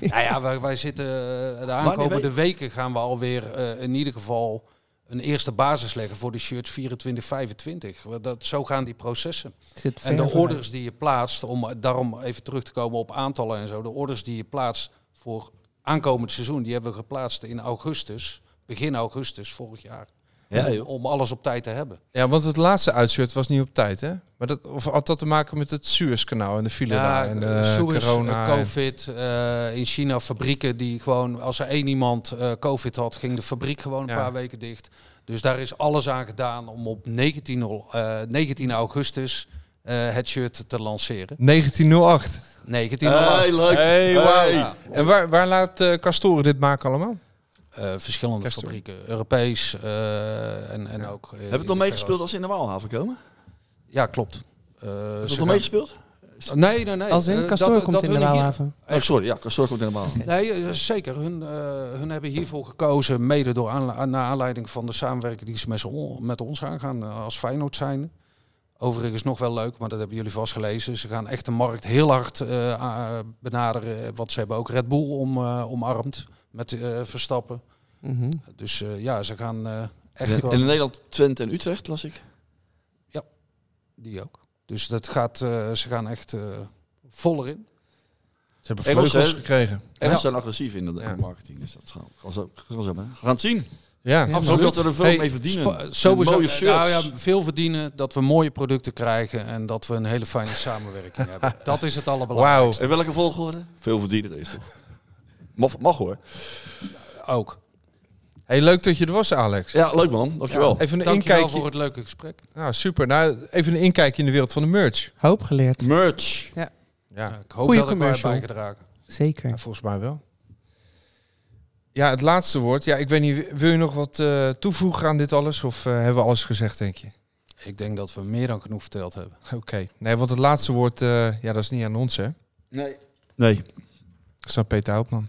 Speaker 7: nou ja, wij, wij zitten eh, de
Speaker 2: Wanneer
Speaker 7: aankomende weken gaan we alweer eh, in ieder geval een eerste basis leggen voor de shirts 24, 25. Want Dat, zo gaan die processen.
Speaker 6: Het Zit ver
Speaker 7: En de
Speaker 6: vanuit.
Speaker 7: orders die je plaatst, om eh, daarom even terug te komen op aantallen en zo. De orders die je plaatst voor aankomend seizoen, die hebben we geplaatst in augustus, begin augustus vorig jaar.
Speaker 2: Ja,
Speaker 7: Om-
Speaker 2: joh.
Speaker 7: om alles op tijd te hebben.
Speaker 5: Ja, want het laatste uitshirt was niet op tijd, hè? Maar dat, of had dat te maken met het Suezkanaal en de file daar en
Speaker 7: eh,
Speaker 5: de
Speaker 7: Suez,
Speaker 5: corona?
Speaker 7: eh,
Speaker 5: en-
Speaker 7: COVID. eh, in China fabrieken die gewoon, als er één iemand eh, COVID had, ging de fabriek gewoon een
Speaker 5: Ja.
Speaker 7: paar weken dicht. Dus daar is alles aan gedaan om op 19, al- eh, 19 augustus eh, het shirt te lanceren.
Speaker 5: 1908.
Speaker 2: Eh,
Speaker 7: 1908.
Speaker 5: Hey, leuk. Hey,
Speaker 7: wauw.
Speaker 5: hey. En waar, waar laat eh Castoren dit maken allemaal?
Speaker 7: Eh, verschillende
Speaker 5: Castoren.
Speaker 7: fabrieken, Europees eh, en, en ook... eh,
Speaker 2: Heb je het
Speaker 7: in
Speaker 2: nog
Speaker 7: de
Speaker 2: meegespeeld
Speaker 7: Verhoogd.
Speaker 2: als ze in de Waalhaven komen?
Speaker 7: Ja, klopt. Eh,
Speaker 2: Heb je
Speaker 7: ze
Speaker 2: het nog
Speaker 7: gaan-
Speaker 2: meegespeeld?
Speaker 7: Nee, nee, nee.
Speaker 6: Als in,
Speaker 7: Eh,
Speaker 6: Castor
Speaker 7: dat-
Speaker 6: komt
Speaker 7: dat
Speaker 6: in
Speaker 7: wil
Speaker 6: de
Speaker 7: ik hier-
Speaker 6: Waalhaven.
Speaker 2: Oh, sorry, ja, Castor komt in de Waalhaven.
Speaker 7: Nee, eh, zeker. Hun, eh, hun hebben hiervoor gekozen, mede door aanla- naar aanleiding van de samenwerking die ze met, z'n on- met ons aangaan eh, als Feyenoord zijn. Overigens nog wel leuk, maar dat hebben jullie vast gelezen. Ze gaan echt de markt heel hard eh, a- benaderen. eh, Want ze hebben ook Red Bull om, eh, omarmd met eh, Verstappen.
Speaker 6: Mhm.
Speaker 7: Dus eh, ja, ze gaan eh, echt
Speaker 2: En-
Speaker 7: wel-
Speaker 2: en in Nederland Twente en Utrecht las ik.
Speaker 7: Die ook. Dus dat gaat, eh, ze gaan echt eh vol erin.
Speaker 5: Ze hebben
Speaker 2: Engels,
Speaker 5: vleugels
Speaker 2: hè?
Speaker 5: gekregen.
Speaker 2: En
Speaker 7: Ja.
Speaker 2: ze zijn agressief in de
Speaker 5: Ja.
Speaker 2: marketing. Dus dat gaan we zo- gaan we zo hebben. We gaan het zien.
Speaker 5: Ja,
Speaker 2: absoluut.
Speaker 5: absoluut.
Speaker 2: dat we er veel
Speaker 5: Hey,
Speaker 2: mee verdienen.
Speaker 7: Spa- Sowieso,
Speaker 2: mooie
Speaker 7: eh,
Speaker 2: shirts.
Speaker 7: Nou ja, veel verdienen, dat we mooie producten krijgen en dat we een hele fijne samenwerking hebben. Dat is het allerbelangrijkste.
Speaker 2: En welke volgorde? Veel verdienen deze toch? Mag, mag hoor.
Speaker 7: Ook.
Speaker 5: Hey, leuk dat je er was, Alex.
Speaker 2: Ja, leuk man. Dankjewel.
Speaker 5: Ja, even een
Speaker 7: Dankjewel
Speaker 5: inkijkje.
Speaker 7: voor het leuke gesprek.
Speaker 5: Nou, super. Nou, even een inkijkje in de wereld van de merch.
Speaker 6: Hoop geleerd.
Speaker 2: Merch.
Speaker 6: Ja.
Speaker 5: Ja.
Speaker 7: Ik hoop
Speaker 6: Goeie
Speaker 7: dat ik wij
Speaker 6: commercial.
Speaker 7: bijgedragen.
Speaker 6: Zeker.
Speaker 5: Ja, volgens mij wel. Ja, het laatste woord. Ja, ik weet niet, wil je nog wat eh, toevoegen aan dit alles? Of eh, hebben we alles gezegd, denk je?
Speaker 7: Ik denk dat we meer dan genoeg verteld hebben.
Speaker 5: Oké. Nee, want het laatste woord, eh, ja, dat is niet aan ons, hè?
Speaker 2: Nee. Nee.
Speaker 5: Dat is aan Peter Houtman.